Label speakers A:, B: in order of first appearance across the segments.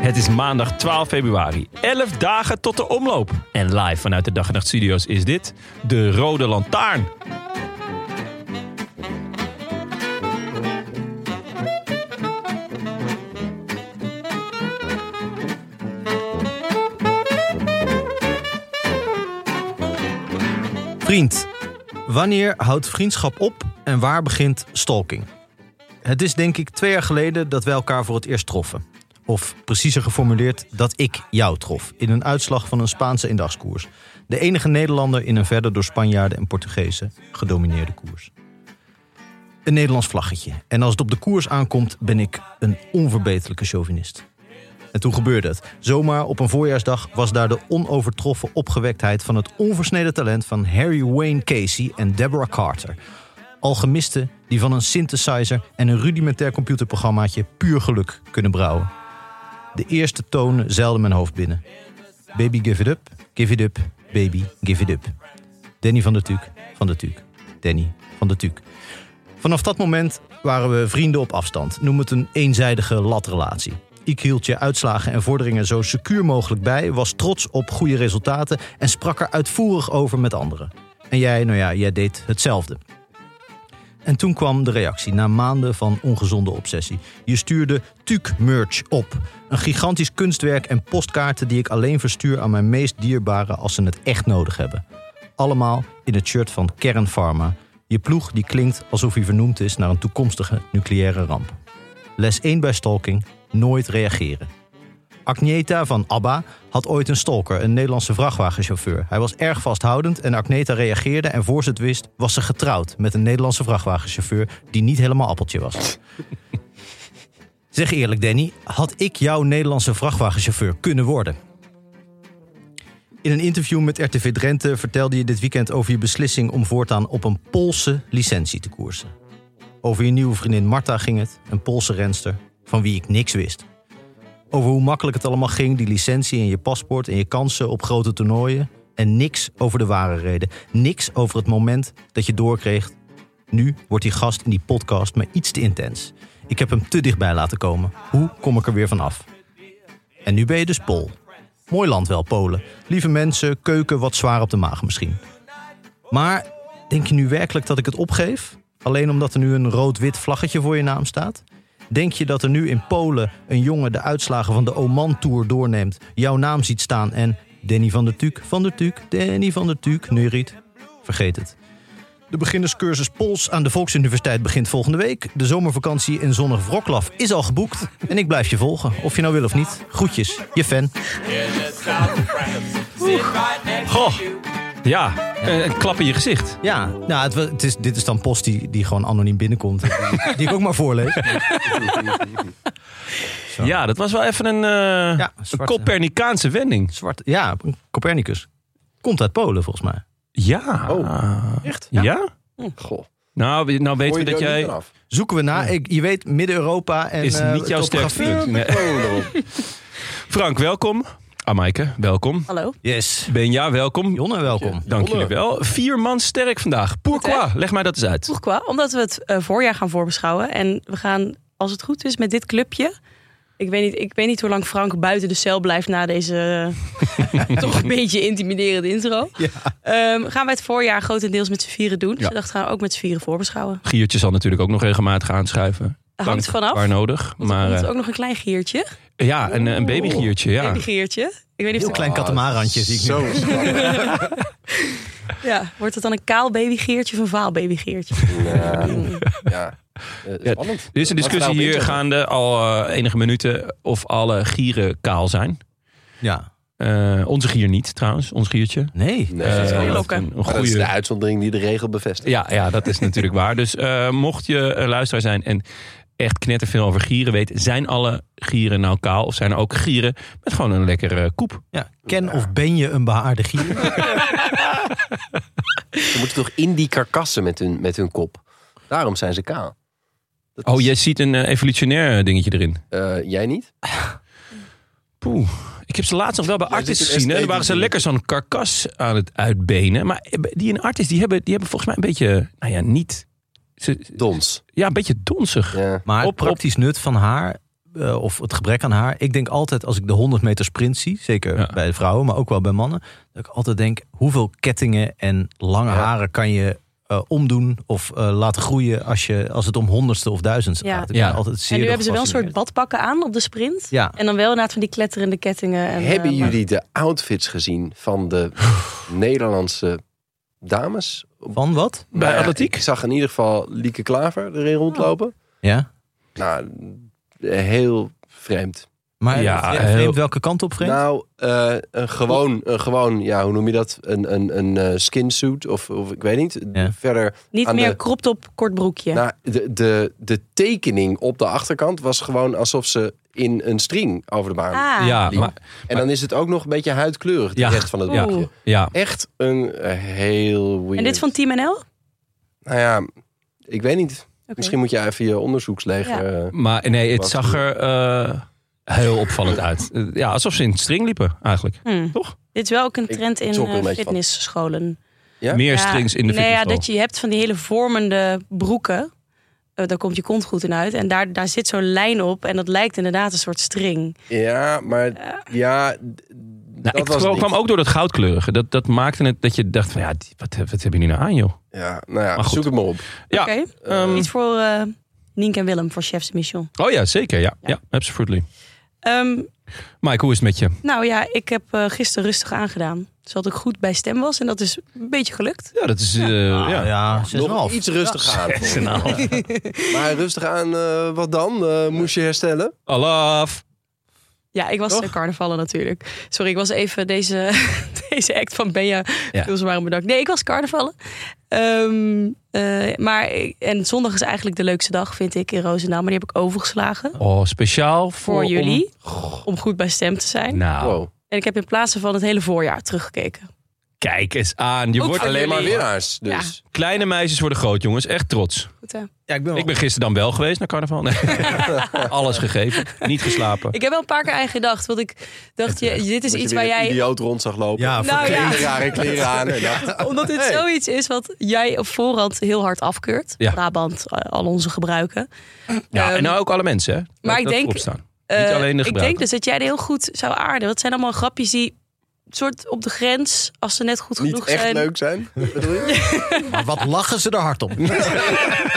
A: Het is maandag 12 februari, 11 dagen tot de omloop. En live vanuit de Dag en Nacht Studio's is dit de Rode Lantaarn.
B: Vriend. Wanneer houdt vriendschap op en waar begint stalking? Het is denk ik twee jaar geleden dat wij elkaar voor het eerst troffen. Of preciezer geformuleerd, dat ik jou trof. In een uitslag van een Spaanse indagskoers. De enige Nederlander in een verder door Spanjaarden en Portugezen gedomineerde koers. Een Nederlands vlaggetje. En als het op de koers aankomt, ben ik een onverbeterlijke chauvinist. En toen gebeurde het. Zomaar op een voorjaarsdag was daar de onovertroffen opgewektheid van het onversneden talent van Harry Wayne Casey en Deborah Carter. Alchemisten die van een synthesizer en een rudimentair computerprogrammaatje puur geluk kunnen brouwen. De eerste tonen zeilden mijn hoofd binnen. Baby give it up, give it up, baby give it up. Danny van der Tuuk, van der Tuuk, Danny van der Tuuk. Vanaf dat moment waren we vrienden op afstand. Noem het een eenzijdige latrelatie. Ik hield je uitslagen en vorderingen zo secuur mogelijk bij, was trots op goede resultaten en sprak er uitvoerig over met anderen. En jij, nou ja, jij deed hetzelfde. En toen kwam de reactie na maanden van ongezonde obsessie. Je stuurde Tuuk merch op. Een gigantisch kunstwerk en postkaarten die ik alleen verstuur aan mijn meest dierbaren als ze het echt nodig hebben. Allemaal in het shirt van Kern Pharma. Je ploeg die klinkt alsof hij vernoemd is naar een toekomstige nucleaire ramp. Les 1 bij stalking: nooit reageren. Agneta van ABBA had ooit een stalker, een Nederlandse vrachtwagenchauffeur. Hij was erg vasthoudend en Agneta reageerde en voor ze het wist was ze getrouwd met een Nederlandse vrachtwagenchauffeur die niet helemaal appeltje was. zeg eerlijk Danny, had ik jouw Nederlandse vrachtwagenchauffeur kunnen worden? In een interview met RTV Drenthe vertelde je dit weekend over je beslissing om voortaan op een Poolse licentie te koersen. Over je nieuwe vriendin Marta ging het, een Poolse renster, van wie ik niks wist. Over hoe makkelijk het allemaal ging, die licentie en je paspoort en je kansen op grote toernooien. En niks over de ware reden. Niks over het moment dat je doorkreeg. Nu wordt die gast in die podcast maar iets te intens. Ik heb hem te dichtbij laten komen. Hoe kom ik er weer vanaf? En nu ben je dus Pool. Mooi land wel, Polen. Lieve mensen, keuken wat zwaar op de maag misschien. Maar denk je nu werkelijk dat ik het opgeef? Alleen omdat er nu een rood-wit vlaggetje voor je naam staat? Denk je dat er nu in Polen een jongen de uitslagen van de Oman Tour doorneemt, jouw naam ziet staan en Danny van der Tuuk, van der Tuuk, Danny van der Tuuk, Neuriet? Vergeet het. De beginnerscursus Pools aan de Volksuniversiteit begint volgende week. De zomervakantie in zonnig Wroclaw is al geboekt. En ik blijf je volgen, of je nou wil of niet. Groetjes, je fan.
A: Goh, ja, een, een klap in je gezicht.
B: Ja, nou, het, wa- het is, dit is dan post die, die gewoon anoniem binnenkomt. Die ik ook maar voorlees. Zo.
A: Ja, dat was wel even een, eh,
B: Ja,
A: een
B: zwarte-
A: Copernicaanse wending.
B: Zwart, ja, Copernicus. Komt uit Polen volgens mij.
A: Ja.
B: Oh, Echt? Hm.
A: Ja?
C: Goh.
A: Nou, we- nou weten we
C: Hoor
A: dat
C: er
A: jij...
C: niet vanaf?
B: Zoeken we na. Ik, je weet, Midden-Europa en
A: Is
B: eh,
A: niet jouw
B: topografie.
A: sterkste punt. Nee. Frank, welkom. Amaike, welkom.
D: Hallo.
B: Yes.
A: Benja, welkom.
B: Jonne, welkom.
A: Dank jullie wel. Vier man sterk vandaag. Pourquoi? Leg mij dat eens uit.
D: Pourquoi? Omdat we het eh, voorjaar gaan voorbeschouwen. En we gaan, als het goed is, met dit clubje. Ik weet niet, ik weet niet hoe lang Frank buiten de cel blijft na deze eh, toch een beetje intimiderende intro. Ehm, gaan wij het voorjaar grotendeels met z'n vieren doen. Dus
A: Ja.
D: dat gaan we ook met z'n vieren voorbeschouwen.
A: Giertje zal natuurlijk ook nog regelmatig aanschuiven.
D: hangt
A: Dank
D: vanaf.
A: Waar nodig.
D: Want er
A: Maar
D: komt
A: eh,
D: ook nog een klein giertje.
A: ja, een, een babygiertje. Ja.
D: Een giertje. Ik weet niet
B: Heel
D: of
B: klein
A: Ah,
B: katamarantje zie ik nu.
C: Zo schattig.
D: het- ja, wordt het dan een kaal babygiertje of een vaal babygiertje?
C: Ja. Ja. Eh,
A: Ja,
C: Spannend.
A: Er is een
C: Wat
A: discussie
C: vrouwen
A: hier
C: inzetten.
A: gaande al eh, enige minuten of alle gieren kaal zijn.
B: Ja.
A: Eh, onze gier niet trouwens, ons giertje.
B: Nee.
C: Nee,
A: Eh,
C: dat is wel
D: heel
C: leuk.
D: leuk. lokken.
A: een- een
C: Maar dat is de
A: goede
C: uitzondering die de regel bevestigt.
A: Ja, ja, dat is natuurlijk waar. Dus eh, mocht je eh, luisteraar zijn en echt knetterveel over gieren weet, zijn alle gieren nou kaal of zijn er ook gieren met gewoon een lekkere koep?
B: Ja. Ken of ben je een behaarde gier?
C: Ze moeten toch in die karkassen met hun, met hun kop. Daarom zijn ze kaal. Dat
A: Oh,
C: is-
A: jij ziet een eh, evolutionair dingetje erin.
C: Eh, jij niet?
A: Poeh. Ik heb ze laatst nog wel bij
C: Jij
A: Artis
C: ziet een
A: gezien. hè. Daar waren ze
C: esthetisch
A: lekker zo'n karkas aan het uitbenen. Maar eh, die in Artis, die hebben, die hebben volgens mij een beetje, nou ja, niet... ze-
C: Dons.
A: ja, een beetje donzig.
C: Ja.
B: Maar het
A: Op- op-
B: praktisch nut van haar, eh, of het gebrek aan haar. Ik denk altijd als ik de 100 meter sprint zie, zeker
A: Ja.
B: bij de vrouwen, maar ook wel bij mannen. Dat ik altijd denk, hoeveel kettingen en lange
C: Ja.
B: haren kan je eh, omdoen of eh, laten groeien als, je, als het om honderdste of duizendste
D: Ja.
B: gaat. Ik
A: Ja.
B: ben altijd zeer
D: En nu hebben ze wel een soort
B: gefascineerd.
D: badpakken aan op de sprint.
B: Ja.
D: En dan wel inderdaad van die kletterende kettingen. En,
C: Hebben
D: eh, maar-
C: jullie de outfits gezien van de Nederlandse dames?
B: Van wat?
A: Bij
C: Nou ja,
A: atletiek?
C: Ik zag in ieder geval Lieke Klaver erin rondlopen.
B: Ja.
C: Nou, heel vreemd.
B: Maar
A: Ja,
B: ja,
A: heel-
B: vreemd welke kant op vreemd?
C: Nou, eh, een gewoon, een gewoon, ja, hoe noem je dat? Een, een, een eh, skinsuit of, of ik weet niet.
B: Ja.
C: Verder,
D: Niet
C: aan
D: meer
C: de-
D: kropt op kort broekje.
C: nou, de, de, de tekening op de achterkant was gewoon alsof ze in een string over de baan.
D: ah,
A: ja,
C: liep.
A: maar,
C: En dan is het ook nog een beetje huidkleurig, de
A: Ja.
C: rest van het
D: Oeh.
C: broekje.
A: ja.
C: Echt een eh, heel weird...
D: En dit van Team NL? Oké.
C: Nou ja, ik weet niet. Misschien moet je even je onderzoeksleger... eh,
A: maar nee, het
C: Wat
A: zag er eh, heel opvallend uit. Eh, Ja, alsof ze in het string liepen eigenlijk.
D: Hmm.
A: Toch?
D: Dit is wel ook een trend in
C: schrok er een
D: eh,
C: beetje van.
D: fitnessscholen.
C: Ja?
A: Meer strings in de
D: nee, ja,
A: fitnessschool.
D: dat je hebt van die hele vormende broeken. Eh, daar komt je kont goed in uit. En daar, daar zit zo'n lijn op. En dat lijkt inderdaad een soort string.
C: ja, maar ja... d-
A: Nou,
C: dat
A: het
C: was
A: kwam,
C: niet.
A: kwam ook door dat goudkleurige. Dat, dat maakte het dat je dacht van ja, die- wat, wat hebben jullie nou aan joh?
C: Ja, nou ja,
A: Maar goed.
C: zoek het maar op.
A: Ja,
D: Oké.
A: ehm,
D: Iets voor eh Nienke en Willem voor Chef's Mission.
A: oh ja, zeker. Ja, ja. absolutely.
D: Ehm,
A: Mike, hoe is het met je?
D: nou ja, ik heb eh, gisteren rustig aangedaan. Zodat ik goed bij stem was. En dat is een beetje gelukt.
A: Ja, dat is... eh,
B: Ah,
A: ja.
B: ja, 6,5.
C: Nog iets rustiger aan. Maar rustig aan, eh, wat dan? Eh, moest je herstellen?
A: Alaf.
D: Ja, ik was
C: Toch?
D: de carnavallen natuurlijk. Sorry, ik was even deze, deze act van Benja
A: Ja.
D: veel zwaar bedankt. Nee, ik was carnavallen. Ehm, eh, maar ik- en zondag is eigenlijk de leukste dag, vind ik, in Roosendaal. Maar die heb ik overgeslagen
A: Oh, speciaal voor,
D: voor
A: om-
D: jullie. Om goed bij stem te zijn.
A: Nou,
C: Wow.
D: En ik heb in plaats van het hele voorjaar teruggekeken.
A: kijk eens aan. Je
D: Ook
A: wordt
D: voor
A: alleen
C: Alleen maar
D: jullie.
C: winnaars, dus.
A: kleine meisjes worden groot, jongens. Echt trots.
D: Goed, hè?
B: Ja, ik ben wel-
A: Ik ben gisteren dan wel geweest naar carnaval. Nee. Alles gegeven. Niet geslapen.
D: Ik heb wel een paar keer aan gedacht. Want ik dacht, je, dit is
C: Dat eh, je
D: iets
C: weer
D: waar
C: een
D: jij
C: idioot rond zag lopen.
B: Ja,
D: Nou ja.
C: Geen rare kleren aan. En dacht,
D: Omdat dit
C: Hey.
D: zoiets is wat jij op voorhand heel hard afkeurt.
A: Ja.
D: Brabant, eh, al onze gebruiken.
A: Ja,
D: Ehm,
A: en nou ook alle mensen, hè? Laat
D: ik
A: dat
D: denk-
A: Opstaan.
D: Eh,
A: Niet alleen de
D: ik
A: gebruiker.
D: denk dus dat jij er heel goed zou aarden. Wat zijn allemaal grapjes die soort op de grens, als ze net goed
C: niet
D: genoeg
C: echt
D: zijn.
C: leuk zijn, bedoel je?
B: Maar wat lachen ze er hard op?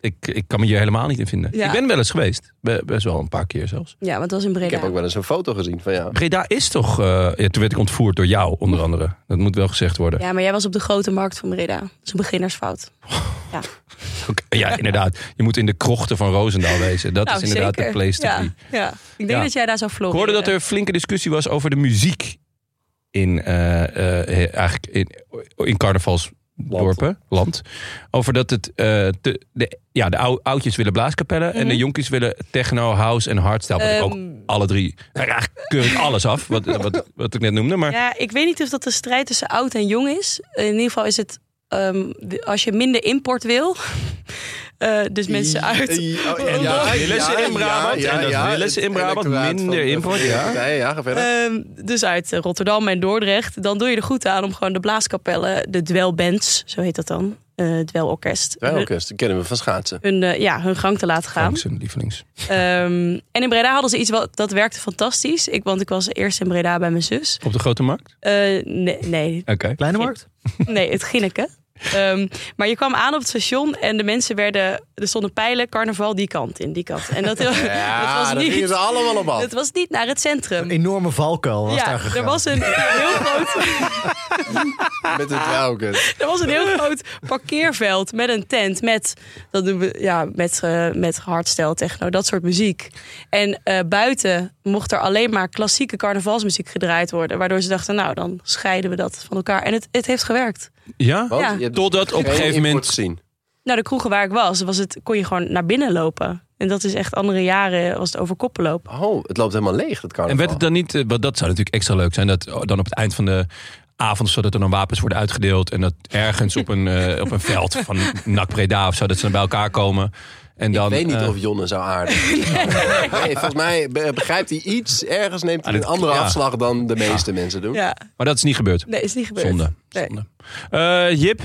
A: Ik, ik kan me hier helemaal niet in vinden.
D: Ja.
A: Ik ben wel eens geweest. Be- best wel een paar keer zelfs.
D: Ja, want dat was in
C: Ik
D: Breda.
C: heb ook wel eens een foto gezien van jou.
A: Breda is toch... eh, ja, toen werd ik ontvoerd door jou, onder andere. Dat moet wel gezegd worden. Ja,
D: Ja, maar jij was op de grote markt van Breda. Dat is een beginnersfout.
A: ja inderdaad. Je moet in de krochten van Roosendaal wezen. Dat
D: Nou,
A: is inderdaad
D: zeker.
A: de place to
D: ja,
A: be.
D: ja. Ik denk
A: Ja.
D: dat jij daar zou
A: Ik
D: floreren.
A: hoorde dat er flinke discussie was over de muziek... in, eh, eh, eigenlijk in, in carnavalsdorpen, land. Over dat het... eh, te- de, ja, de ou- oudjes willen blaaskapellen... en
D: Mhm.
A: de jonkies willen techno, house en hardstyle. Wat ik ook
D: Ehm,
A: alle drie. nou Eigenlijk keur ik alles af, wat, wat, wat ik net noemde. Maar
D: Ja, ik weet niet of dat de strijd tussen oud en jong is. In ieder geval is het... ehm, de- als je minder import wil, eh, dus mensen uit
C: Oh,
A: En dat is weer lessen in Brabant. En dat is weer lessen in
C: het
A: Brabant.
C: electoraat
A: Minder
C: van-
A: import, ja.
C: Nee, ja, ga verder.
D: Ehm, dus uit eh, Rotterdam en Dordrecht. Dan doe je er goed aan om gewoon de blaaskapellen, de dwelbands, zo heet dat dan, eh het dwelorkest, hun,
C: Dweilorkest, die kennen we van schaatsen.
D: hun, eh, ja, hun gang te laten gaan.
A: Frank zijn lievelings.
D: Ehm, en in Breda hadden ze iets wat dat werkte fantastisch. Ik, want ik was eerst in Breda bij mijn zus.
A: Op de Grote Markt?
D: Eh, nee, nee,
A: Oké.
B: Kleine markt?
D: nee, het Ginneke. Ehm, maar je kwam aan op het station en de mensen werden... Er stonden pijlen, carnaval, die kant in, die kant. En dat, dat was
C: dan
D: niet...
C: Ah, gingen ze allemaal op af.
D: Het was niet naar het centrum.
B: Een enorme valkuil was daar
D: Ja,
B: gegaan.
D: er was, een heel groot,
C: Met het trouwkut.
D: er was een heel groot parkeerveld met een tent. Met, dat doen we, ja, met, eh, met hardstyle, techno, dat soort muziek. En eh, buiten mocht er alleen maar klassieke carnavalsmuziek gedraaid worden. Waardoor ze dachten, nou dan scheiden we dat van elkaar. En het, het heeft gewerkt.
A: Ja?
C: Want
D: Ja.
C: je hebt
A: Totdat op een
C: geen
A: gegeven
C: input
A: moment...
C: gezien.
D: Nou, de kroegen waar ik was, was het, kon je gewoon naar binnen lopen. En dat is echt andere jaren was het over koppen lopen.
C: Oh, het loopt helemaal leeg, dat carnaval.
A: En werd het dan niet... eh, Want dat zou natuurlijk extra leuk zijn. Dat oh, dan op het eind van de avond... zodat er dan wapens worden uitgedeeld. En dat ergens op een, eh, op een veld van NAC Breda of zo... dat ze dan bij elkaar komen. En dan,
C: Ik weet niet
A: eh,
C: of Jonne zou aarden. Nee, volgens mij be- begrijpt hij iets. Ergens neemt hij
A: Ah,
C: een
A: dit-
C: andere
A: ja.
C: afslag dan de meeste mensen doen.
D: Ja,
A: Maar dat is niet gebeurd.
D: nee, is niet gebeurd.
A: Zonde.
D: Nee.
A: Zonde. Eh, Jip,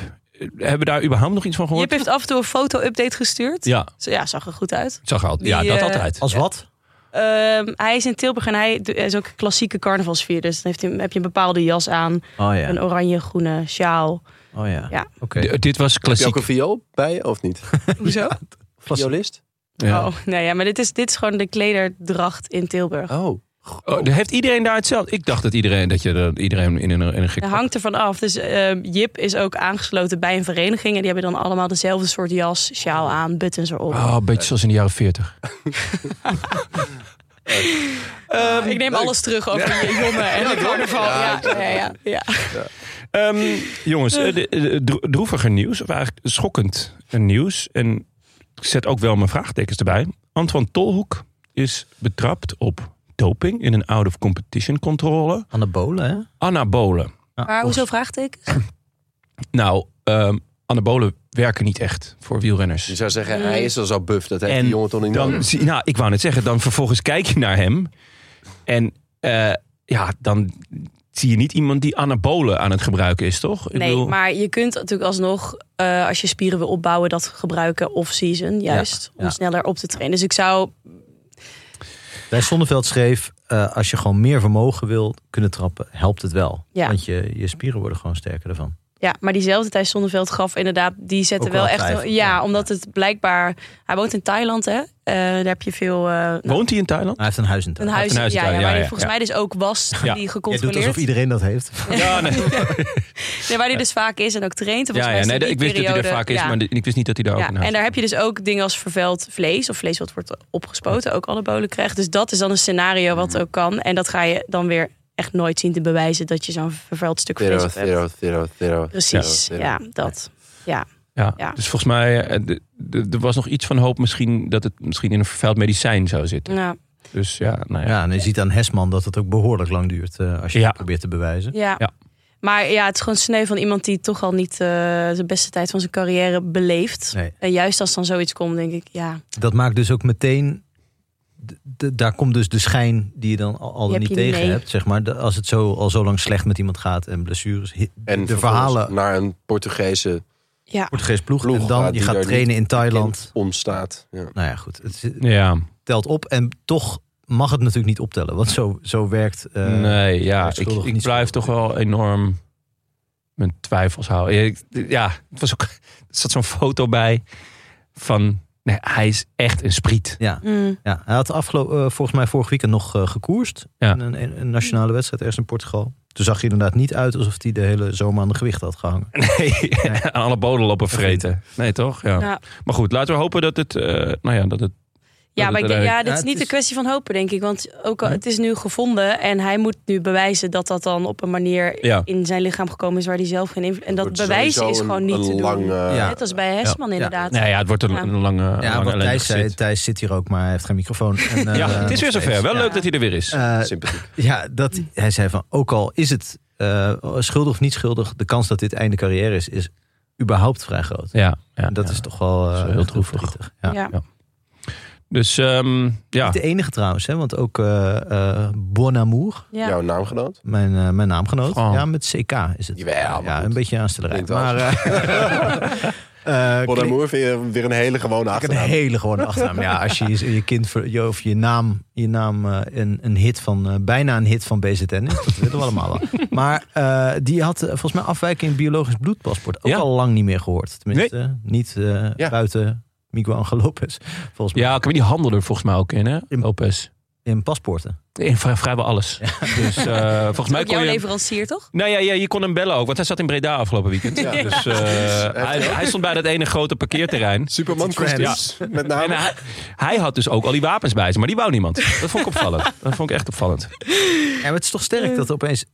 A: hebben we daar überhaupt nog iets van gehoord?
D: Jip heeft af en toe een foto-update gestuurd.
A: Ja,
D: Zo, Ja, zag er goed uit.
A: het zag er altijd. Ja,
D: Die,
A: dat
D: eh,
A: altijd.
B: Als wat?
D: Ehm, hij is in Tilburg en hij do- hij is ook een klassieke carnavalsvier. Dus dan heeft hij, heb je een bepaalde jas aan.
B: Oh ja.
D: Een oranje-groene sjaal.
B: Oh ja.
D: Ja.
B: Oké.
A: D- dit was
C: Heb je ook
A: klassiek.
C: een viool bij, of niet?
D: Hoezo?
C: Violist?
A: Ja.
D: Oh, nee, ja, maar dit is, dit is gewoon de klederdracht in Tilburg.
C: Oh.
A: Oh, heeft iedereen daar hetzelfde? Ik dacht dat iedereen, dat je dat iedereen in een, in een gek...
D: Dat hangt ervan af. Dus ehm, Jip is ook aangesloten bij een vereniging. En die hebben dan allemaal dezelfde soort jas, sjaal aan, buttons erop.
A: Oh, een beetje zoals in de jaren 40.
D: Ehm, ik neem alles terug over je jongen en de carnaval. Ja, ja, ja, ja.
A: Ehm, jongens, eh, de- de- dro- droeviger nieuws, of eigenlijk schokkend nieuws. En ik zet ook wel mijn vraagtekens erbij. Antoine Tolhoek is betrapt op doping in een out-of-competition controle.
B: Anabolen, hè?
A: Anabolen.
B: Ja,
D: Maar hoezo
B: of-
D: vraagtekens?
A: Nou, ehm, anabolen werken niet echt voor wielrenners.
C: Je zou zeggen, hij is al zo buff. Dat heeft
A: En
C: die jongen toch niet
A: dan,
C: nodig?
A: zie- nou, ik wou net zeggen, dan vervolgens kijk je naar hem. En eh, ja, dan zie je niet iemand die anabolen aan het gebruiken is, toch? Ik
D: Nee,
A: bedoel,
D: maar je kunt natuurlijk alsnog, eh, als je spieren wil opbouwen, dat gebruiken off-season. Juist, om
B: ja.
D: sneller op te trainen. Dus ik zou
B: Bij Zonneveld schreef, eh, als je gewoon meer vermogen wil kunnen trappen, helpt het wel.
D: Ja.
B: Want je, je spieren worden gewoon sterker ervan.
D: Ja, maar diezelfde Thijs Zonneveld gaf inderdaad, die zette
B: Ook
D: wel,
B: wel
D: echt.
B: twijfel,
D: ja,
B: ja.
D: omdat het blijkbaar. Hij woont in Thailand, hè? Eh, daar heb je veel. eh, nou,
A: woont hij in Thailand?
B: Hij heeft een huis in
D: een
B: tuin.
D: huis.
A: een huis in
D: ja, ja,
A: Thailand, ja,
D: waar hij
A: ja,
D: volgens
A: ja.
D: mij dus ook was,
A: Ja.
D: die
B: Je doet alsof
D: gecontroleerd.
B: iedereen dat heeft.
A: Ja, nee.
D: nee, waar hij dus vaak is en ook traint. En
A: ja,
D: volgens mij
A: ja,
D: is
A: nee
D: dat
A: ik
D: die
A: wist dat hij er
D: periode-
A: vaak is,
D: ja.
A: maar ik wist niet dat hij daar ook
D: Ja,
A: in huis
D: en daar heb je dus ook dingen als vervuild vlees of vlees wat wordt opgespoten, ook anabolen krijgt. Dus dat is dan een
A: Mhm.
D: scenario wat ook kan. En dat ga je dan weer echt nooit zien te bewijzen dat je zo'n vervuild stuk vlees
C: Zero,
D: op hebt.
C: zero, zero, zero.
D: Precies,
C: zero, zero.
D: ja, dat. Ja.
A: Ja,
D: Ja.
A: Dus volgens mij, eh, d- d- er was nog iets van hoop misschien dat het misschien in een vervuild medicijn zou zitten.
D: Ja.
A: Dus ja, nou ja.
B: Ja, en je ziet aan Hesman dat het ook behoorlijk lang duurt eh, als je
A: Ja.
B: het probeert te bewijzen.
D: Ja.
A: Ja.
D: Maar ja, het is gewoon sneu van iemand die toch al niet eh de beste tijd van zijn carrière beleeft.
B: Nee.
D: En juist als dan zoiets komt, denk ik, ja,
B: Dat maakt dus ook meteen, d- d- daar komt dus de schijn die je dan al, al
D: Die heb
B: niet
D: je niet
B: tegen
D: mee.
B: hebt. Zeg maar, De- als het zo, al zo lang slecht met iemand gaat en blessures. hi-
C: En
B: de
C: de
B: verhalen.
C: naar een Portugese
D: ja.
B: Portugees ploeg,
C: ploeg
B: en dan
C: gaat
B: je
C: die
B: gaat
C: daar
B: trainen in
C: kind
B: Thailand.
C: omstaat. Ja.
B: Nou ja, goed. Het, is-
A: Ja,
B: telt op. En toch mag het natuurlijk niet optellen. Want zo, zo werkt. eh,
A: nee, ja.
B: dat is
A: Ik,
B: schuldig
A: ik
B: niet
A: blijf toch
B: schuldig.
A: wel enorm mijn twijfels houden. Ja, ik- Ja, het was ook, er zat zo'n foto bij van, nee, hij is echt een spriet.
B: Ja,
D: Mm.
B: ja, hij had afgelo- eh, volgens mij vorig weekend nog eh, gekoerst.
A: Ja.
B: In een, een- een nationale wedstrijd ergens in Portugal. Toen zag hij inderdaad niet uit alsof hij de hele zomer aan de gewicht had gehangen.
A: Nee, aan alle boden lopen vreten. Nee, toch? Ja.
D: Ja.
A: Maar goed, laten we hopen dat het, eh, nou ja, dat het...
D: Ja,
A: dat
D: maar ik
A: het
D: denk,
A: er-
D: ja, dit
B: Ja,
D: is
B: het
D: niet
B: is-
D: een kwestie van hopen, denk ik. Want ook al, het is nu gevonden en hij moet nu bewijzen dat dat dan op een manier
A: Ja.
D: in zijn lichaam gekomen is waar hij zelf geen invloed... En dat
C: Wordt
D: bewijzen is
C: sowieso
D: gewoon
C: een-
D: niet
C: een
D: te
C: lang,
D: doen.
C: eh,
B: Ja.
D: Net als bij Hesman inderdaad.
A: Nou ja, het wordt een,
D: Ja.
A: een lange,
B: Ja,
A: lange
B: wat
A: ellendig
B: Thijs zei,
A: gezit.
B: Thijs zit hier ook, maar hij heeft geen microfoon. En, eh,
A: Ja, het is weer zover.
B: nog steeds.
A: Wel
B: Ja.
A: leuk dat hij er weer is.
B: Eh,
C: Sympathiek.
B: ja, dat, hij zei van, ook al is het eh, schuldig of niet schuldig... de kans dat dit einde carrière is, is überhaupt vrij groot.
A: ja, ja,
B: En dat
A: ja.
B: is toch wel eh,
A: Dat is heel
B: echt
A: droevig.
B: verdrietig.
D: Ja.
B: Ja.
A: Dus ehm, ja,
B: Niet de enige trouwens, hè, want ook eh eh Bonamour,
D: Ja.
C: Jouw naamgenoot?
B: mijn, eh, mijn naamgenoot.
A: Gewoon.
B: Ja, met CK is het.
C: Jawel, maar
B: ja,
C: goed.
B: een beetje aanstellerij.
C: Klinkt wel.
B: Maar, eh, Eh,
C: Bon
B: klinkt
C: Amour vind je weer een hele gewone
B: een
C: achternaam.
B: hele gewone achternaam. Ja, als je je, je kind ver- je, of je naam, je naam eh, een, een hit van, eh, bijna een hit van BZN is, dat weten we allemaal wel. Maar eh, die had eh, volgens mij afwijking in biologisch bloedpaspoort ook
A: Ja.
B: al lang niet meer gehoord. Tenminste, niet eh,
C: Ja.
B: buiten Miguel Angel Lopez, volgens mij.
A: Ja, ik weet die handel er volgens mij ook in, hè?
B: In-
A: Lopez.
B: In paspoorten.
A: In vrij, vrijwel alles. Dus eh, volgens mij
D: Ook
A: kon
D: jouw
A: je...
D: leverancier, toch?
A: Nou ja, ja, je kon hem bellen ook, want hij zat in Breda afgelopen weekend.
C: Ja.
A: Dus eh, hij, hij stond bij dat ene grote parkeerterrein.
C: Superman kostuums, met
A: En
C: name.
A: hij, hij had dus ook al die wapens bij zich, maar die wou niemand. Dat vond ik opvallend. Dat vond ik echt opvallend.
B: Ja, maar het is toch sterk dat er opeens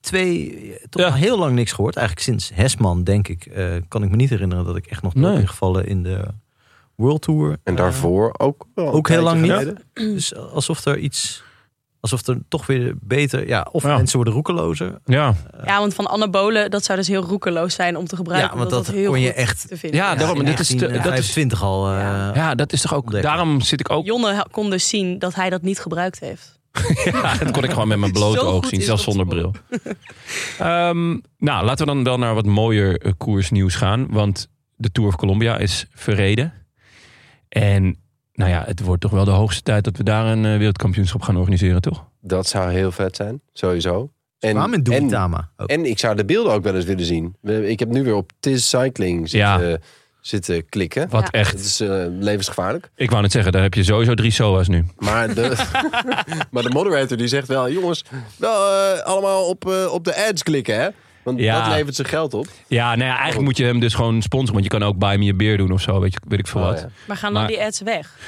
B: twee, eh, toch
A: Ja.
B: al heel lang niks gehoord. Eigenlijk sinds Hesman, denk ik, eh, kan ik me niet herinneren dat ik echt nog
A: Nee.
B: nee. gevallen in de World Tour. Eh,
C: En daarvoor ook wel een
B: Ook heel lang
C: tijdje
B: niet.
C: geleden.
B: Dus alsof er iets, alsof er toch weer beter, ja, of
A: Ja.
B: mensen worden roekelozer.
A: Ja,
D: Ja, want van anabolen, dat zou dus heel roekeloos zijn om te gebruiken.
B: Ja, want
D: omdat
B: dat
D: heel
B: kon je
D: goed
B: echt-
D: te vinden.
A: ja,
D: is.
A: daarom.
B: in
A: Dit is te- dat is-
B: 1825 al. eh,
A: ja, dat is toch ook.
B: Ontdekken.
A: Daarom zit ik ook.
D: Jonne ha- kon dus zien dat hij dat niet gebruikt heeft.
A: Ja, dat kon ik gewoon met mijn blote
D: Zo
A: oog
D: goed
A: zien,
D: is
A: zelfs
D: dat
A: zonder bril. Ehm, nou, laten we dan wel naar wat mooier eh, koersnieuws gaan. Want de Tour of Colombia is verreden. En nou ja, het wordt toch wel de hoogste tijd dat we daar een eh, wereldkampioenschap gaan organiseren, toch?
C: Dat zou heel vet zijn, sowieso.
B: ze kwamen in
C: en,
B: Duitama. ook.
C: en ik zou de beelden ook wel eens willen zien. We- Ik heb nu weer op Tis Cycling zitten, eh, zitten klikken.
A: Wat
D: Ja.
C: Het
A: echt.
C: is eh, levensgevaarlijk.
A: Ik wou net zeggen, daar heb je sowieso drie SOA's nu.
C: Maar de, maar de moderator die zegt wel... jongens, nou, eh, allemaal op, eh, op de ads klikken, hè? Want
A: Ja.
C: dat levert ze geld op.
A: Ja, nou ja,
D: Oh.
A: eigenlijk moet je hem dus gewoon sponsoren. Want je kan ook Buy Me a Beer doen of zo, weet, je, weet ik veel
C: Oh,
A: wat.
C: ja.
D: Maar gaan dan
A: Maar-
D: die ads weg?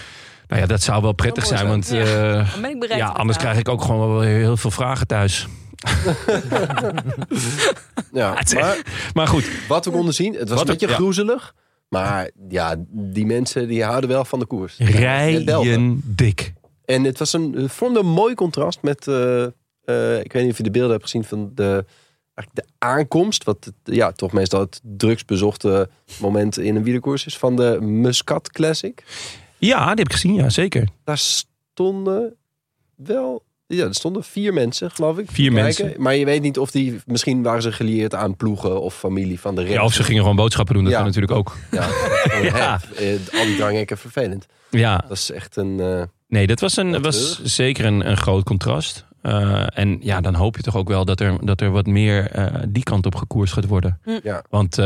A: Nou ja, dat zou wel prettig
C: Zou
A: zijn,
C: mooi
A: want... eh,
D: Dan ben ik bereid.
A: ja,
D: te
A: anders
D: betalen.
A: krijg ik ook gewoon wel heel veel vragen thuis.
C: Ja,
A: het is echt-
C: maar
A: Maar goed,
C: Wat we konden zien, het was
A: Wat
C: een
A: we-
C: beetje
A: ja.
C: groezelig. Maar ja, die mensen die houden wel van de koers. Net Belgen.
A: rijen dik.
C: En het was een, het vormde een mooi contrast met... eh, eh, ik weet niet of je de beelden hebt gezien van de, eigenlijk de aankomst. Wat het, ja, toch meestal het drugsbezochte moment in een wielerkoers is. Van de Muscat Classic.
A: Ja, die heb ik gezien, ja, zeker.
C: Daar stonden wel... Ja, er stonden vier mensen, geloof ik.
A: Vier
C: kijken.
A: mensen.
C: Maar je weet niet of die... Misschien waren ze gelieerd aan ploegen of familie van de
A: Ja, of
C: renners.
A: ze gingen gewoon boodschappen doen, dat
C: Ja.
A: kan natuurlijk ook.
C: Ja, oh,
A: Ja.
C: hè, eh, Al die dranghekken vervelend.
A: Ja,
C: Dat is echt een. eh,
A: nee, dat was, een,
C: Wat
A: was zeker een, een groot contrast. Eh, en ja, dan hoop je toch ook wel dat er, dat er wat meer eh, die kant op gekoerst gaat worden.
C: Ja.
A: Want, eh,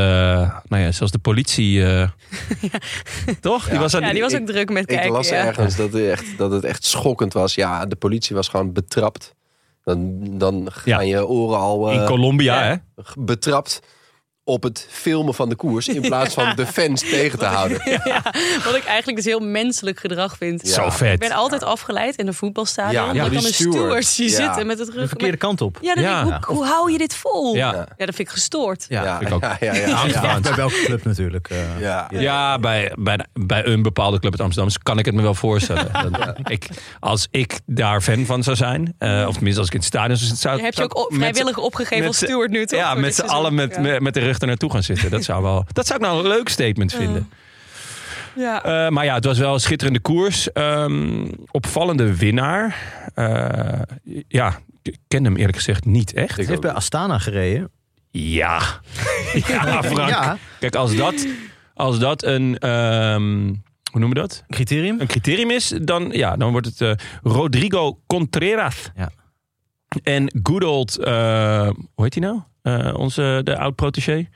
A: nou ja, zelfs de politie... eh, Toch? Die
C: Ja.
A: was aan
D: Ja, die was
C: Ik-
D: ook druk met
C: ik
D: kijken.
C: las
D: ja.
C: ergens dat, het echt, dat het echt schokkend was. Ja, de politie was gewoon betrapt. Dan, dan gaan je oren al eh,
A: in Colombia,
D: ja.
A: hè?
C: g- betrapt op het filmen van de koers. In plaats van de fans tegen te houden.
D: Wat ik eigenlijk dus heel menselijk gedrag vind.
C: Ja.
A: Zo
D: Ik
A: vet.
D: ben altijd afgeleid in een voetbalstadion.
C: Ja,
D: Ja,
C: door
D: dan
C: die
D: kan een steward
C: stewards.
D: die
C: Ja.
D: zitten met het
B: de
D: rug.
B: verkeerde kant op.
D: Ja, dan
A: Ja.
D: denk ik, hoe, hoe hou je dit vol?
A: Ja.
C: Ja.
D: Ja, dat vind ik gestoord.
B: Ja,
C: Ja,
A: vind ik ook.
C: ja, ja, ja,
A: In
C: ja.
A: Amsterdam.
B: Bij welke club natuurlijk. eh.
C: Ja.
A: Ja, bij, bij, bij een bepaalde club uit Amsterdam dus kan ik het me wel voorstellen. Dat- ik, als ik daar fan van zou zijn, eh, of tenminste als ik in het stadion zou zou-
D: Je hebt je
A: zou
D: ook op,
A: ik met z'n-
D: vrijwillig opgegeven
A: met
D: als
A: z'n-
D: steward nu, toch?
A: Ja,
D: Voor
A: met
D: dit
A: z'n
D: seizoen.
A: allen met,
D: Ja.
A: met, met de rug er naartoe gaan zitten. Dat zou, wel, dat zou ik nou een leuk statement vinden.
D: Ja.
A: Eh, maar ja, het was wel een schitterende koers. Ehm, opvallende winnaar. Eh, ja, ik ken hem eerlijk gezegd niet echt.
B: Hij heeft bij Astana gereden.
A: Ja. ja, Frank.
B: Ja.
A: Kijk, als dat, als dat een... ehm, hoe noemen we dat?
B: Criterium.
A: een criterium is, dan, ja, dan wordt het eh, Rodrigo Contreras.
B: Ja.
A: En good old, eh, hoe heet hij nou? Eh, onze, de oud-protégé.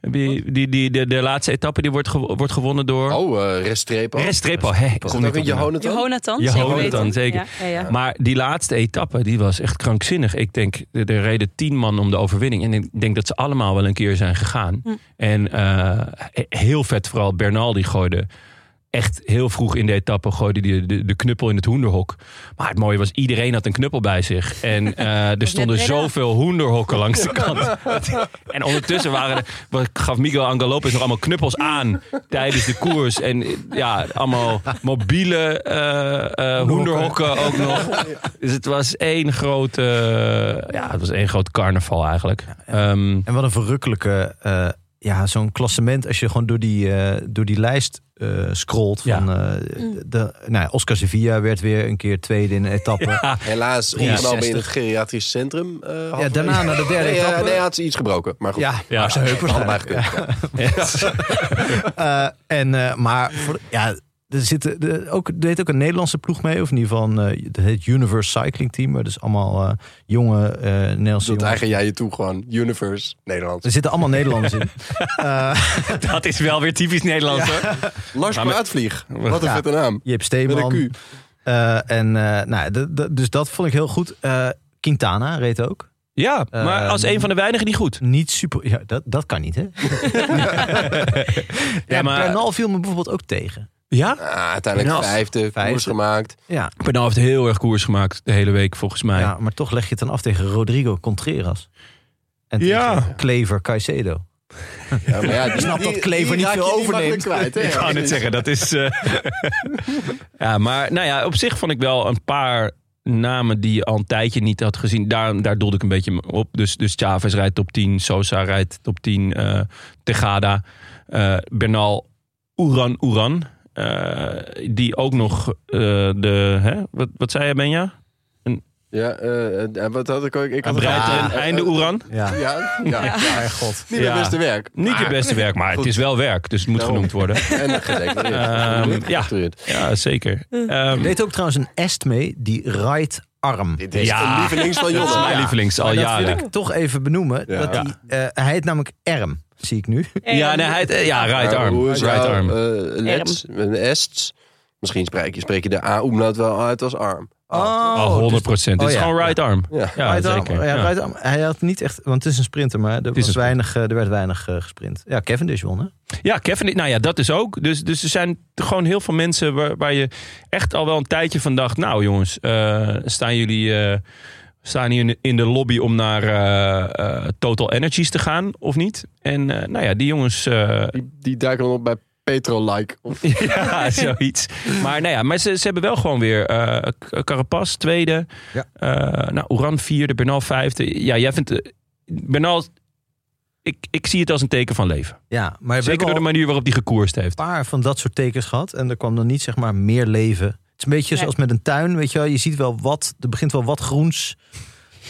A: Die, die, die, de, de laatste etappe die wordt, gewo- wordt gewonnen door...
C: Oh, eh Restrepo.
A: Restrepo. hè, ik
C: Was
A: kom
C: het
A: niet
C: ook een
A: op de naam.
C: Jonathan?
D: Jonathan.
A: Jonathan,
D: weten.
A: zeker.
D: Ja, ja, ja.
A: Maar die laatste etappe, die was echt krankzinnig. Ik denk, er er reden tien man om de overwinning. En ik denk dat ze allemaal wel een keer zijn gegaan.
D: Hm.
A: En eh, he- heel vet vooral, Bernal die gooide... Echt heel vroeg in de etappe gooide die de, de knuppel in het hoenderhok. Maar het mooie was, iedereen had een knuppel bij zich. En eh, er stonden
D: Breda.
A: zoveel hoenderhokken langs de kant. En ondertussen waren er, gaf Miguel Angel Lopez nog allemaal knuppels aan tijdens de koers. En eh, ja, allemaal mobiele eh, eh, hoenderhokken ook nog. Dus het was één grote, eh, ja, het was één groot carnaval eigenlijk. Ehm,
B: En wat een verrukkelijke eh, ja, zo'n klassement, als je gewoon door die, eh, door die lijst eh, scrolt.
A: Ja.
B: Van, eh, de, nou, ja, Oscar Sevilla werd weer een keer tweede in een etappe. Ja,
C: Helaas opgenomen in het geriatrisch centrum. eh, halverwege.
B: daarna naar de derde
C: Nee, eh,
B: etappe.
C: nee, hij had ze iets gebroken. Maar goed,
B: ja,
A: Ja,
B: zijn heup
C: allebei gekund. Ja.
B: Eh, en, eh, maar voor- ja, er, zitten, er- ook, er heet ook een Nederlandse ploeg mee. Of in ieder geval een, eh, het heet Universe Cycling Team. Maar dat is allemaal eh, jonge eh Nederlandse
C: Dat
B: jongens.
C: eigen jij je toe gewoon. Universe, Nederlands.
A: Dus-
B: Er zitten allemaal Nederlanders in. Eh
A: Dat is wel weer typisch Nederlands hoor.
C: Lars
A: Maar met-
C: Kwaatvlieg. Wat een
B: Ja.
C: vette naam.
B: Jip
C: Met
B: Steeman.
C: een Q.
B: Eh, en, eh, nou, d- d- dus dat vond ik heel goed. Eh, Quintana reed ook.
A: Ja, maar
B: Ehm,
A: als een van de weinigen die goed.
B: Niet super... Ja, dat, dat kan niet, hè? ja,
A: maar-
B: maar... Bernal viel me bijvoorbeeld ook tegen.
A: Ja?
C: Ah, uiteindelijk
B: Nas.
C: vijfde, koers
B: Vijfde.
C: gemaakt.
B: Ja,
A: Bernal heeft heel erg koers gemaakt de hele week volgens mij.
B: ja, maar toch leg je het dan af tegen Rodrigo Contreras. En tegen
A: Ja.
B: Clever Caicedo.
C: Ja, maar ja, die-
B: snap
C: die-
B: dat Klever
C: die
B: niet
C: raak
B: veel
C: je
B: overneemt.
C: makkelijk Kwijt,
A: Ik
C: hè?
A: wou net zeggen, dat is... eh, ja, maar nou ja, op zich vond ik wel een paar namen die je al een tijdje niet had gezien. Daar, daar doelde ik een beetje op. Dus, dus Chavez rijdt top 10, Sosa rijdt top 10, eh Tegada, eh, Bernal, Oeran Oeran. eh, die ook nog eh, de... Hè? Wat, wat zei je, Benja?
C: Ja, eh, eh, wat had ik ook? Ik
A: Hij
C: had
A: breidt er
C: Ja,
A: een
C: eh,
A: einde
C: eh,
A: Oeran.
B: Ja.
C: Ja, ja, ja.
B: god.
C: Niet mijn
A: Ja.
C: beste werk.
A: Niet je
C: Maar-
A: beste werk, maar het is wel werk. Dus het moet
C: Daarom.
A: genoemd worden.
C: En
A: Ehm,
C: gedeclareerd. Gedeclareerd,
A: ja.
C: gedeclareerd.
A: Ja, zeker. Ehm,
B: Er deed ook trouwens een est mee, die right arm.
C: Dit is
A: Ja.
C: de lievelings van
A: dat is
C: Jonne.
A: mijn lievelings al
B: Maar dat
A: jaren.
B: wil ik toch even benoemen.
C: Ja.
B: Dat die, eh, hij heet namelijk Erm, zie ik nu.
A: Ja, nee, hij, eh, ja, right
C: Maar
A: arm.
C: hoe is
A: Right
C: jou,
A: arm.
C: eh, lets, een est. Misschien spreek je, spreek je de A-omlaut wel uit als arm.
A: Oh, 100 procent.
B: oh
A: het is
B: ja.
A: gewoon right arm.
C: Ja.
A: Ja,
B: Right arm. Oh,
A: zeker.
B: Ja,
A: Ja.
B: right arm. Hij had niet echt, want het is een sprinter, maar
A: is
B: er, was
A: een
B: weinig, eh, er werd weinig eh, gesprint. Ja, Kevin dus won, hè?
A: Ja, Kevin, nou ja, dat is ook. Dus, dus er zijn gewoon heel veel mensen waar, waar je echt al wel een tijdje van dacht... Nou jongens, eh, staan jullie eh, staan hier in de- in de lobby om naar eh, eh, Total Energies te gaan of niet? En eh, nou ja, die jongens... eh,
C: Die, die duiken dan op bij Petro-like. Of-
A: ja, zoiets. Maar, nou ja, maar ze, ze hebben wel gewoon weer eh, K- Carapaz tweede.
B: Ja.
A: Eh, nou, Oran vierde, Bernal vijfde. Ja, jij vindt... eh, Bernal, ik, ik zie het als een teken van leven.
B: Ja, maar we
A: Zeker
B: hebben
A: door de
B: al
A: manier waarop hij gekoerst heeft.
B: een paar van dat soort tekens gehad. En er kwam dan niet, zeg maar, meer leven. Het is een beetje
D: Nee.
B: zoals met een tuin, weet je wel. Je ziet wel wat, er begint wel wat groens.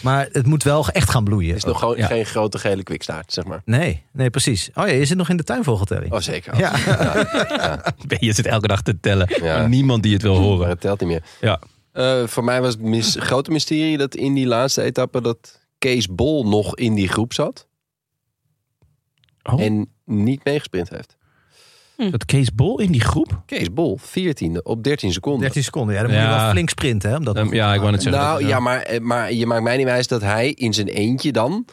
B: Maar het moet wel echt gaan bloeien.
C: is nog gewoon
A: ja.
C: geen grote gele kwikstaart, zeg maar.
B: Nee, nee, precies. Oh ja, je zit nog in de tuinvogeltelling.
C: Oh, zeker.
B: Ja.
A: Je zit elke dag te tellen.
C: Ja.
A: Maar Niemand die het wil
C: Maar
A: horen.
C: het telt niet meer.
A: Ja.
C: Eh, voor mij was het mis, grote mysterie dat in die laatste etappe dat Kees Bol nog in die groep zat.
A: Oh.
C: En niet meegesprint heeft.
A: Dat Kees Bol in die groep?
C: Kees Bol, 14e op 13 seconden.
B: 13 seconden, ja, dan moet je
A: Ja.
B: wel flink sprinten, hè? om dat
A: Ehm, ja, ik wou net zeggen. dat
C: Nou
A: is,
C: ja,
A: eh,
C: maar, eh, maar je maakt mij niet wijs dat hij in zijn eentje dan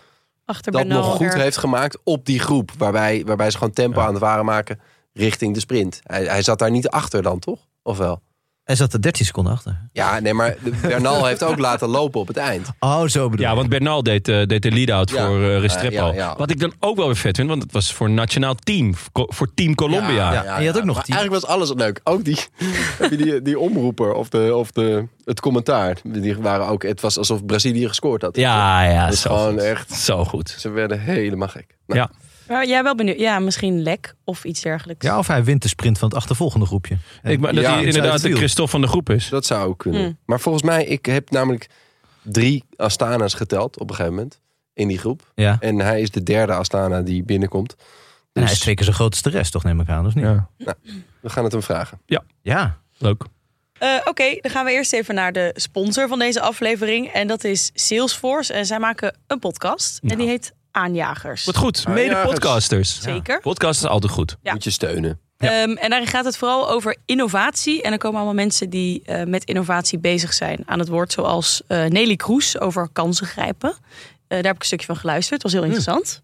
D: Achter
C: dat
D: Bernal
C: nog goed
D: er-
C: heeft gemaakt op die groep. Waarbij, waarbij ze gewoon tempo aan het waren maken richting de sprint. Hij, hij zat daar niet achter dan, toch? Of wel?
B: Hij zat er 13 seconden achter.
C: Ja, nee, maar Bernal heeft ook laten lopen op het eind.
B: Oh, zo bedoel
A: Ja,
B: je.
A: want Bernal deed, eh, deed de lead-out
C: Ja.
A: voor eh,
C: Ja,
A: Restrepo.
C: ja, ja.
A: Wat ik dan ook wel weer vet vind, want het was voor nationaal team. voor- Voor Team Colombia.
B: ja. en je had ook nog
C: Maar
B: die-
C: Eigenlijk was alles leuk. Ook die, heb je die, die omroeper of, de, of de, het commentaar. Die waren ook, het was alsof Brazilië gescoord had.
A: Ja, ja,
C: Dat is
A: zo
C: gewoon
A: goed.
C: echt-
A: Zo goed.
C: Ze werden helemaal gek. Nou,
A: Ja.
D: Maar jij wel benieuwd. Ja, misschien lek of iets dergelijks.
B: Ja, of hij wint de sprint van het achtervolgende groepje.
A: Ik, maar dat
C: Ja,
A: hij
C: iets
B: uit
A: inderdaad
B: het
A: de
B: wiel.
A: Christophe van de groep is.
C: Dat zou ook kunnen.
D: Hmm.
C: Maar volgens mij, ik heb namelijk drie Astana's geteld op een gegeven moment. In die groep.
B: Ja.
C: En hij is de derde Astana die binnenkomt.
B: En hij is
C: Dus
B: twee keer zo groot als de rest, toch neem ik aan, of niet? Ja.
A: Ja,
C: we gaan het hem vragen.
A: leuk.
D: Eh, Oké, dan gaan we eerst even naar de sponsor van deze aflevering. En dat is Salesforce. En zij maken een podcast. En die heet Aanjagers.
A: Nou. Wat goed,
C: Maar ja,
A: mede-podcasters.
D: Zeker.
A: Podcast is altijd goed.
D: Ja.
C: Moet je steunen.
D: Ehm, en daarin gaat het vooral over innovatie. En er komen allemaal mensen die eh, met innovatie bezig zijn aan het woord. Zoals eh, Nelly Kroes over kansen grijpen. Eh, daar heb ik een stukje van geluisterd. Dat was
A: Hmm.
D: heel interessant.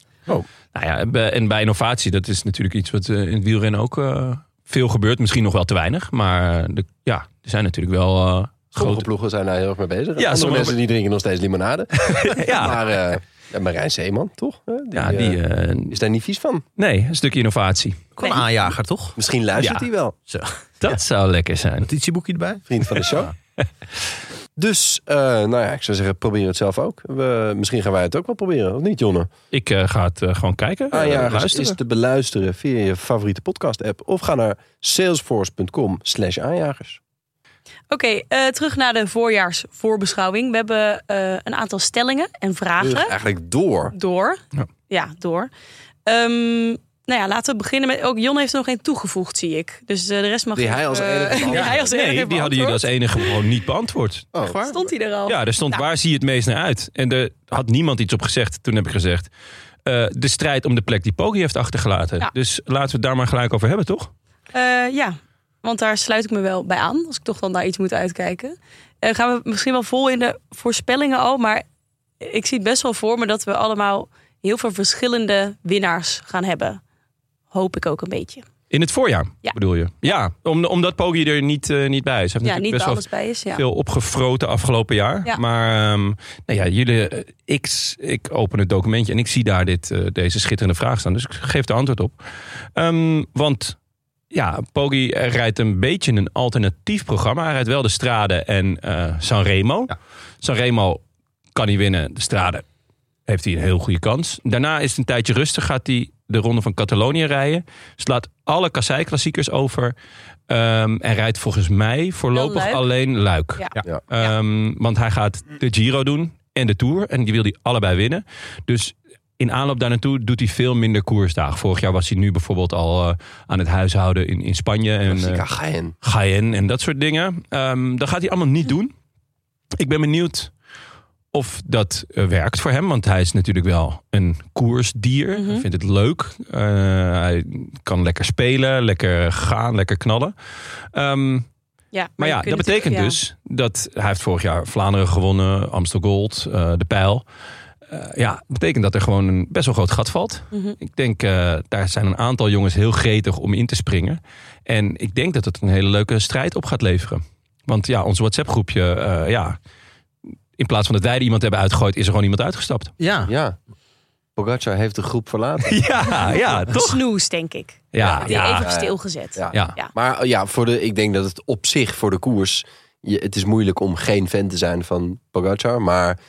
A: Nou ja, en bij- en bij innovatie, dat is natuurlijk iets wat eh, in het wielrennen ook eh, veel gebeurt. Misschien nog wel te weinig, maar eh, de, ja, er zijn natuurlijk wel eh,
C: Sommige
A: grote...
C: ploegen zijn daar heel erg mee bezig. Ja, sommige
A: sommige-
C: mensen die drinken nog steeds limonade.
A: Ja,
C: Maar eh, ja, Marijn Zeeman, toch? Eh, Die,
A: ja die,
C: eh,
A: eh,
C: is daar niet vies van.
A: nee, een stukje innovatie.
B: Gewoon
D: Nee.
B: aanjager, toch?
C: Misschien luistert
A: Ja.
C: hij wel.
A: Dat zou lekker zijn.
B: Notitieboekje erbij.
C: Vriend van de show. Dus, eh, nou ja, ik zou zeggen, probeer het zelf ook. We, misschien gaan wij het ook wel proberen, of niet, Jonne?
A: Ik eh, ga het eh, gewoon kijken. eh,
C: Aanjagers
A: luisteren.
C: Ah, is te beluisteren via je favoriete podcast-app... of ga naar salesforce.com slash aanjagers.
D: Oké, eh, terug naar de voorjaarsvoorbeschouwing. We hebben eh, een aantal stellingen en
C: Dus
D: vragen.
C: eigenlijk door.
D: Door.
A: Ja.
D: Ja, door. Ehm, nou ja, laten we beginnen met... Ook Jon heeft er nog één toegevoegd, zie ik. Dus eh, de rest mag...
C: Die
D: ik,
C: hij als
D: eh,
C: enige
D: die
C: beantwoord.
D: hij als enige
A: Nee,
D: heeft
A: die hadden jullie als
D: beantwoord.
A: enige gewoon niet beantwoord.
C: Oh,
D: Stond hij er al?
A: Ja, er stond
D: Nou.
A: waar zie je het meest naar uit? En er had niemand iets op gezegd. Toen heb ik gezegd, eh, de strijd om de plek die Poggi heeft achtergelaten.
D: Ja.
A: Dus laten we het daar maar gelijk over hebben, toch?
D: Eh, ja, want daar sluit ik me wel bij aan. Als ik toch dan naar iets moet uitkijken. Eh, gaan we misschien wel vol in de voorspellingen al. Maar ik zie het best wel voor me dat we allemaal heel veel verschillende winnaars gaan hebben. Hoop ik ook een beetje.
A: In het voorjaar,
D: Ja.
A: bedoel je? Ja, om, omdat Poggi er niet, eh, niet bij is. Hij heeft
D: Ja,
A: natuurlijk
D: niet waar
A: best wel
D: alles bij is. Ja.
A: veel opgefroten afgelopen jaar.
D: Ja.
A: Maar ehm, nou ja, jullie, eh, ik, s- ik open het documentje en ik zie daar dit, eh, deze schitterende vraag staan. Dus ik geef er antwoord op. Ehm, want ja, Poggi eh, rijdt een beetje een alternatief programma. Hij rijdt wel de Strade en eh Sanremo.
B: Ja.
A: Sanremo kan hij winnen. De Strade heeft hij een heel goede kans. Daarna is het een tijdje rustig. Gaat hij de ronde van Catalonië rijden. Slaat alle kassei-klassiekers over. Ehm, en rijdt volgens mij voorlopig
D: Luik.
A: alleen Luik.
D: Ja.
C: Ja.
A: Ehm, want hij gaat de Giro doen en de Tour. En die wil hij allebei winnen. Dus in aanloop daar naartoe doet hij veel minder koersdagen. Vorig jaar was hij nu bijvoorbeeld al eh, aan het huishouden in, in Spanje. En, eh,
C: Jessica Gein.
A: Cayenne en dat soort dingen. Ehm dat gaat hij allemaal niet doen. Ik ben benieuwd of dat eh, werkt voor hem. Want hij is natuurlijk wel een koersdier. Hij vindt het leuk. Eh, hij kan lekker spelen, lekker gaan, lekker knallen. Ehm,
D: Ja,
A: maar
D: je
A: ja,
D: kunt
A: dat betekent
D: natuurlijk-
A: dus dat hij heeft vorig jaar Vlaanderen gewonnen. Amstel Gold, eh, de Pijl. Eh, ja, dat betekent dat er gewoon een best wel groot gat valt.
D: Mhm.
A: Ik denk, eh, daar zijn een aantal jongens heel gretig om in te springen. En ik denk dat het een hele leuke strijd op gaat leveren. Want ja, ons WhatsApp-groepje, eh, ja, in plaats van dat wij er iemand hebben uitgegooid, is er gewoon iemand uitgestapt.
B: Ja,
C: Ja. Pogacar heeft de groep verlaten.
A: Ja, ja,
D: Ja.
A: toch?
D: Snoes, denk ik.
A: Ja,
D: Die
A: Ah, ja,
D: even op stilgezet.
C: Ja.
A: ja.
D: Ja.
C: Maar eh, ja, voor de, ik denk dat het op zich voor de koers... Je, het is moeilijk om geen fan te zijn van Pogacar. Maar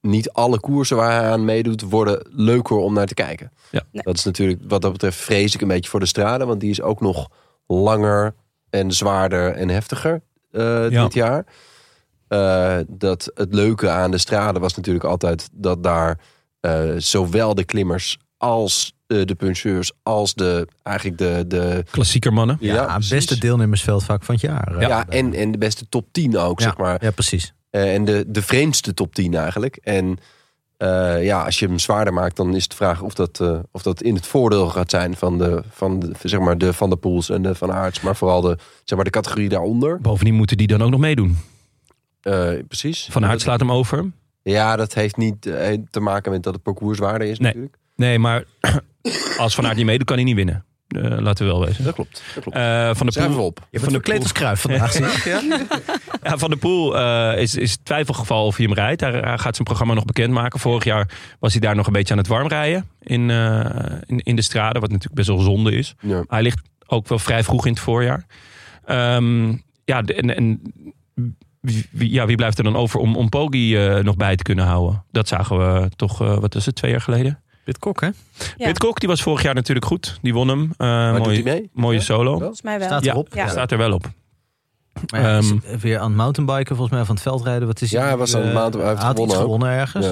C: niet alle koersen waar hij aan meedoet... worden leuker om naar te kijken.
A: Ja.
D: Nee.
C: Dat is natuurlijk, wat dat betreft vrees ik een beetje voor de straden. Want die is ook nog langer en zwaarder en heftiger eh,
A: Ja.
C: dit jaar. Eh, dat het leuke aan de straden was natuurlijk altijd... dat daar eh, zowel de klimmers als eh, de puncheurs... als de, eigenlijk de... de
A: Klassieker mannen.
B: ja,
C: precies.
B: beste deelnemersveld vaak van het jaar. eh,
C: Ja,
B: daar.
C: en, en de beste top 10 ook,
B: ja,
C: zeg maar.
B: ja, precies.
C: Eh, en de, de vreemdste top 10 eigenlijk. En eh, ja, als je hem zwaarder maakt, dan is de vraag of dat, eh, of dat in het voordeel gaat zijn van de, van de, zeg maar de Van der Poels en de Van Aarts. Maar vooral de, zeg maar de categorie daaronder.
A: Bovendien moeten die dan ook nog meedoen.
C: Eh, precies.
A: Van Aert slaat hem over.
C: Ja, dat heeft niet eh, te maken met dat het parcours zwaarder is
A: Nee.
C: natuurlijk.
A: Nee, maar als Van Aert niet meedoet, kan hij niet winnen. Eh, laten we wel wezen.
C: Dat klopt. Dat klopt.
A: Eh, van de
C: Zijn we
A: Poel,
C: op.
B: Je
A: Van de
B: bent verkleed als kruif vandaag. zie ik.
A: Ja, Van der Poel eh, is, is twijfelgeval of hij hem rijdt. Hij, hij gaat zijn programma nog bekendmaken. Vorig jaar was hij daar nog een beetje aan het warmrijden in, eh, in, in de straden. Wat natuurlijk best wel zonde is.
C: Ja.
A: Hij ligt ook wel vrij vroeg in het voorjaar. Ehm, ja, de- en, en wie, wie- ja, wie blijft er dan over om, om Poggi eh, nog bij te kunnen houden? Dat zagen we toch, eh, wat is het, twee jaar geleden?
B: Pitcock, hè?
D: Ja.
A: Pitcock, die was vorig jaar natuurlijk goed. Die won hem. Eh,
C: Maar
A: mooie,
C: doet hij mee?
A: mooie
C: Ja?
A: solo.
C: Wel?
D: Volgens mij wel.
B: Staat
A: Ja.
B: erop.
D: Ja.
A: Staat er wel op.
B: Maar ja, hij is
A: Ehm.
B: weer aan het mountainbiken, volgens mij, of aan het veldrijden. Wat is
C: Ja, hij
B: nu,
C: was aan het
B: eh,
C: mountain- hij heeft
B: had iets gewonnen
C: gewonnen
B: ergens.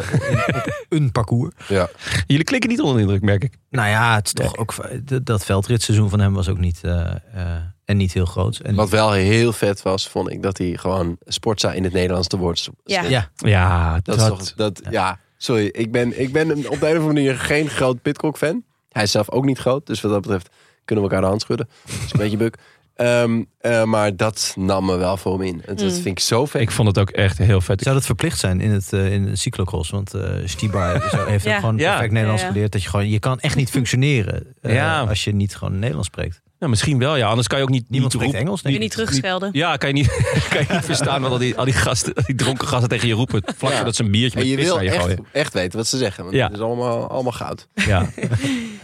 C: Ja.
B: Een parcours.
C: Ja.
A: Jullie klikken niet onder de indruk, merk ik.
B: Nou ja, het is toch ook, d- dat veldritseizoen van hem was ook niet, eh, eh, en niet heel groot. En,
C: Wat wel heel vet was, vond ik dat hij gewoon Sportza in het Nederlands te woord
D: Ja.
B: ja,
A: Ja,
C: Dat, is toch, dat, ja. sorry. Ik ben, ik ben een- op de een of andere manier geen groot Pitcock-fan. Hij is zelf ook niet groot. Dus wat dat betreft kunnen we elkaar de hand schudden. Dat is een beetje buk. Ehm, eh, maar dat nam me wel voor hem in. En Dat
D: Mm.
C: vind ik zo vet.
A: Ik vond het ook echt heel vet.
B: zou dat verplicht zijn in het eh, in de cyclocross? Want eh Stibar is- heeft
D: Ja.
B: ook gewoon
A: Ja.
B: perfect Nederlands
D: Ja, ja.
B: geleerd. Dat je gewoon, je kan echt niet functioneren eh,
A: Ja.
B: als je niet gewoon Nederlands spreekt.
A: Nou, misschien wel, ja. Anders kan je ook niet,
B: Niemand
A: niet
B: spreekt
A: roepen.
B: Engels, denk
D: Heb
B: ik.
D: je niet terugschelden?
A: Ja, kan je niet, kan je niet verstaan wat al die, al die gasten, al die dronken gasten tegen je roepen. Vlak
C: Ja.
A: voordat ze een biertje
C: en
A: met
C: je
A: pis
C: wil
A: naar je
C: echt,
A: gooien.
C: echt weten wat ze zeggen. Want
A: Ja.
C: Het is allemaal, allemaal goud.
A: Ja.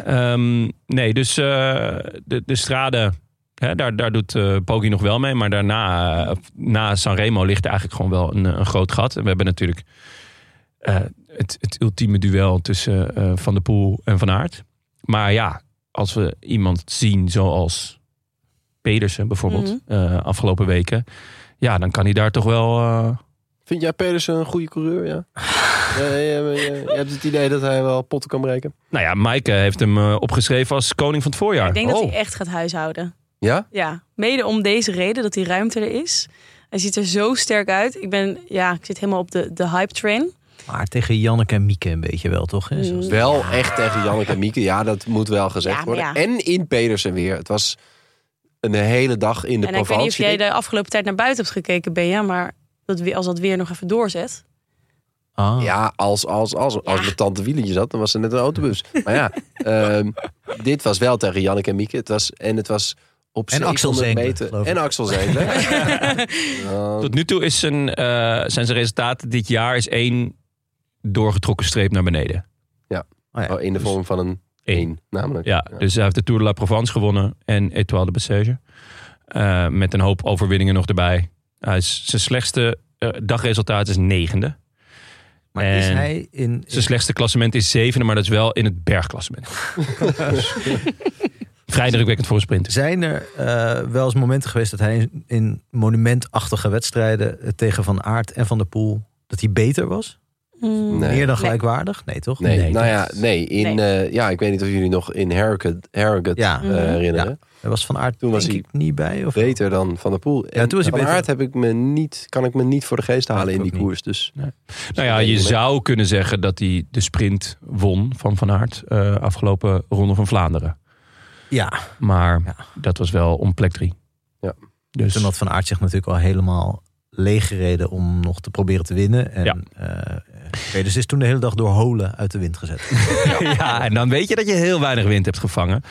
A: Ehm, nee, dus eh, de, de strade, Hè, daar, daar doet eh Poggi nog wel mee. Maar daarna, eh, na Sanremo, ligt er eigenlijk gewoon wel een, eh, een groot gat. En we hebben natuurlijk eh, het, het ultieme duel tussen eh, Van der Poel en Van Aert. Maar ja, als we iemand zien zoals Pedersen bijvoorbeeld,
D: Mhm.
A: eh, afgelopen weken. Ja, dan kan hij daar toch wel... eh,
C: Vind jij Pedersen een goede coureur? Ja. Ja, ja, ja, maar je, je hebt het idee dat hij wel potten kan breken.
A: Nou ja, Maaike heeft hem eh, opgeschreven als koning van het voorjaar.
D: Ik denk dat
C: Oh.
D: hij echt gaat huishouden.
C: Ja?
D: Ja, mede om deze reden dat die ruimte er is. Hij ziet er zo sterk uit. Ik ben, ja, ik zit helemaal op de, de hype train.
B: Maar tegen Janneke en Mieke een beetje wel, toch? Hè? Zoals-
C: Wel echt tegen Janneke en Mieke. Ja, dat moet wel gezegd
D: Ja, maar
C: worden.
D: ja.
C: En in Pedersen weer. Het was een hele dag in de
D: en ik weet niet of
C: Provence.
D: jij de afgelopen tijd naar buiten hebt gekeken, Benja. Maar dat, we- als dat weer nog even doorzet.
B: Ah.
C: Ja, als, als, als. Als mijn tante Wielentje zat, dan was ze net een autobus. Maar ja, ehm, dit was wel tegen Janneke en Mieke. Het was, en het was op
B: En Axel
C: 700
B: Zengler,
C: meter.
B: geloof ik.
C: En Axel Zengler. Ja.
A: Tot nu toe is zijn, eh, zijn zijn resultaten dit jaar is één doorgetrokken streep naar beneden.
B: Oh, ja.
C: Oh, in de vorm van een
A: Eén.
C: 1, namelijk.
A: Ja, dus hij heeft de Tour de la Provence gewonnen en Etoile de Bessège. Eh, met een hoop overwinningen nog erbij. Hij is, zijn slechtste eh, dagresultaat is negende.
B: Maar is
A: En-
B: hij in...
A: Zijn slechtste klassement is zevende, maar dat is wel in het bergklassement. Vrij drukwekkend voor een sprinter.
B: Zijn er eh, wel eens momenten geweest dat hij in, in monumentachtige wedstrijden eh, tegen Van Aert en Van der Poel, dat hij beter was?
C: Nee.
D: Mm.
B: Meer dan
D: Nee.
B: gelijkwaardig? Nee, toch?
C: Nee, nou
B: dat-
C: ja, nee. In, eh, ja, ik weet niet of jullie nog in Harrogate, Harrogate
B: Ja.
C: eh, herinneren.
B: Daar was Van Aert
C: Toen was
B: denk
C: hij
B: ik niet bij? Of
C: Beter dan Van der Poel. En
B: toen was hij
C: Van
B: beter.
C: Aert heb ik me niet, kan ik me niet voor de geest halen
B: ik
C: in
B: ook
C: die
B: niet.
C: koers. Dus
A: Nou ja, je zou kunnen zeggen dat hij de sprint won van Van Aert eh, afgelopen Ronde van Vlaanderen.
B: Ja,
A: Maar
B: Ja.
A: dat was wel om plek drie.
C: Ja.
A: Dus
B: toen had Van Aert zich natuurlijk al helemaal leeggereden om nog te proberen te winnen. En,
A: Ja.
B: eh, Pedersen is toen de hele dag door holen uit de wind gezet.
A: ja, en dan weet je dat je heel weinig wind hebt gevangen.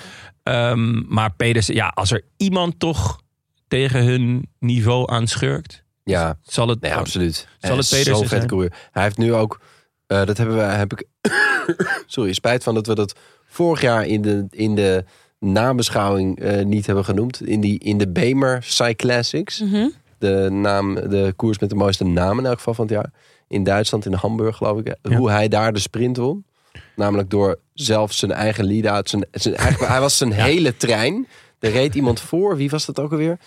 A: Ehm, maar Pedersen, ja, als er iemand toch tegen hun niveau aan schurkt,
C: Nou ja,
A: zal het.
C: nee, absoluut.
A: Zal het Pedersen
C: Zo'n vet
A: zijn?
C: coureur. Hij heeft nu ook, eh, dat hebben we, heb ik, sorry, spijt van dat we dat vorig jaar in de, in de nabeschouwing eh, niet hebben genoemd. In, die, in de Bemer Cyclassics.
D: Mhm.
C: de, naam, de koers met de mooiste naam in elk geval van het jaar. In Duitsland, in Hamburg geloof ik. hè.
A: Ja.
C: Hoe hij daar de sprint won. Namelijk door zelf zijn eigen lead-out. Zijn, zijn, eigenlijk, hij was zijn hele trein. Er reed iemand voor. Wie was dat ook alweer?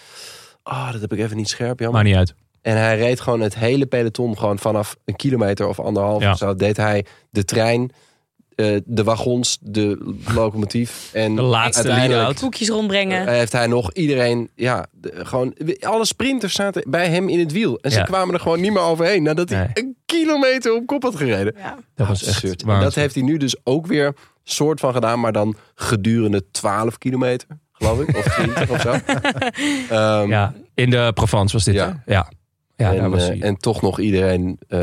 C: Oh, dat heb ik even niet scherp, jammer.
A: Maar niet uit.
C: En hij reed gewoon het hele peloton. Gewoon vanaf een kilometer of anderhalf.
A: Ja.
C: of Zo deed hij de trein, eh, de wagons, de locomotief. En
A: De laatste
C: uiteindelijk-
A: lead-out.
D: Koekjes rondbrengen.
C: eh, heeft hij nog iedereen, ja, de- gewoon, alle sprinters zaten bij hem in het wiel. En ze
A: Ja.
C: kwamen er gewoon niet meer overheen nadat hij
A: Nee.
C: een kilometer op kop had gereden.
D: ja.
A: Dat was
C: Absurd.
A: echt.
C: En dat heeft hij nu dus ook weer soort van gedaan, maar dan gedurende 12 kilometer, geloof ik. Of 20 of zo. Ehm,
A: ja, in de Provence was dit. hè?
C: Ja.
A: Ja, ja.
C: en,
A: daar was
C: eh,
A: hij.
C: en toch nog iedereen eh,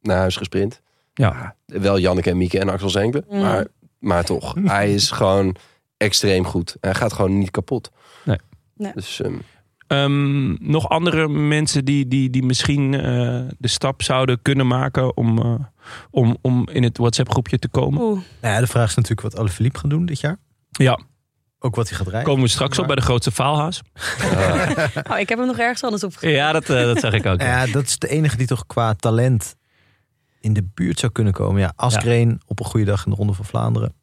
C: naar huis gesprint. Ah,
A: ja.
C: Wel Janneke en Mieke en Axel Zenkle.
D: Mm.
C: Maar, maar toch, hij is gewoon extreem goed. Hij gaat gewoon niet kapot.
A: Nee.
D: Nee.
C: Dus ehm,
A: Ehm, nog andere mensen die, die, die misschien eh, de stap zouden kunnen maken om, eh, om, om in het WhatsApp-groepje te komen.
D: Oeh.
B: nou ja, de vraag is natuurlijk wat Alaphilippe gaat doen dit jaar.
A: Ja,
B: Ook wat hij gaat rijden.
A: komen we straks op bij de grootste faalhaas.
C: ehm,
D: Oh, ik heb hem nog ergens anders opgegeven.
A: Ja, dat, eh, dat zag ik ook.
B: Ja, dat is de enige die toch qua talent in de buurt zou kunnen komen. Ja, Askreen op een goede dag in de Ronde van Vlaanderen.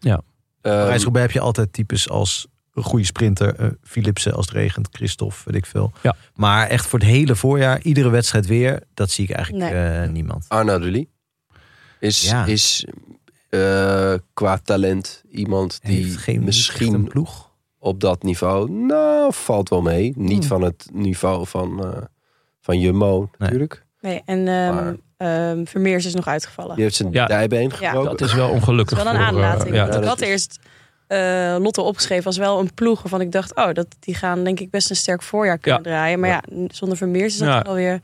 C: ehm,
B: Parijs-Roubaix heb je altijd types als een goede sprinter. eh, Philipsen als het regent, Christophe, weet ik veel.
A: Ja.
B: Maar echt voor het hele voorjaar, iedere wedstrijd weer, dat zie ik eigenlijk eh, niemand.
C: Arnaud Dully is,
B: Ja.
C: is eh, qua talent iemand
B: Hij heeft
C: die
B: geen misschien een
C: misschien
B: ploeg.
C: op dat niveau, nou valt wel mee. Niet
D: Mm.
B: Hmm.
C: van het niveau van, eh, van Jumbo natuurlijk.
D: Nee, en ehm,
C: Maar-
D: ehm, Vermeers is nog uitgevallen.
C: Die heeft zijn
A: Ja.
C: dijbeen gebroken.
A: Dat is wel ongelukkig.
D: Dat is wel een
A: voor, eh,
D: aanlating.
A: ja.
D: want ik
C: dat
D: had
C: is-
D: eerst eh, Lotte opgeschreven als wel een ploeg waarvan ik dacht, oh, dat, die gaan denk ik best een sterk voorjaar kunnen
A: Ja.
D: draaien. Maar ja, zonder Vermeers is dat
A: Ja.
D: toch wel weer.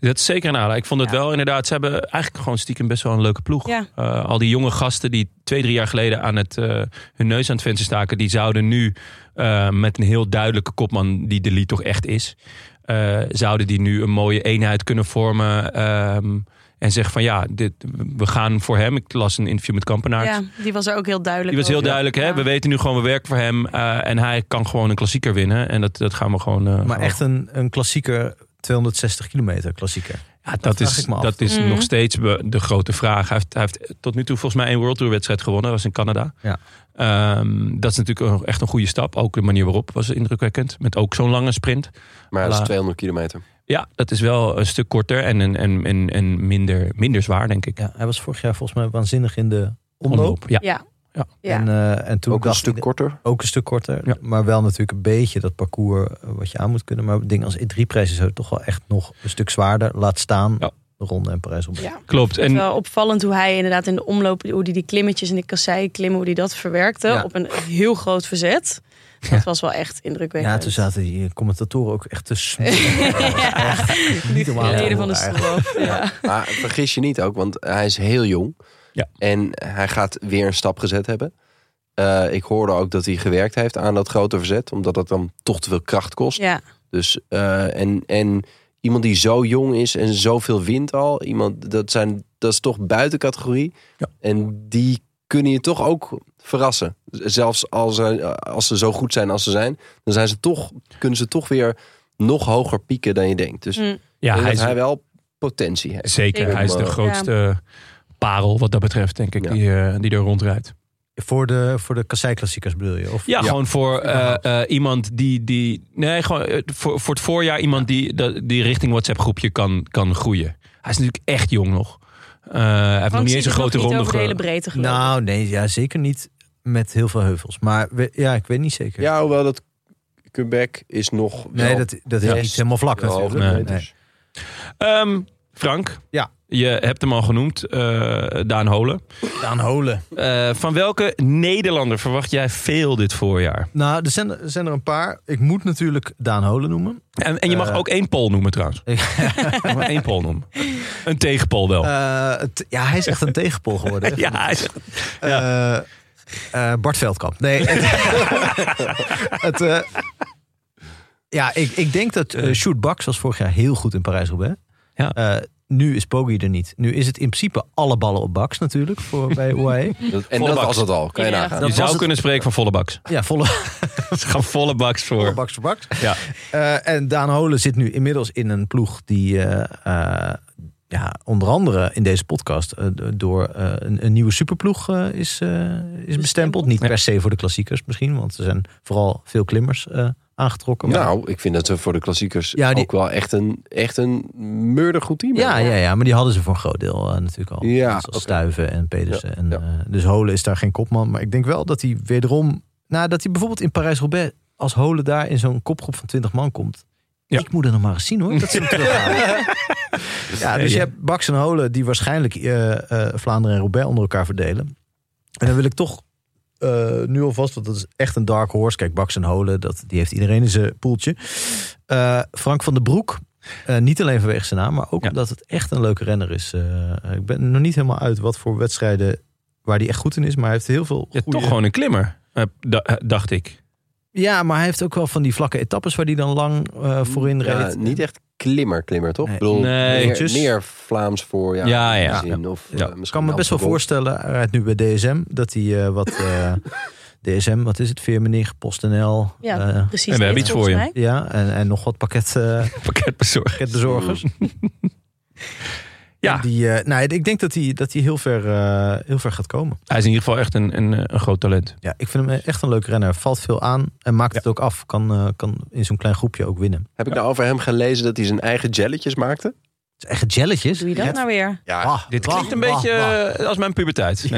A: Dat is zeker een aanrader. Ik vond het
D: Ja.
A: wel inderdaad. Ze hebben eigenlijk gewoon stiekem best wel een leuke ploeg.
D: Ja.
A: Eh, al die jonge gasten die twee, drie jaar geleden aan het, eh, hun neus aan het venster staken. Die zouden nu eh, met een heel duidelijke kopman, die de Lee toch echt is. eh, zouden die nu een mooie eenheid kunnen vormen. ehm, En zegt van ja, dit, we gaan voor hem. Ik las een interview met Kampenaert.
D: Ja, die was er ook heel duidelijk.
A: Die was heel
D: over.
A: duidelijk. Hè?
D: Ja.
A: We weten nu gewoon, we werken voor hem. eh, en hij kan gewoon een klassieker winnen. En dat, dat gaan we gewoon... eh,
B: Maar
A: gewoon-
B: echt een, een klassieker, 260 kilometer klassieker.
A: Ja, dat,
B: vraag
A: is,
B: ik me af.
A: dat is
D: Mhm.
A: nog steeds be- de grote vraag. Hij heeft, hij heeft tot nu toe volgens mij één World Tour wedstrijd gewonnen. Dat was in Canada.
B: Ja.
A: Ehm, dat is natuurlijk ook echt een goede stap. Ook de manier waarop was indrukwekkend. Met ook zo'n lange sprint.
C: Maar dat
A: La-
C: is 200 kilometer.
A: Ja, dat is wel een stuk korter en, en, en, en, en minder, minder zwaar, denk ik.
B: Ja, hij was vorig jaar volgens mij waanzinnig in de omloop.
A: Ja.
D: Ja.
A: Ja.
D: Ja.
B: En, eh, en toen
C: Ook een
B: dacht
C: stuk
B: ik-
C: korter.
B: Ook een stuk korter.
A: Ja.
B: Maar wel natuurlijk een beetje dat parcours eh, wat je aan moet kunnen. Maar dingen als E3-prijs is toch wel echt nog een stuk zwaarder. Laat staan
A: Ja.
B: de ronde en Parijs op.
D: Ja.
A: klopt.
D: Het
A: En
D: is wel opvallend hoe hij inderdaad in de omloop, hoe die, die klimmetjes en die kasseien klimmen, hoe die dat verwerkte.
B: Ja.
D: Op een heel groot verzet. Dat was wel echt indrukwekkend.
B: Ja, toen zaten die eh, commentatoren ook echt te smoren.
D: Die
B: niet normaal.
D: leden van de stoel af. Ja.
C: Maar vergis je niet ook, want hij is heel jong.
A: Ja.
C: En hij gaat weer een stap gezet hebben. Eh, ik hoorde ook dat hij gewerkt heeft aan dat grote verzet. Omdat dat dan toch te veel kracht kost.
D: ja,
C: Dus, eh, en, en iemand die zo jong is en zoveel wint al. Iemand, dat, zijn, dat is toch buiten categorie.
A: Ja.
C: En die kunnen je toch ook verrassen. Z- Zelfs als, eh, als ze zo goed zijn als ze zijn. Dan zijn ze toch, kunnen ze toch weer nog hoger pieken dan je denkt. Dus
D: Mm.
A: ja,
C: ik denk
A: hij
C: dat
A: is,
C: hij wel potentie heeft.
A: zeker, hij is de
C: Ja.
A: grootste parel wat dat betreft, denk ik,
C: Ja.
A: die, eh, die er rondrijdt.
B: voor de, voor de kasseiklassiekers bedoel je? Of
A: Ja,
C: Ja.
A: gewoon voor eh, eh, iemand die, die. Nee, gewoon eh, voor, voor het voorjaar iemand die, dat- die richting WhatsApp-groepje kan, kan groeien. Hij is natuurlijk echt jong nog. Eh, hij heeft nog niet
D: Frank ziet
A: eens een
D: het
A: grote
D: nog niet
A: ronde
D: over de hele
A: ge-
D: breedte gelopen.
B: Nou, nee, ja, zeker niet met heel veel heuvels. Maar we- ja, ik weet niet zeker.
C: Ja, hoewel dat Quebec is nog
B: nee,
C: wel
B: dat, dat is
C: Ja.
B: niet helemaal vlak
C: wel
B: natuurlijk.
C: hoog.
A: Nee,
B: Nee.
C: dus-
A: Ehm, Frank,
B: Ja.
A: je hebt hem al genoemd, eh, Daan Holen.
B: Daan Holen.
A: Eh, van welke Nederlander verwacht jij veel dit voorjaar?
B: Nou, er zijn, er zijn er een paar. Ik moet natuurlijk Daan Holen noemen.
A: En, en je mag
B: Eh.
A: ook één pol noemen trouwens. Je mag één pol noemen. Een tegenpol wel.
B: Eh, het- ja, hij is echt een tegenpol geworden.
A: ja, hij is-
B: Eh, eh, Bart Veldkamp. Nee. Het, het, eh, ja, ik, ik denk dat eh Sjoerd Baks was vorig jaar heel goed in Parijs-Roubaix.
A: Ja.
B: Eh, nu is Poggi er niet. Nu is het in principe alle ballen op Baks natuurlijk voor, bij UAE.
C: Dat- en
A: Volle
C: dat
A: bak.
C: was het al, kan je
D: Ja.
C: nagaan.
A: je
B: was
A: zou
B: het-
A: kunnen spreken van volle baks.
B: Ja, volle,
A: Ze gaan volle baks
B: volle
A: voor.
B: Baks voor Baks.
A: Ja.
B: Eh, en Daan Holen zit nu inmiddels in een ploeg die... eh, eh, ja, onder andere in deze podcast eh, d- door eh, een, een nieuwe superploeg eh, is, eh, is bestempeld. Niet
A: Ja.
B: per se voor de klassiekers misschien, want er zijn vooral veel klimmers eh, aangetrokken. Maar-
C: Nou, ik vind dat ze voor de klassiekers
B: Ja, die-
C: ook wel echt een, echt een murdergoed team
B: Ja,
C: hebben.
B: ja, ja, maar die hadden ze voor een groot deel eh, natuurlijk al.
C: Ja,
B: Mensen als
C: oké.
B: Stuiven en Pedersen.
C: Ja,
B: en,
C: ja.
B: eh, dus Holen is daar geen kopman. Maar ik denk wel dat hij wederom... Nou, dat hij bijvoorbeeld in Parijs-Roubaix... als Holen daar in zo'n kopgroep van 20 man komt...
A: Ja.
B: Ik moet er nog maar eens zien hoor. Dat ze hem terughalen. ja, dus je hebt Baks en Holen... die waarschijnlijk eh, eh, Vlaanderen en Roubaix onder elkaar verdelen. En dan wil ik toch eh, nu alvast... want dat is echt een dark horse. Kijk, Baks en Holen, dat, die heeft iedereen in zijn poeltje. Eh, Frank van den Broek... Eh, niet alleen vanwege zijn naam, maar ook
A: Ja.
B: omdat het echt een leuke renner is. Eh, ik ben nog niet helemaal uit wat voor wedstrijden waar hij echt goed in is, maar hij heeft heel veel.
A: Ja,
B: goede-
A: toch gewoon een klimmer, eh, da- eh, dacht ik.
B: Ja, maar hij heeft ook wel van die vlakke etappes waar hij dan lang eh, voorin
C: Ja,
B: reed.
C: niet echt klimmer, klimmer, toch?
B: Nee.
C: Ik bedoel,
A: Nee.
C: meer, meer Vlaams voor, ja.
A: Ja,
C: in
A: ja.
C: die zin. Of,
A: Ja.
C: eh,
A: Ik
B: Ik
C: misschien
B: kan me best wel
C: Amsterdam.
B: voorstellen, hij rijdt nu bij DSM, dat hij eh, wat eh, DSM, wat is het, Veermenig, PostNL,
D: Ja.
B: eh,
D: precies.
A: En we hebben
D: dit
A: iets voor
D: volgens
A: je.
D: mij.
B: ja en, en nog wat pakket, eh,
A: Pakketbezorger.
B: pakketbezorgers.
C: Mm.
A: Ja.
B: En Die, eh, nou, ik denk dat hij, dat hij heel, ver, eh, heel ver gaat komen.
A: Hij is in ieder geval echt een, een, eh, een groot talent.
B: Ja, ik vind hem echt een leuk renner. Valt veel aan en maakt het ook af. Kan, eh, kan in zo'n klein groepje ook winnen.
C: Heb ik nou over hem gelezen dat hij zijn eigen jelletjes maakte?
B: Het is echt jelletjes.
D: Doe je dat nou weer?
C: Ja,
A: Ah, Dit klinkt een beetje eh, als mijn puberteit.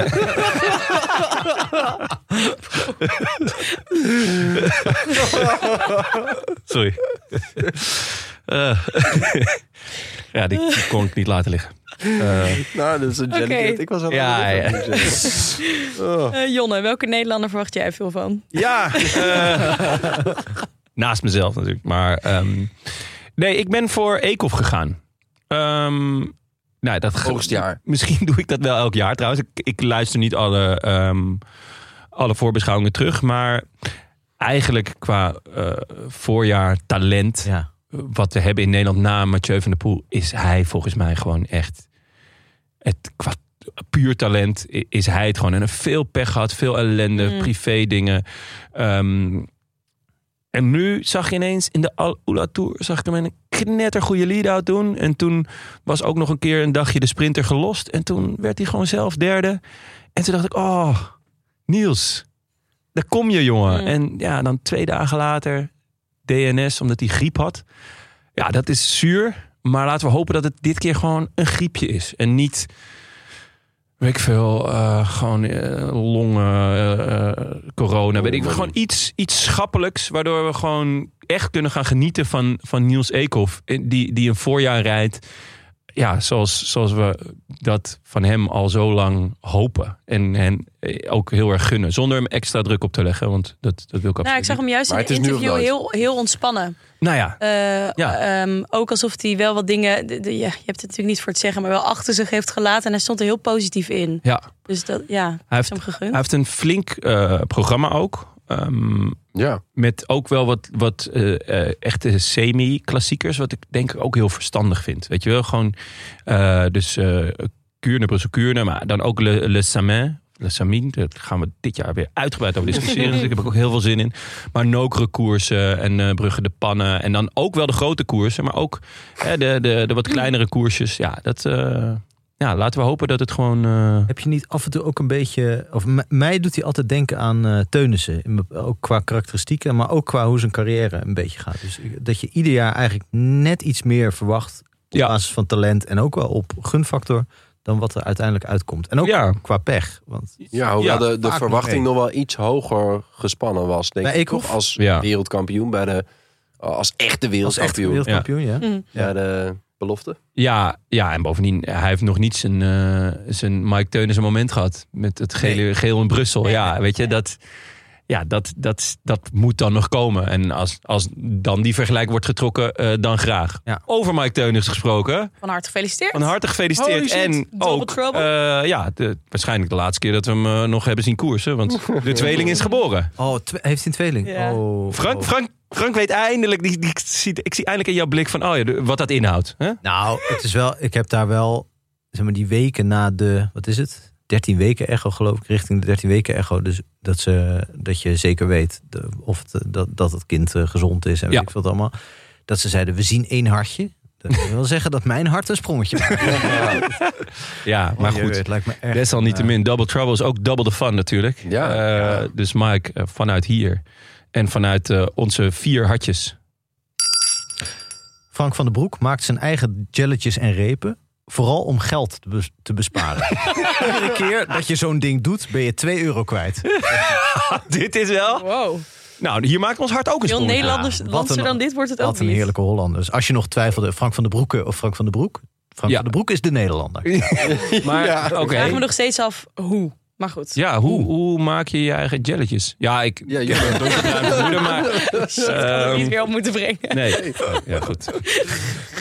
A: Nee. Sorry. Eh, ja, die, die kon ik niet laten liggen.
C: nou, dat is een jelletje
D: Oké.
C: dat ik was aan
A: Ja,
C: het
A: ja.
C: doen. Oh.
D: Eh, Jonne, welke Nederlander verwacht jij veel van?
A: Ja. eh, naast mezelf natuurlijk. Maar ehm, nee, ik ben voor Eekhoff gegaan. Ehm nou, dat ge-
C: Oogstjaar.
A: Misschien doe ik dat wel elk jaar trouwens. Ik, ik luister niet alle, ehm, alle voorbeschouwingen terug. Maar eigenlijk qua eh, voorjaar talent
B: Ja.
A: wat we hebben in Nederland na Mathieu van der Poel, is hij volgens mij gewoon echt het, qua puur talent i- is hij het gewoon. En een veel pech gehad, veel ellende,
D: Mm.
A: privé dingen. Ehm, en nu zag je ineens in de Al Ula Tour zag ik hem een knettergoede lead-out doen. En toen was ook nog een keer een dagje de sprinter gelost. En toen werd hij gewoon zelf derde. En toen dacht ik, oh, Niels, daar kom je jongen.
D: Mm.
A: En ja, dan twee dagen later DNS, omdat hij griep had. Ja, dat is zuur. Maar laten we hopen dat het dit keer gewoon een griepje is. En niet, weet ik veel, eh, gewoon eh, longen, eh, eh, corona. Weet ik veel. gewoon iets, iets schappelijks. Waardoor we gewoon echt kunnen gaan genieten van, van Niels Eekhoff. eh, Die, die een voorjaar rijdt. Ja, zoals, zoals we dat van hem al zo lang hopen. En, en eh, ook heel erg gunnen. Zonder hem extra druk op te leggen. Want dat, dat wil ik absoluut
D: Nou, ik zag
A: niet.
D: hem juist in
C: Maar
D: het
C: het is nu of
D: interview
C: nooit.
D: heel, heel ontspannen.
A: Nou ja,
D: Eh,
A: Ja.
D: ehm, ook alsof hij wel wat dingen, de- de- ja, je hebt het natuurlijk niet voor het zeggen, maar wel achter zich heeft gelaten. En hij stond er heel positief in.
A: ja.
D: Dus dat, ja, hij
A: heeft-
D: heeft hem gegund.
A: Hij heeft een flink eh, programma ook. Ehm,
C: Ja.
A: met ook wel wat, wat eh, eh, echte semi-klassiekers. Wat ik denk ik ook heel verstandig vind. Weet je wel, gewoon. eh, dus eh Kuurne, Brussel Kuurne. Maar dan ook Le, Le Samin. Le Samin. Daar gaan we dit jaar weer uitgebreid over discussiëren. dus ik heb er ook heel veel zin in. Maar nokere koersen en eh Brugge de Pannen. En dan ook wel de grote koersen. Maar ook eh, de, de, de wat kleinere koersjes. Ja, dat. eh, ja, laten we hopen dat het gewoon. eh,
B: Heb je niet af en toe ook een beetje. Of m- mij doet hij altijd denken aan eh Teunissen. In bep- Ook qua karakteristieken, maar ook qua hoe zijn carrière een beetje gaat. Dus ik- dat je ieder jaar eigenlijk net iets meer verwacht. Op
A: Ja.
B: basis van talent en ook wel op gunfactor. dan wat er uiteindelijk uitkomt. En ook
A: ja.
B: qua pech. Want
C: Ja, hoewel
A: Ja,
C: de, de
B: vaak
C: verwachting nog wel iets hoger gespannen was. Denk
B: Bij
C: ik
B: Eekhoff?
C: toch als
A: Ja.
C: wereldkampioen bij de als echte
B: als echt
C: wereldkampioen.
B: wereldkampioen, ja.
D: Mm.
C: Ja, de belofte.
A: Ja, ja, en bovendien, hij heeft nog niet zijn, eh, zijn Mike Teunissen moment gehad. Met het gele, geel in Brussel. Ja, weet je, dat, ja, dat, dat, dat moet dan nog komen. En als, als dan die vergelijk wordt getrokken, eh, dan graag.
B: Ja.
A: Over Mike Teunissen gesproken.
D: Van harte gefeliciteerd.
A: Van harte
D: Holy
A: gefeliciteerd.
D: shit,
A: En
D: double
A: ook,
D: trouble.
A: eh, ja, de- waarschijnlijk de laatste keer dat we hem eh, nog hebben zien koersen. Want de tweeling is geboren.
B: Oh, tw- heeft hij een tweeling?
D: Ja.
B: Oh,
A: Frank,
B: oh.
A: Frank, Frank weet eindelijk, die, die, ziet, ik zie eindelijk in jouw blik van, oh ja, de- wat dat inhoudt. hè?
B: Nou, het is wel, ik heb daar wel, zeg maar, die weken na de, wat is het? 13 weken echo, geloof ik, richting de 13 weken echo. Dus dat, ze, dat je zeker weet de- of het, eh, dat, dat het kind eh, gezond is en weet
A: Ja.
B: ik veel wat allemaal. Dat ze zeiden, we zien één hartje. Dat wil zeggen dat mijn hart een sprongetje maakt.
A: Ja,
D: Oh,
A: maar
B: Jee,
A: goed.
B: Het lijkt me echt.
A: Desalniettemin, Double Trouble is ook double the fun natuurlijk.
C: Ja,
A: Eh,
C: ja.
A: Dus Mike, eh, vanuit hier en vanuit eh, onze vier hartjes.
B: Frank van den Broek maakt zijn eigen jelletjes en repen. Vooral om geld te, bes- te besparen. Iedere keer dat je zo'n ding doet, ben je 2 euro kwijt.
A: Dit is wel...
D: Wow.
A: Nou, hier maakt ons hart ook een
D: Veel
A: sprong.
D: Nederlanders,
B: Ja, wat
D: landser
B: een-
D: dan dit wordt het ook
B: Wat een
D: niet.
B: heerlijke Hollander. Dus als je nog twijfelde, Frank van den Broeke of Frank van den Broek. Frank
A: Ja.
B: van den Broek is de Nederlander.
A: Maar oké.
D: Ik vraag me nog steeds af hoe. Maar goed.
A: Ja, hoe, hoe maak je je eigen jelletjes? Ja, ik...
C: Ja, jullie.
A: Donkerbruine moeder, maar...
D: Shit, ik had het
A: ehm,
D: niet weer op moeten brengen.
A: Nee. Oh, Ja, goed.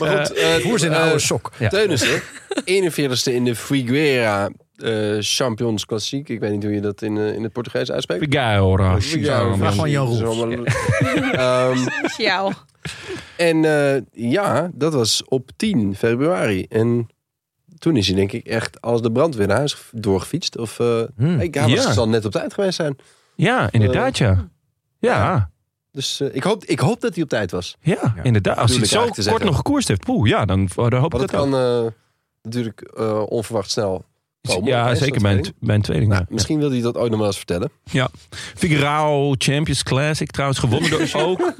C: Maar goed, eh,
B: Hoe zijn
C: eh,
B: oude sok?
A: Ja.
C: Teunissen, 41ste in de Figueira eh, Champions Klassiek. Ik weet niet hoe je dat in, eh, in het Portugees uitspreekt. Oh,
A: Figaro.
B: Vraag van Jan
C: Precies,
B: Roels.
C: allemaal- Ehm,
D: Ja.
C: en eh, ja, dat was op 10 februari. En toen is hij denk ik echt als de brand weer naar huis ge- doorgefietst. Of eh
B: Hmm.
C: ik hij was,
A: Hm. Ja.
C: zal net op tijd geweest zijn.
A: Ja, inderdaad, ja. Ja,
C: Dus eh, ik, hoop, ik hoop dat hij op tijd was.
A: ja, inderdaad. Als hij
C: Bedoel ik
A: zo
C: eigenlijk te
A: kort
C: zeggen.
A: nog gekoerst heeft, poeh, ja, dan, dan hoop ik dat
C: Want dat
A: ook.
C: kan eh, natuurlijk eh, onverwacht snel komen.
A: Ja,
C: Hè,
A: zeker
C: zo'n
A: mijn,
C: training.
A: mijn tweeling.
C: Nou,
A: ja.
C: misschien wil hij dat ooit nog wel eens vertellen.
A: Ja. Figurao Champions Classic trouwens gewonnen door ook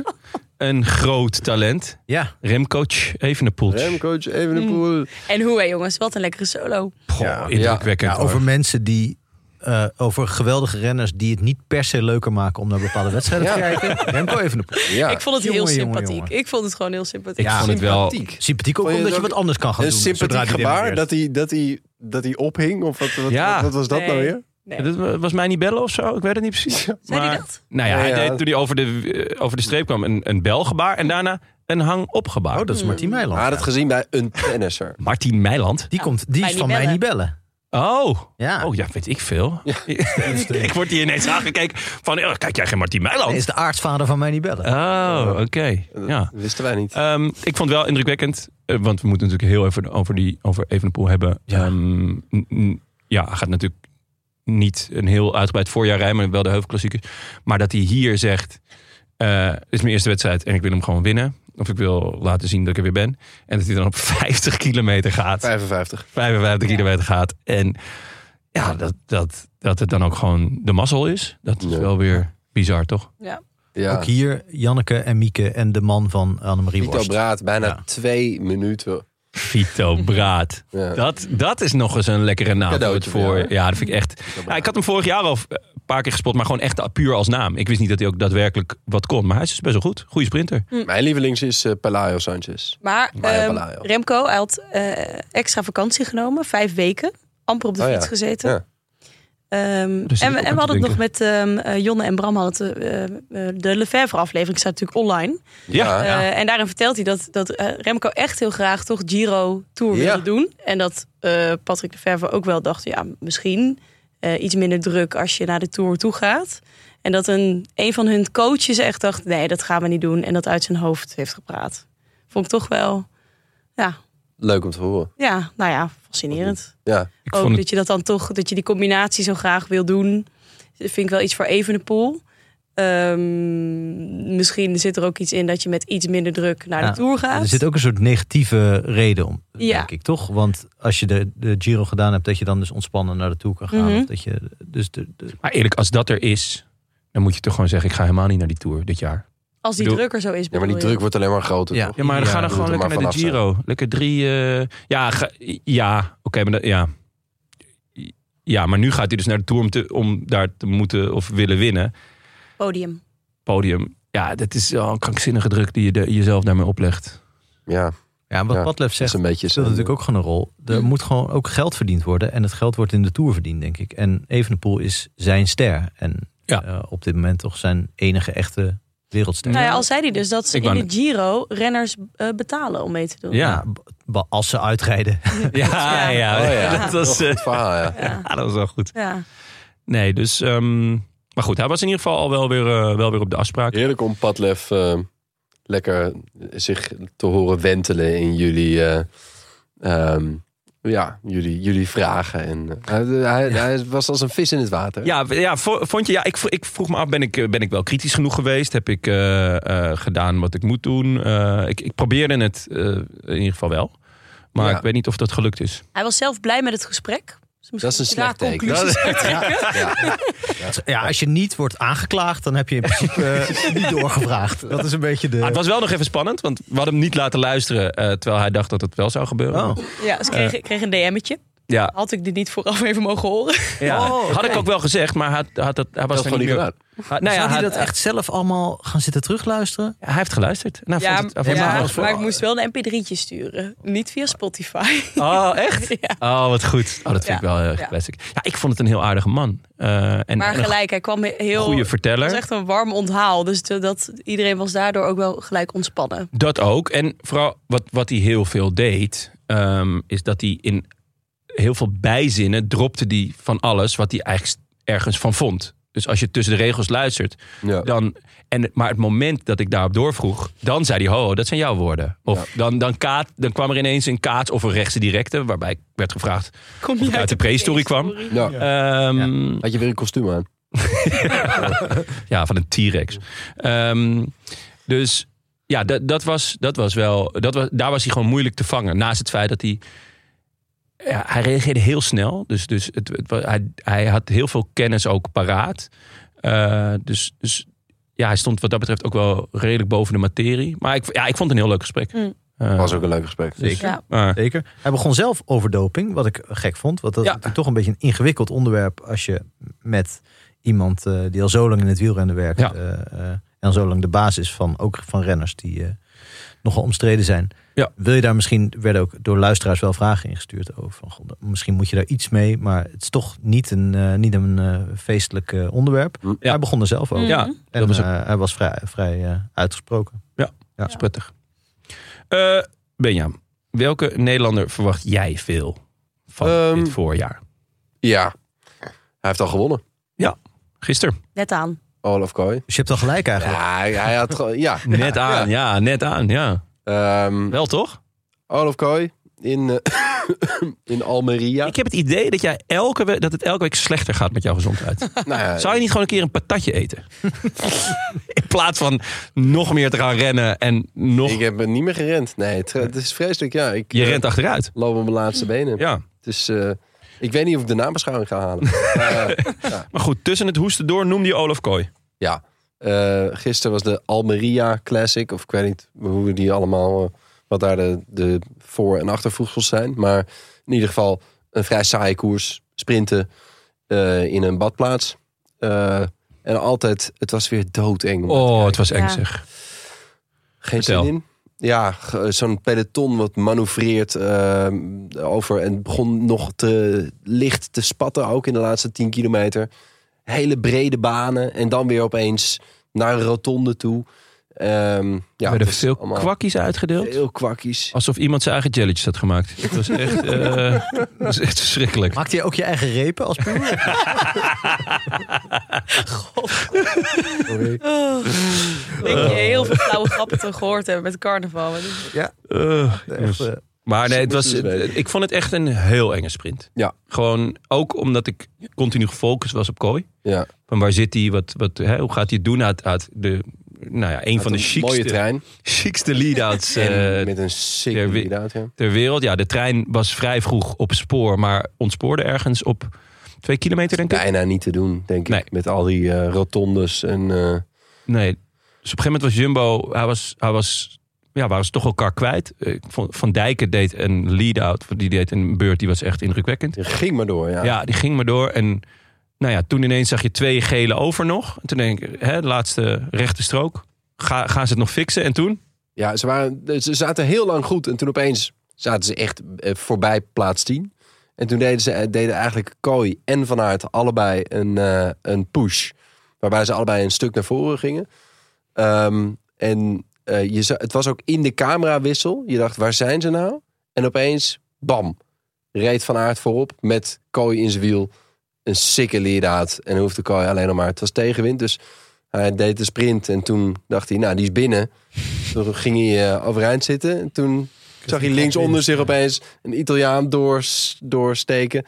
A: een groot talent.
B: Ja,
A: Remcoach Evenepoel.
C: Remcoach, even een
A: Hm.
C: poel.
D: En hoe, hè, jongens? Wat een lekkere solo.
A: Goh,
C: Ja.
A: indrukwekkend.
B: ja,
A: hoor.
B: over mensen die. eh, over geweldige renners die het niet per se leuker maken om naar bepaalde wedstrijden te
C: Ja.
B: kijken. Remco even
C: Ja.
D: ik vond het
B: Jongen,
D: heel
B: jongen,
D: sympathiek.
B: jongen.
D: Ik vond het gewoon heel sympathiek.
A: Ik
B: Ja.
A: vond het wel...
B: Sympathiek ook,
C: Vond je
B: omdat
C: het
B: je
C: ook
B: wat anders kan gaan
C: Een
B: doen. zodra
C: sympathiek
B: die
C: gebaar
B: debuteert.
C: dat hij, dat, hij, dat hij ophing? Of wat, wat,
A: Ja.
C: wat, wat was dat nou
D: Nee.
C: weer?
D: Nee.
A: Dat wa- was mij niet bellen of zo, ik weet het niet precies.
D: Zei die
A: Maar-
D: dat?
A: Nou ja, hij
C: Ja, ja.
A: deed toen hij over de, eh, over de streep kwam een, een belgebaar en daarna een hang-opgebaar.
C: Hmm.
B: Oh, dat is Martien Meiland.
C: Hij had het gezien bij een tennisser.
A: Martin Meiland.
B: Die, komt, die
D: mij
B: is
D: niet
B: van mij
D: bellen.
B: niet bellen.
A: Oh,
B: Ja.
A: oh ja, weet ik veel. ik, ik word hier ineens aangekeken van, oh, kijk jij geen Martien Meiland?
B: Hij is de aartsvader van mij niet bellen.
A: Oh, oké.
C: Dat
A: Ja.
C: wisten wij niet.
A: Ehm, ik vond het wel indrukwekkend, eh, want we moeten natuurlijk heel even over, die, over Evenepoel hebben.
B: Ja.
A: Ehm, n- n- ja, hij gaat natuurlijk niet een heel uitgebreid voorjaar rijden, maar wel de heuvelklassieker. Maar dat hij hier zegt, eh, dit is mijn eerste wedstrijd en ik wil hem gewoon winnen. Of ik wil laten zien dat ik er weer ben. En dat hij dan op 50 kilometer gaat.
C: 55.
A: 55 kilometer gaat. En ja, dat, dat, dat het dan ook gewoon de mazzel is. Dat is
C: Ja.
A: wel weer bizar, toch?
C: Ja.
B: Ook hier Janneke en Mieke en de man van Annemarie
C: Vito
B: Worst.
C: Braat, bijna
B: Ja.
C: twee minuten.
A: Vito Braat.
C: Ja.
A: Dat, dat is nog eens een lekkere naam. voor het
C: Cadeautje
A: voor,
C: voor
A: ja.
C: jou, hè?
A: dat vind ik echt. Ja, ik had hem vorig jaar al eh, een paar keer gespot, maar gewoon echt puur als naam. Ik wist niet dat hij ook daadwerkelijk wat kon. Maar hij is dus best wel goed. Goede sprinter.
C: Mijn lievelings is eh, Pelayo Sanchez.
D: Maar
C: Mario
D: ehm,
C: Palaio.
D: Remco hij had eh, extra vakantie genomen, vijf weken. Amper op de
C: Oh ja.
D: fiets gezeten.
C: Ja.
D: Ehm,
A: Dus
D: en,
A: ik
D: we-
A: ook
D: en
A: aan
D: we hadden het
A: te
D: nog met ehm, eh, Jonne en Bram. Hadden het, eh, eh, de Lefebvre-aflevering staat natuurlijk online.
C: Ah,
A: Ja.
D: Eh, en daarin vertelt hij dat, dat eh, Remco echt heel graag toch Giro Tour
C: Ja.
D: wilde doen. En dat eh Patrick de Verve ook wel dacht, ja, misschien eh, iets minder druk als je naar de Tour toe gaat. En dat een, een van hun coaches echt dacht, nee, dat gaan we niet doen. En dat uit zijn hoofd heeft gepraat. Vond ik toch wel, ja,
C: Leuk om te horen.
D: ja nou ja, fascinerend.
C: Ja.
A: Ik
D: Ook
A: vond het,
D: dat je dat dan toch, dat je die combinatie zo graag wil doen. Dat vind ik wel iets voor Evenepoel. Ehm misschien zit er ook iets in dat je met iets minder druk naar
B: Ja,
D: de Tour
B: Er
D: gaat.
B: zit ook een soort negatieve reden om,
D: Ja.
B: denk ik, toch? Want als je de, de Giro gedaan hebt, dat je dan dus ontspannen naar de Tour kan gaan.
D: Mhm.
B: Of dat je, dus de, de-
A: maar eerlijk, als dat er is, dan moet je toch gewoon zeggen: ik ga helemaal niet naar die tour dit jaar.
D: Als die
A: Ik bedoel-
D: druk er zo is.
C: ja, maar die
D: bedoel je?
C: druk wordt alleen maar groter.
B: Ja.
C: toch?
A: Ja, maar dan
B: Ja,
A: ga
B: doe
A: dan gewoon
C: het er
A: lekker naar
C: maar
A: de Giro. Lekker drie. eh, ja, ga- ja oké, maar dat- ja. Ja, maar nu gaat hij dus naar de Tour om, te, om daar te moeten of willen winnen.
D: Podium.
A: Podium. Ja, dat is wel een krankzinnige druk die je de- jezelf daarmee oplegt.
C: Ja,
B: ja, wat
C: Ja,
B: Padlef
C: dat
B: zegt,
C: is een Mhm. beetje
B: speelt
C: zijn-
B: natuurlijk ook gewoon een rol. Er moet gewoon ook geld verdiend worden. En het geld wordt in de Tour verdiend, denk ik. En Evenepoel is zijn ster. En
A: Ja.
B: eh, op dit moment toch zijn enige echte wereldster.
D: Nou ja, al zei hij dus dat ze
A: Ik
D: in
A: wou
D: de Giro renners eh, betalen om mee te doen.
A: Ja.
B: be- als ze uitrijden.
A: Ja, ja,
C: Oh, ja.
A: dat was,
C: Nog
A: eh,
C: het verhaal, ja.
D: Ja.
A: ja, dat was wel goed.
D: Ja.
A: Nee, dus. ehm, maar goed, hij was in ieder geval al wel weer, eh, wel weer op de afspraak.
C: Heerlijk om Padlef eh, lekker eh, zich te horen wentelen in jullie, eh, ehm, ja, jullie, jullie vragen. En, eh, hij, hij, hij was als een vis in het water.
A: Ja, w- ja, vo- vond je, ja ik, vro- ik vroeg me af, ben ik, eh, ben ik wel kritisch genoeg geweest? Heb ik eh, eh, gedaan wat ik moet doen? Eh, ik, ik probeerde het eh, in ieder geval wel. Maar
C: Ja.
A: ik weet niet of dat gelukt is.
D: Hij was zelf blij met het gesprek. Dus misschien
C: Dat is een
D: moet je daar
C: slecht teken.
D: conclusies-
B: Ja, als je niet wordt aangeklaagd, dan heb je in principe eh, niet doorgevraagd. Dat is een beetje de...
A: Maar het was wel nog even spannend, want we hadden hem niet laten luisteren... eh, terwijl hij dacht dat het wel zou gebeuren.
B: Oh.
D: Ja, ze kreeg, ik kreeg een DM'tje.
A: Ja,
D: Had ik dit niet vooraf even mogen horen?
A: ja. had ik ook wel gezegd, maar hij, had dat, hij was
C: Oh, Dat
A: er
C: gewoon
A: niet
C: niet
A: meer... Ah,
C: gedaan.
A: nou ja,
B: Zou
A: hij,
B: hij dat echt zelf allemaal gaan zitten terugluisteren?
A: hij heeft geluisterd. Nou, En hij
D: Ja,
A: vond het, hij
D: ja,
A: vond het
D: maar,
A: wel-
D: ik moest wel een mp3'tje sturen. Niet via Spotify.
A: Oh, echt? Oh, wat goed. Oh, dat vind ik
D: Ja.
A: wel heel erg
D: Ja.
A: classic. Ja, ik vond het een heel aardige man. Eh, en,
D: Maar
A: en een
D: gelijk, hij kwam heel...
A: goede verteller.
D: het was echt een warm onthaal. Dus te- dat, iedereen was daardoor ook wel gelijk ontspannen.
A: Dat ook. En vooral wat, wat hij heel veel deed, ehm, is dat hij in heel veel bijzinnen dropte die van alles wat hij eigenlijk ergens van vond. Dus als je tussen de regels luistert,
C: Ja.
A: dan, en, maar het moment dat ik daarop doorvroeg, dan zei hij, ho, dat zijn jouw woorden. Of dan, dan, kaat, dan kwam er ineens een kaats of een rechtse directe, waarbij ik werd gevraagd
D: Kom
A: of ik uit de prehistorie kwam.
D: prehistorie?
C: Ja.
A: Ehm,
C: Had je weer een kostuum aan?
A: Ja, van een T-Rex. Ehm, dus ja, dat, dat, was, dat was wel. Dat was, daar was hij gewoon moeilijk te vangen. Naast het feit dat hij. Ja, hij reageerde heel snel. Dus, dus het, het wa- hij, hij had heel veel kennis ook paraat. Eh, dus, dus ja, hij stond wat dat betreft ook wel redelijk boven de materie. Maar ik, ja, ik vond het een heel leuk gesprek.
D: Mm.
A: Eh,
C: Was ook een leuk gesprek.
A: dus,
D: Ja.
A: eh,
B: Zeker. Hij begon zelf over doping, wat ik gek vond. Want dat
A: Ja.
B: is natuurlijk toch een beetje een ingewikkeld onderwerp als je met iemand eh, die al zo lang in het wielrennen werkt.
A: Ja.
B: eh, eh, en al zo lang de basis van ook van renners die eh, nogal omstreden zijn.
A: Ja.
B: Wil je daar misschien, werden ook door luisteraars wel vragen ingestuurd over. Van, goh, misschien moet je daar iets mee, maar het is toch niet een, eh, niet een eh, feestelijk eh, onderwerp.
C: Ja.
B: Hij begon er zelf over.
A: ja,
D: Mhm.
B: En
A: dat was ook
B: eh, hij was vrij, vrij eh, uitgesproken.
A: dat is prettig. Eh Benjamin, welke Nederlander verwacht jij veel van
C: Ehm,
A: dit voorjaar?
C: Ja. Hij heeft al gewonnen.
A: Gisteren.
D: Net aan.
C: Olaf Kooi.
B: Dus je hebt al gelijk eigenlijk.
C: Ja, hij, hij had gewoon... Ja.
A: Net aan, ja. net aan, ja.
C: Ehm,
A: Wel toch?
C: Olaf Kooi in, eh, in Almeria.
A: Ik heb het idee dat, jij elke we- dat het elke week slechter gaat met jouw gezondheid.
C: Nou ja,
A: Zou je niet gewoon een keer een patatje eten? In plaats van nog meer te gaan rennen en nog...
C: Ik heb niet meer gerend. Nee, het, het is vreselijk. Ja, ik
A: Je
C: eh,
A: rent achteruit.
C: loop op mijn laatste benen.
A: Ja.
C: Dus eh, ik weet niet of ik de nabeschouwing ga halen. Eh,
A: Maar goed, tussen het hoesten door noemde je Olaf Kooi.
C: ja. Eh, gisteren was de Almeria Classic. Of ik weet niet hoe die allemaal... eh, wat daar de, de voor- en achtervoegsels zijn. Maar in ieder geval een vrij saaie koers. Sprinten eh, in een badplaats. Eh, en altijd... Het was weer doodeng. om
A: Oh, het was eng
D: Ja.
A: zeg.
C: Geen
A: Vertel.
C: zin in. Ja, ge- zo'n peloton wat manoeuvreert eh, over en begon nog te licht te spatten, ook in de laatste 10 kilometer. Hele brede banen en dan weer opeens naar een rotonde toe. Ehm, ja,
A: Er werden
C: het is
A: veel Oh,
C: allemaal
A: kwakkies uitgedeeld.
C: Heel kwakkies.
A: Alsof iemand zijn eigen jelletjes had gemaakt. Het was echt, eh, het was echt verschrikkelijk.
B: Maakt hij ook je eigen repen als puur?
D: Oh.
A: Eh.
D: Ik denk je heel veel flauwe grappen te gehoord hebben met carnaval. Maar dit-
A: Eh,
B: Echt, eh,
A: Maar nee, het was,
C: Moeten ze weten.
A: ik vond het echt een heel enge sprint.
C: Ja.
A: Gewoon ook omdat ik continu gefocust was op Kooi.
C: Ja,
A: Van waar zit hij? Wat, wat, hè, hoe gaat hij het doen? Uit, uit de, nou ja, een van de
C: Een mooie
A: chicste,
C: trein.
A: chicste lead-outs
C: en
A: eh,
C: met een sick
A: ter wi-
C: lead-out, ja.
A: ter wereld. Ja, de trein was vrij vroeg op spoor, maar ontspoorde ergens op twee kilometer, denk ik.
C: Bijna niet te doen, denk
A: Nee.
C: ik. Met al die eh, rotondes en... eh,
A: Nee. Dus op een gegeven moment was Jumbo, hij was, hij was, ja, waren ze toch elkaar kwijt. Eh, ik vond- Van Dijken deed een lead-out, die deed een beurt, die was echt indrukwekkend.
C: het ging maar door, ja.
A: Ja, die ging maar door. En nou ja, toen ineens zag je twee gele over nog. En toen denk ik, hè, de laatste rechte strook. Ga, gaan ze het nog fixen? En toen?
C: Ja, ze, waren, ze zaten heel lang goed. En toen opeens zaten ze echt eh, voorbij plaats 10. En toen deden, ze, eh, deden eigenlijk Kooi en Van Aert allebei een, eh, een push. Waarbij ze allebei een stuk naar voren gingen. Ehm, en eh, je, za- het was ook in de camerawissel. Je dacht, waar zijn ze nou? En opeens, bam, reed Van Aert voorop met Kooi in zijn wiel. Een sikke leerdaad. En hoefde Kooi alleen nog maar. Het was tegenwind, dus hij deed de sprint. En toen dacht hij, nou, die is binnen. Toen ging hij eh, overeind zitten. En toen zag hij
B: die
C: links
B: klap
C: onder
B: in.
C: zich opeens een Italiaan doors, doorsteken.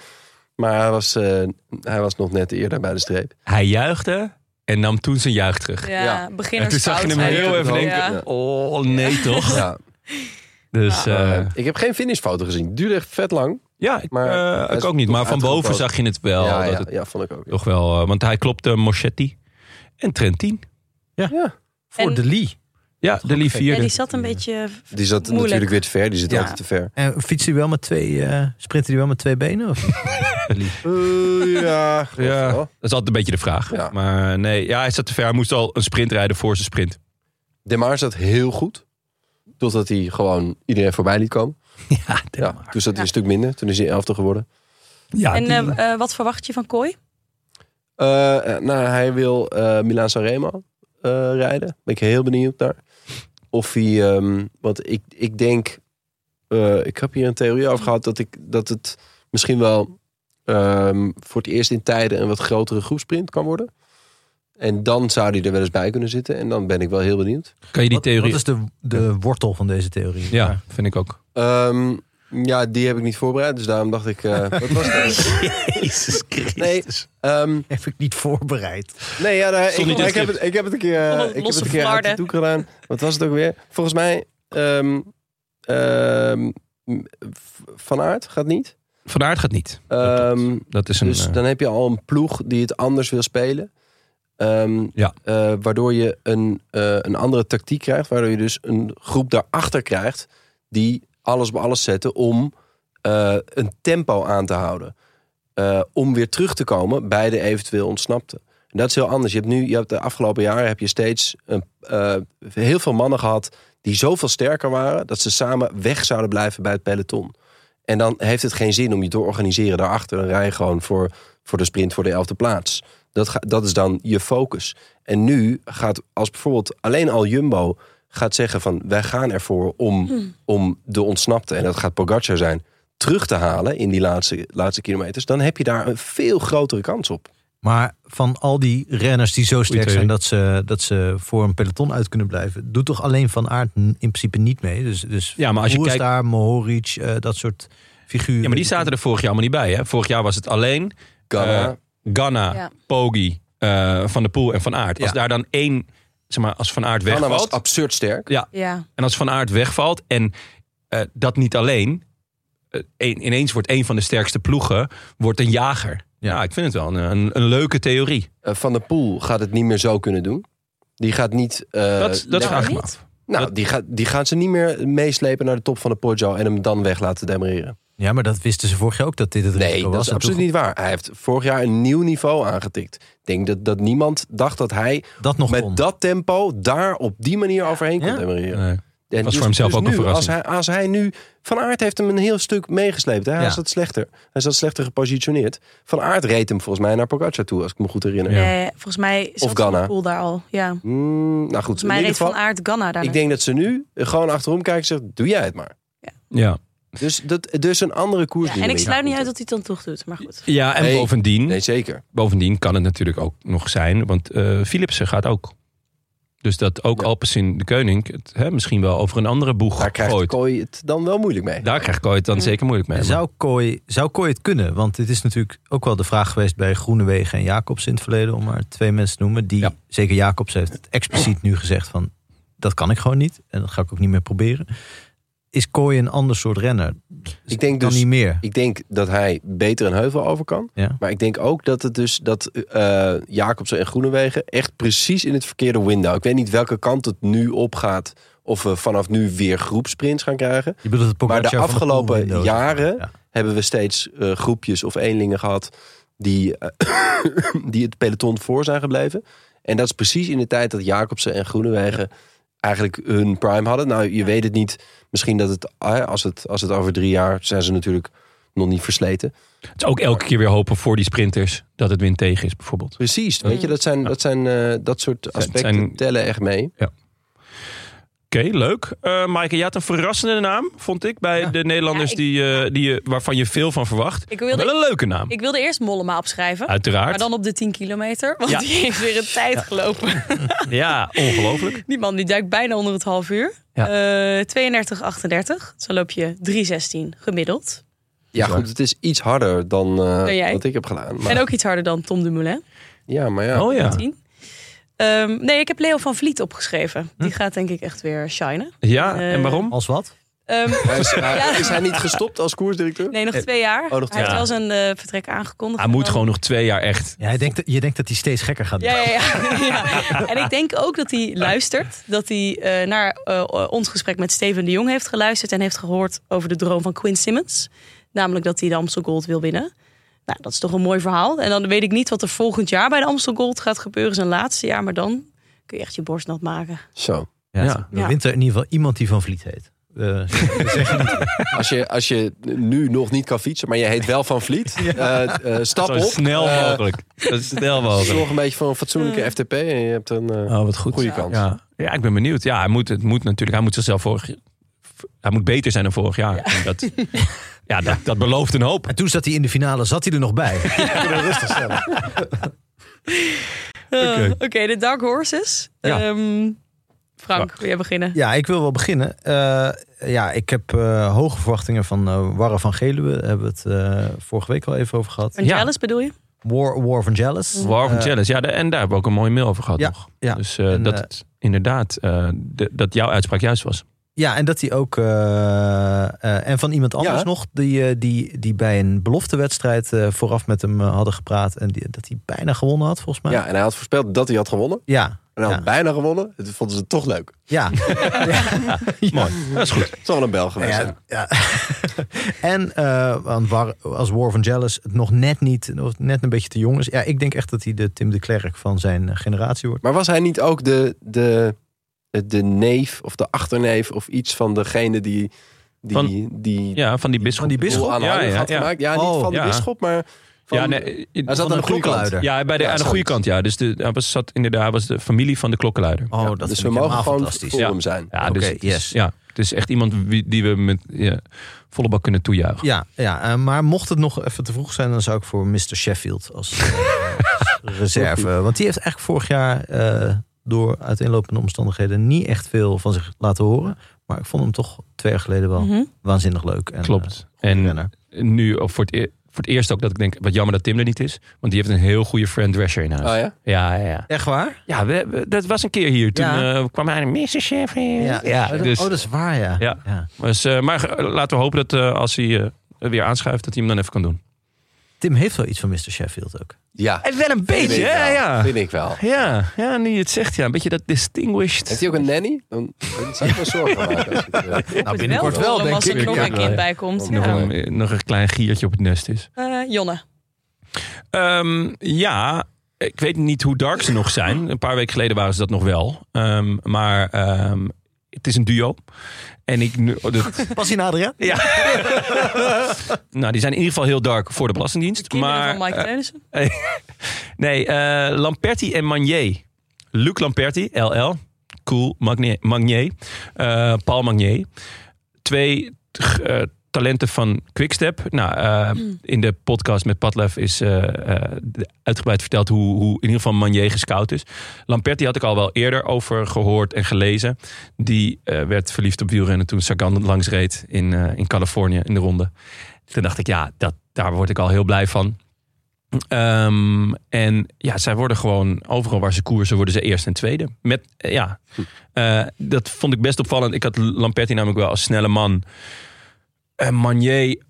C: Maar hij was, eh, hij was nog net eerder bij de streep.
A: Hij juichte en nam toen zijn juich terug.
D: Ja,
C: Ja.
A: En toen zag je hem
C: Hij
A: heel
C: doet
A: even
C: het
A: denken,
C: wel.
D: Ja.
A: oh nee toch?
C: Ja,
A: Dus eh,
C: eh, ik heb geen finishfoto gezien. Het duurde echt vet lang.
A: ja, ik,
C: maar
A: eh,
C: hij
A: ik
C: is
A: ook niet.
C: toch
A: Maar van boven
C: uitgekookt.
A: zag je het wel.
C: ja,
A: Oh, dat
C: ja,
A: het
C: ja, vond ik ook.
A: toch wel eh, want hij klopte Moschetti en Trentin.
C: Ja.
B: voor
D: En-
B: de Lee.
A: Ja, de Lee
D: Ja,
A: vierde.
D: die zat een beetje...
C: Die zat
D: Moeilijk.
C: natuurlijk weer te ver. Die zit
B: Ja.
C: altijd te ver.
B: En fietst hij wel met twee, eh, sprint hij wel met twee benen? Of?
C: ja,
A: Eh, Ja, dat is altijd een beetje de vraag.
C: Ja.
A: Maar nee, ja, hij zat te ver. Hij moest al een sprint rijden voor zijn sprint.
C: De Maar zat heel goed. Totdat hij gewoon iedereen voorbij liet komen.
A: Ja,
C: Ja, toen zat hij een stuk minder. Toen is hij elfde geworden.
A: ja
D: en
A: die-
D: eh, eh, wat verwacht je van Kooi?
C: Eh, eh, nou, hij wil eh Milan Sanremo eh, rijden. Ben ik heel benieuwd naar. Of hij, ehm, want ik, ik denk, eh, ik heb hier een theorie over gehad dat, ik, dat het misschien wel ehm, voor het eerst in tijden een wat grotere groepsprint kan worden. En dan zou hij er wel eens bij kunnen zitten. En dan ben ik wel heel benieuwd.
A: kan je die
B: Wat-
A: theorie...
B: Wat is de, de wortel van deze theorie?
A: Ja, vind ik ook.
C: Ehm, ja, die heb ik niet voorbereid. Dus daarom dacht ik, eh, wat was dat?
B: Jezus Christus.
C: Nee, ehm,
B: Heb ik niet voorbereid.
C: Nee, ja, daar-
A: Stond
C: ik,
A: niet in
C: maar ik, heb
A: het
C: het, ik heb het een keer, eh,
D: Allemaal
C: ik heb
D: losse
C: het een keer uit de
D: flarden.
C: doek gedaan. Wat was het ook weer? Volgens mij, ehm, ehm, v- Van Aert gaat niet.
A: Van Aert gaat niet.
C: Ehm,
A: Dat is een...
C: dus
A: eh,
C: dan heb je al een ploeg die het anders wil spelen. Ehm,
A: Ja.
C: eh, waardoor je een, eh, een andere tactiek krijgt. Waardoor je dus een groep daarachter krijgt. Die alles op alles zetten om eh, een tempo aan te houden. Eh, om weer terug te komen bij de eventueel ontsnapte. En dat is heel anders. Je hebt nu, je hebt de afgelopen jaren heb je steeds een, eh, heel veel mannen gehad die zoveel sterker waren dat ze samen weg zouden blijven bij het peloton. En dan heeft het geen zin om je te organiseren daarachter. Dan rij je gewoon voor, voor de sprint voor de elfde plaats. Dat, ga- dat is dan je focus. En nu gaat, als bijvoorbeeld alleen al Jumbo gaat zeggen van wij gaan ervoor om, om de ontsnapte. En dat gaat Pogacar zijn. terug te halen in die laatste, laatste kilometers, dan heb je daar een veel grotere kans op.
B: Maar van al die renners die zo sterk
A: theorie.
B: zijn dat ze, dat ze voor een peloton uit kunnen blijven, doet toch alleen Van Aert in principe niet mee. Dus, dus
A: Ja, maar als je
B: Roels
A: kijkt-
B: daar, Mohoric, eh, dat soort figuren.
A: Ja, maar die zaten er vorig jaar allemaal niet bij. Hè? Vorig jaar was het alleen
C: Ghana.
A: Eh, Ganna,
D: Ja.
A: Poggi, eh, Van der Poel en Van Aert. Als
B: Ja.
A: daar dan één, zeg maar, als Van Aert
C: Ghana
A: wegvalt.
C: was absurd sterk.
D: Ja.
A: En als Van Aert wegvalt en eh, dat niet alleen. eh, een- ineens wordt een van de sterkste ploegen wordt een jager. Ja,
B: Ja.
A: ik vind het wel een, een, een leuke theorie.
C: Eh, Van der Poel gaat het niet meer zo kunnen doen. Die gaat niet. eh,
A: dat dat
C: lekker-
A: vraag ik me
D: niet?
A: af.
C: nou,
A: dat-
C: die, gaat, die gaan ze niet meer meeslepen naar de top van de Poggio en hem dan weg laten demereren.
B: ja, maar dat wisten ze vorig jaar ook dat dit het
C: Nee,
B: risico
C: dat
B: was.
C: is
B: En
C: absoluut
B: toen-
C: niet waar. Hij heeft vorig jaar een nieuw niveau aangetikt. Ik denk dat, dat niemand dacht dat hij
B: Dat nog
C: met
B: kon.
C: dat tempo daar op die manier overheen kon
B: Ja?
C: demereren.
A: Nee.
C: En dus-
A: Was voor hemzelf ook een
C: nu, als
A: verrassing.
C: hij, als hij nu... Van Aert heeft hem een heel stuk meegesleept. Hè? Hij
B: Ja.
C: zat slechter. Hij zat slechter gepositioneerd. Van Aert reed hem volgens mij naar Pogacar toe, als ik me goed herinner.
D: Nee, eh, volgens mij zat
C: Ghana.
D: Van Poel daar al. Ja. Volgens
C: Hmm, nou goed, in
D: mij
C: ieder
D: reed
C: geval...
D: Van Aert Ganna daar.
C: Ik denk dat ze nu gewoon achterom kijken en zeggen... Doe jij het maar.
A: Ja.
C: Dus, dat, dus een andere koers.
D: Ja, en ik sluit niet uit dat hij het dan toch doet. Maar goed.
A: ja, en
C: Nee.
A: bovendien,
C: Nee, zeker.
A: bovendien kan het natuurlijk ook nog zijn. Want eh, Philipsen gaat ook. Dus dat ook
C: Ja.
A: Alpecin de Koning het hè, misschien wel over een andere boeg
C: Daar krijgt
A: gooit.
C: Kooi het dan wel moeilijk mee.
A: Daar krijgt Kooi het dan zeker moeilijk mee.
B: En
A: maar-
B: zou, Kooi, zou Kooi het kunnen? Want dit is natuurlijk ook wel de vraag geweest bij Groenewegen en Jacobs in het verleden. Om maar twee mensen te noemen. Die,
A: Ja.
B: zeker Jacobs heeft het expliciet nu gezegd van... dat kan ik gewoon niet. En dat ga ik ook niet meer proberen. Is Kooi een ander soort renner?
C: Ik denk
B: dan
C: dus-
B: niet meer.
C: Ik denk dat hij beter een heuvel over kan.
B: Ja.
C: Maar ik denk ook dat het dus dat eh Jacobsen en Groenewegen echt precies in het verkeerde window. Ik weet niet welke kant het nu opgaat. Of we vanaf nu weer groepsprints gaan krijgen.
B: Je bedoelt het
C: Maar
B: Pogacar
C: de
B: van Poel
C: afgelopen
B: window, zeg maar.
C: jaren
B: Ja.
C: hebben we steeds eh, groepjes of eenlingen gehad die, eh, die het peloton voor zijn gebleven. En dat is precies in de tijd dat Jacobsen en Groenewegen eigenlijk hun prime hadden. Nou, je weet het niet. Misschien dat het, ah, als het, als het over drie jaar, zijn ze natuurlijk nog niet versleten.
A: Het is ook elke keer weer hopen voor die sprinters dat het wind tegen is, bijvoorbeeld.
C: Precies, weet je, dat, zijn, dat, zijn, eh, dat soort aspecten
A: zijn-
C: tellen echt mee.
A: Oké, leuk. Eh Maaike, je had een verrassende naam, vond ik, bij de Nederlanders
D: Ja, ik-
A: die, eh, die, je- waarvan je veel van verwacht.
D: Ik wilde-
A: Wel een leuke naam,
D: Ik wilde eerst Mollema opschrijven.
A: uiteraard.
D: Maar dan op de 10 kilometer. Want
A: Ja.
D: die heeft weer een tijd gelopen.
A: Ja, ongelooflijk.
D: Die man die duikt bijna onder het half uur.
A: Ja.
D: Eh 32, 38. Zo loop je 3,16 gemiddeld.
C: Ja, goed, het is iets harder dan eh,
D: Dan jij?
C: wat ik heb gedaan. Maar,
D: En ook iets harder dan Tom Dumoulin.
C: ja, maar ja.
A: Oh ja.
D: 10. Ehm, nee, ik heb Leo van Vliet opgeschreven.
A: Hm?
D: Die gaat denk ik echt weer shinen.
A: Ja, en
D: Eh,
A: waarom?
B: Als wat?
D: Ehm,
C: Hij Is, hij-
D: Ja.
C: is hij niet gestopt als koersdirecteur?
D: nee, nog
A: Eh,
D: twee jaar.
C: nog twee
D: Hij heeft
A: oh, jaar.
D: wel zijn eh, vertrek aangekondigd.
A: Hij moet gewoon nog twee jaar echt.
B: Ja, je, denkt, dat- je denkt dat hij steeds gekker gaat doen.
D: Ja, ja, ja. ja. En ik denk ook dat hij luistert. Dat hij eh, naar eh, ons gesprek met Steven de Jong heeft geluisterd. En heeft gehoord over de droom van Quinn Simmons. Namelijk dat hij de Amstel Gold wil winnen. Nou, dat is toch een mooi verhaal. En dan weet ik niet wat er volgend jaar bij de Amstel Gold gaat gebeuren. Zijn laatste jaar. Maar dan kun je echt je borst nat maken.
C: Zo.
B: Ja,
A: Ja.
B: Dan wint er in ieder geval iemand die Van Vliet heet. Eh,
C: Als je, als je nu nog niet kan fietsen, maar je heet wel Van Vliet, eh, eh, stap
A: Zo
C: op.
A: snel
C: Eh,
A: mogelijk. Zo snel mogelijk.
C: zorg een beetje voor een fatsoenlijke FTP en je hebt een eh,
A: Oh, wat goed.
C: goede kans.
A: Ja. ja, ik ben benieuwd. Ja, hij moet, het moet natuurlijk. Hij moet zichzelf vorig Hij moet beter zijn dan vorig jaar. En Dat, ja, dat, dat belooft een hoop.
B: en toen zat hij in de finale, zat hij er nog bij. rustig stellen.
D: Eh,
A: Oké.
D: Oké, de Dark Horses.
A: Ja.
D: Ehm, Frank, wil jij beginnen?
B: Ja, ik wil wel beginnen. Eh, ja, ik heb eh, hoge verwachtingen van eh Warren van Geluwe. Daar hebben we het eh, vorige week al even over gehad.
D: Van
A: Ja.
D: Jelis bedoel je?
B: War, War van Jealous.
A: War of
B: Eh,
A: Challenge. Ja, de- en daar hebben we ook een mooie mail over gehad
B: Ja,
A: nog.
B: ja.
A: Dus eh,
B: En,
A: dat
B: eh,
A: het inderdaad, eh, de- dat jouw uitspraak juist was.
B: Ja, en dat hij ook. eh, eh, en van iemand anders
C: Ja.
B: nog, die, eh, die, die bij een beloftewedstrijd eh, vooraf met hem eh, hadden gepraat. En die, dat hij bijna gewonnen had, volgens mij.
C: Ja, en hij had voorspeld dat hij had gewonnen.
B: ja.
C: En hij
B: ja.
A: Nou.
C: had bijna gewonnen. Het vonden ze toch leuk.
B: ja.
A: Mooi, dat is goed.
C: Het zal wel een Bel geweest
B: Nou
C: zijn.
B: ja, ja. en eh, want waar- als War van Jealous het nog net niet, nog net een beetje te jong is. Ja, ik denk echt dat hij de Tim de Klerk van zijn eh, generatie wordt.
C: Maar was hij niet ook de, de, de neef of de achterneef of iets van degene die... die,
A: Van-
C: die
A: Ja, van die bisschop.
B: Van die
C: Boel
B: bisschop?
C: aan de
A: Ja,
C: hand
A: ja,
C: had
A: ja.
C: gemaakt? Ja,
B: Oh,
C: niet van
A: ja.
C: de bisschop, maar van...
A: ja, nee, eh,
C: hij zat
B: van
C: aan de
B: een
C: goede kant.
B: klokkenluider.
A: ja, bij de,
C: Ja,
A: aan de goede
C: zoiets.
A: kant, ja. Dus de, hij was, zat inderdaad, hij was de familie van de klokkenluider.
B: Oh,
C: Ja,
B: dat
C: dus
B: vind
C: we
B: ik
C: mogen
B: helemaal
C: gewoon
B: fantastisch.
C: voor hem zijn.
A: Ja,
B: Oké,
A: dus, het is-
B: yes.
A: ja. Het is echt iemand wie- die we met ja, volle bak kunnen toejuichen.
B: Ja, ja eh, maar mocht het nog even te vroeg zijn, dan zou ik voor Mr. Sheffield als, eh, als reserve. Want die heeft eigenlijk vorig jaar eh, door uiteenlopende omstandigheden niet echt veel van zich laten horen. Maar ik vond hem toch twee jaar geleden wel
D: Mhm.
B: waanzinnig leuk. En,
A: Klopt.
B: eh,
A: en
B: renner.
A: nu ook voor het, eer- voor het eerst ook dat ik denk, wat jammer dat Tim er niet is. Want die heeft een heel goede friend Drescher in huis.
C: Oh ja?
A: Ja, ja, ja.
B: Echt waar?
A: Ja, we, we- dat was een keer hier. Toen
B: Ja.
A: eh, kwam hij een Mr. Chef in. Ja,
B: oh, dat-
A: dus,
B: oh, dat is waar, ja.
A: Ja. dus, eh, maar eh, laten we hopen dat eh, als hij eh, weer aanschuift, dat hij hem dan even kan doen.
B: Tim heeft wel iets van Mr. Sheffield ook.
C: Ja.
A: Wel een
C: Vind ik
A: beetje,
C: wel.
A: hè? Ja.
C: Vind ik wel.
A: Ja, ja, nu je het zegt, ja. Een beetje dat
C: Heeft
A: distinguished.
C: hij ook een nanny? Dan dan zou ik me zorgen maken. als het, eh,
D: Nou,
B: binnenkort wel, denk
D: Als er
A: ik.
D: nog een
A: Ja.
D: kind bij komt.
C: Ja.
A: Nog,
D: Ja.
A: een, nog een klein giertje op het nest is.
D: Eh, Jonne.
A: Ehm, ja, ik weet niet hoe dark ze nog zijn. Een paar weken geleden waren ze dat nog wel. Ehm, maar ehm, het is een duo. En ik... nu- oh, dat-
B: Pas in Adria?
A: nou, die zijn in ieder geval heel dark voor de
D: De
A: Belastingdienst.
D: kinderen
A: Maar,
D: van Mike
A: eh,
D: Teunissen.
A: nee, eh, Lamperti en Magnier. Luc Lamperti, LL. Cool. Magnier. Magnier. Eh, Paul Magnier. Twee t- eh, talenten van Quickstep. Nou, eh, in de podcast met Padlef is eh, eh, de- uitgebreid verteld hoe, hoe in ieder geval Magnier gescout is. Lamperti had ik al wel eerder over gehoord en gelezen. Die eh, werd verliefd op wielrennen toen Sagan langs reed in, eh, in Californië in de ronde. Toen dacht ik, ja, dat, daar word ik al heel blij van. Ehm, en ja, zij worden gewoon overal waar ze koersen, worden ze eerst en tweede. Met, eh, ja, Eh, dat vond ik best opvallend. Ik had Lamperti namelijk wel als snelle man. En Manier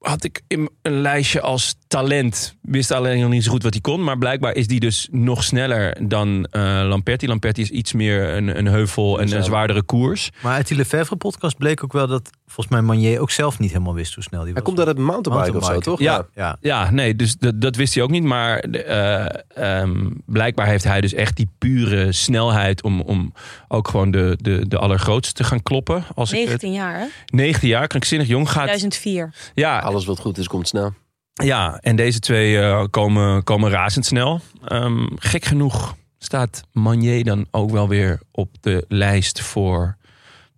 A: had ik in een lijstje als talent. Wist alleen nog niet zo goed wat hij kon. Maar blijkbaar is die dus nog sneller dan eh, Lamperti. Lamperti is iets meer een, een heuvel en een zwaardere koers.
B: Maar uit die Lefebvre-podcast bleek ook wel dat volgens mij Manier ook zelf niet helemaal wist hoe snel die was.
C: Hij komt uit het mountainbike of zo, toch?
A: Ja.
B: Ja.
A: Ja, nee, dus dat, dat wist hij ook niet. Maar eh, ehm, blijkbaar heeft hij dus echt die pure snelheid om, om ook gewoon de, de, de allergrootste te gaan kloppen. Als ik het-
D: 19 jaar, hè?
A: 19 jaar, krankzinnig jong gaat.
D: 2004.
A: Ja,
C: Alles wat goed is, komt snel.
A: ja, en deze twee eh, komen, komen razendsnel. Ehm, gek genoeg staat Manier dan ook wel weer op de lijst voor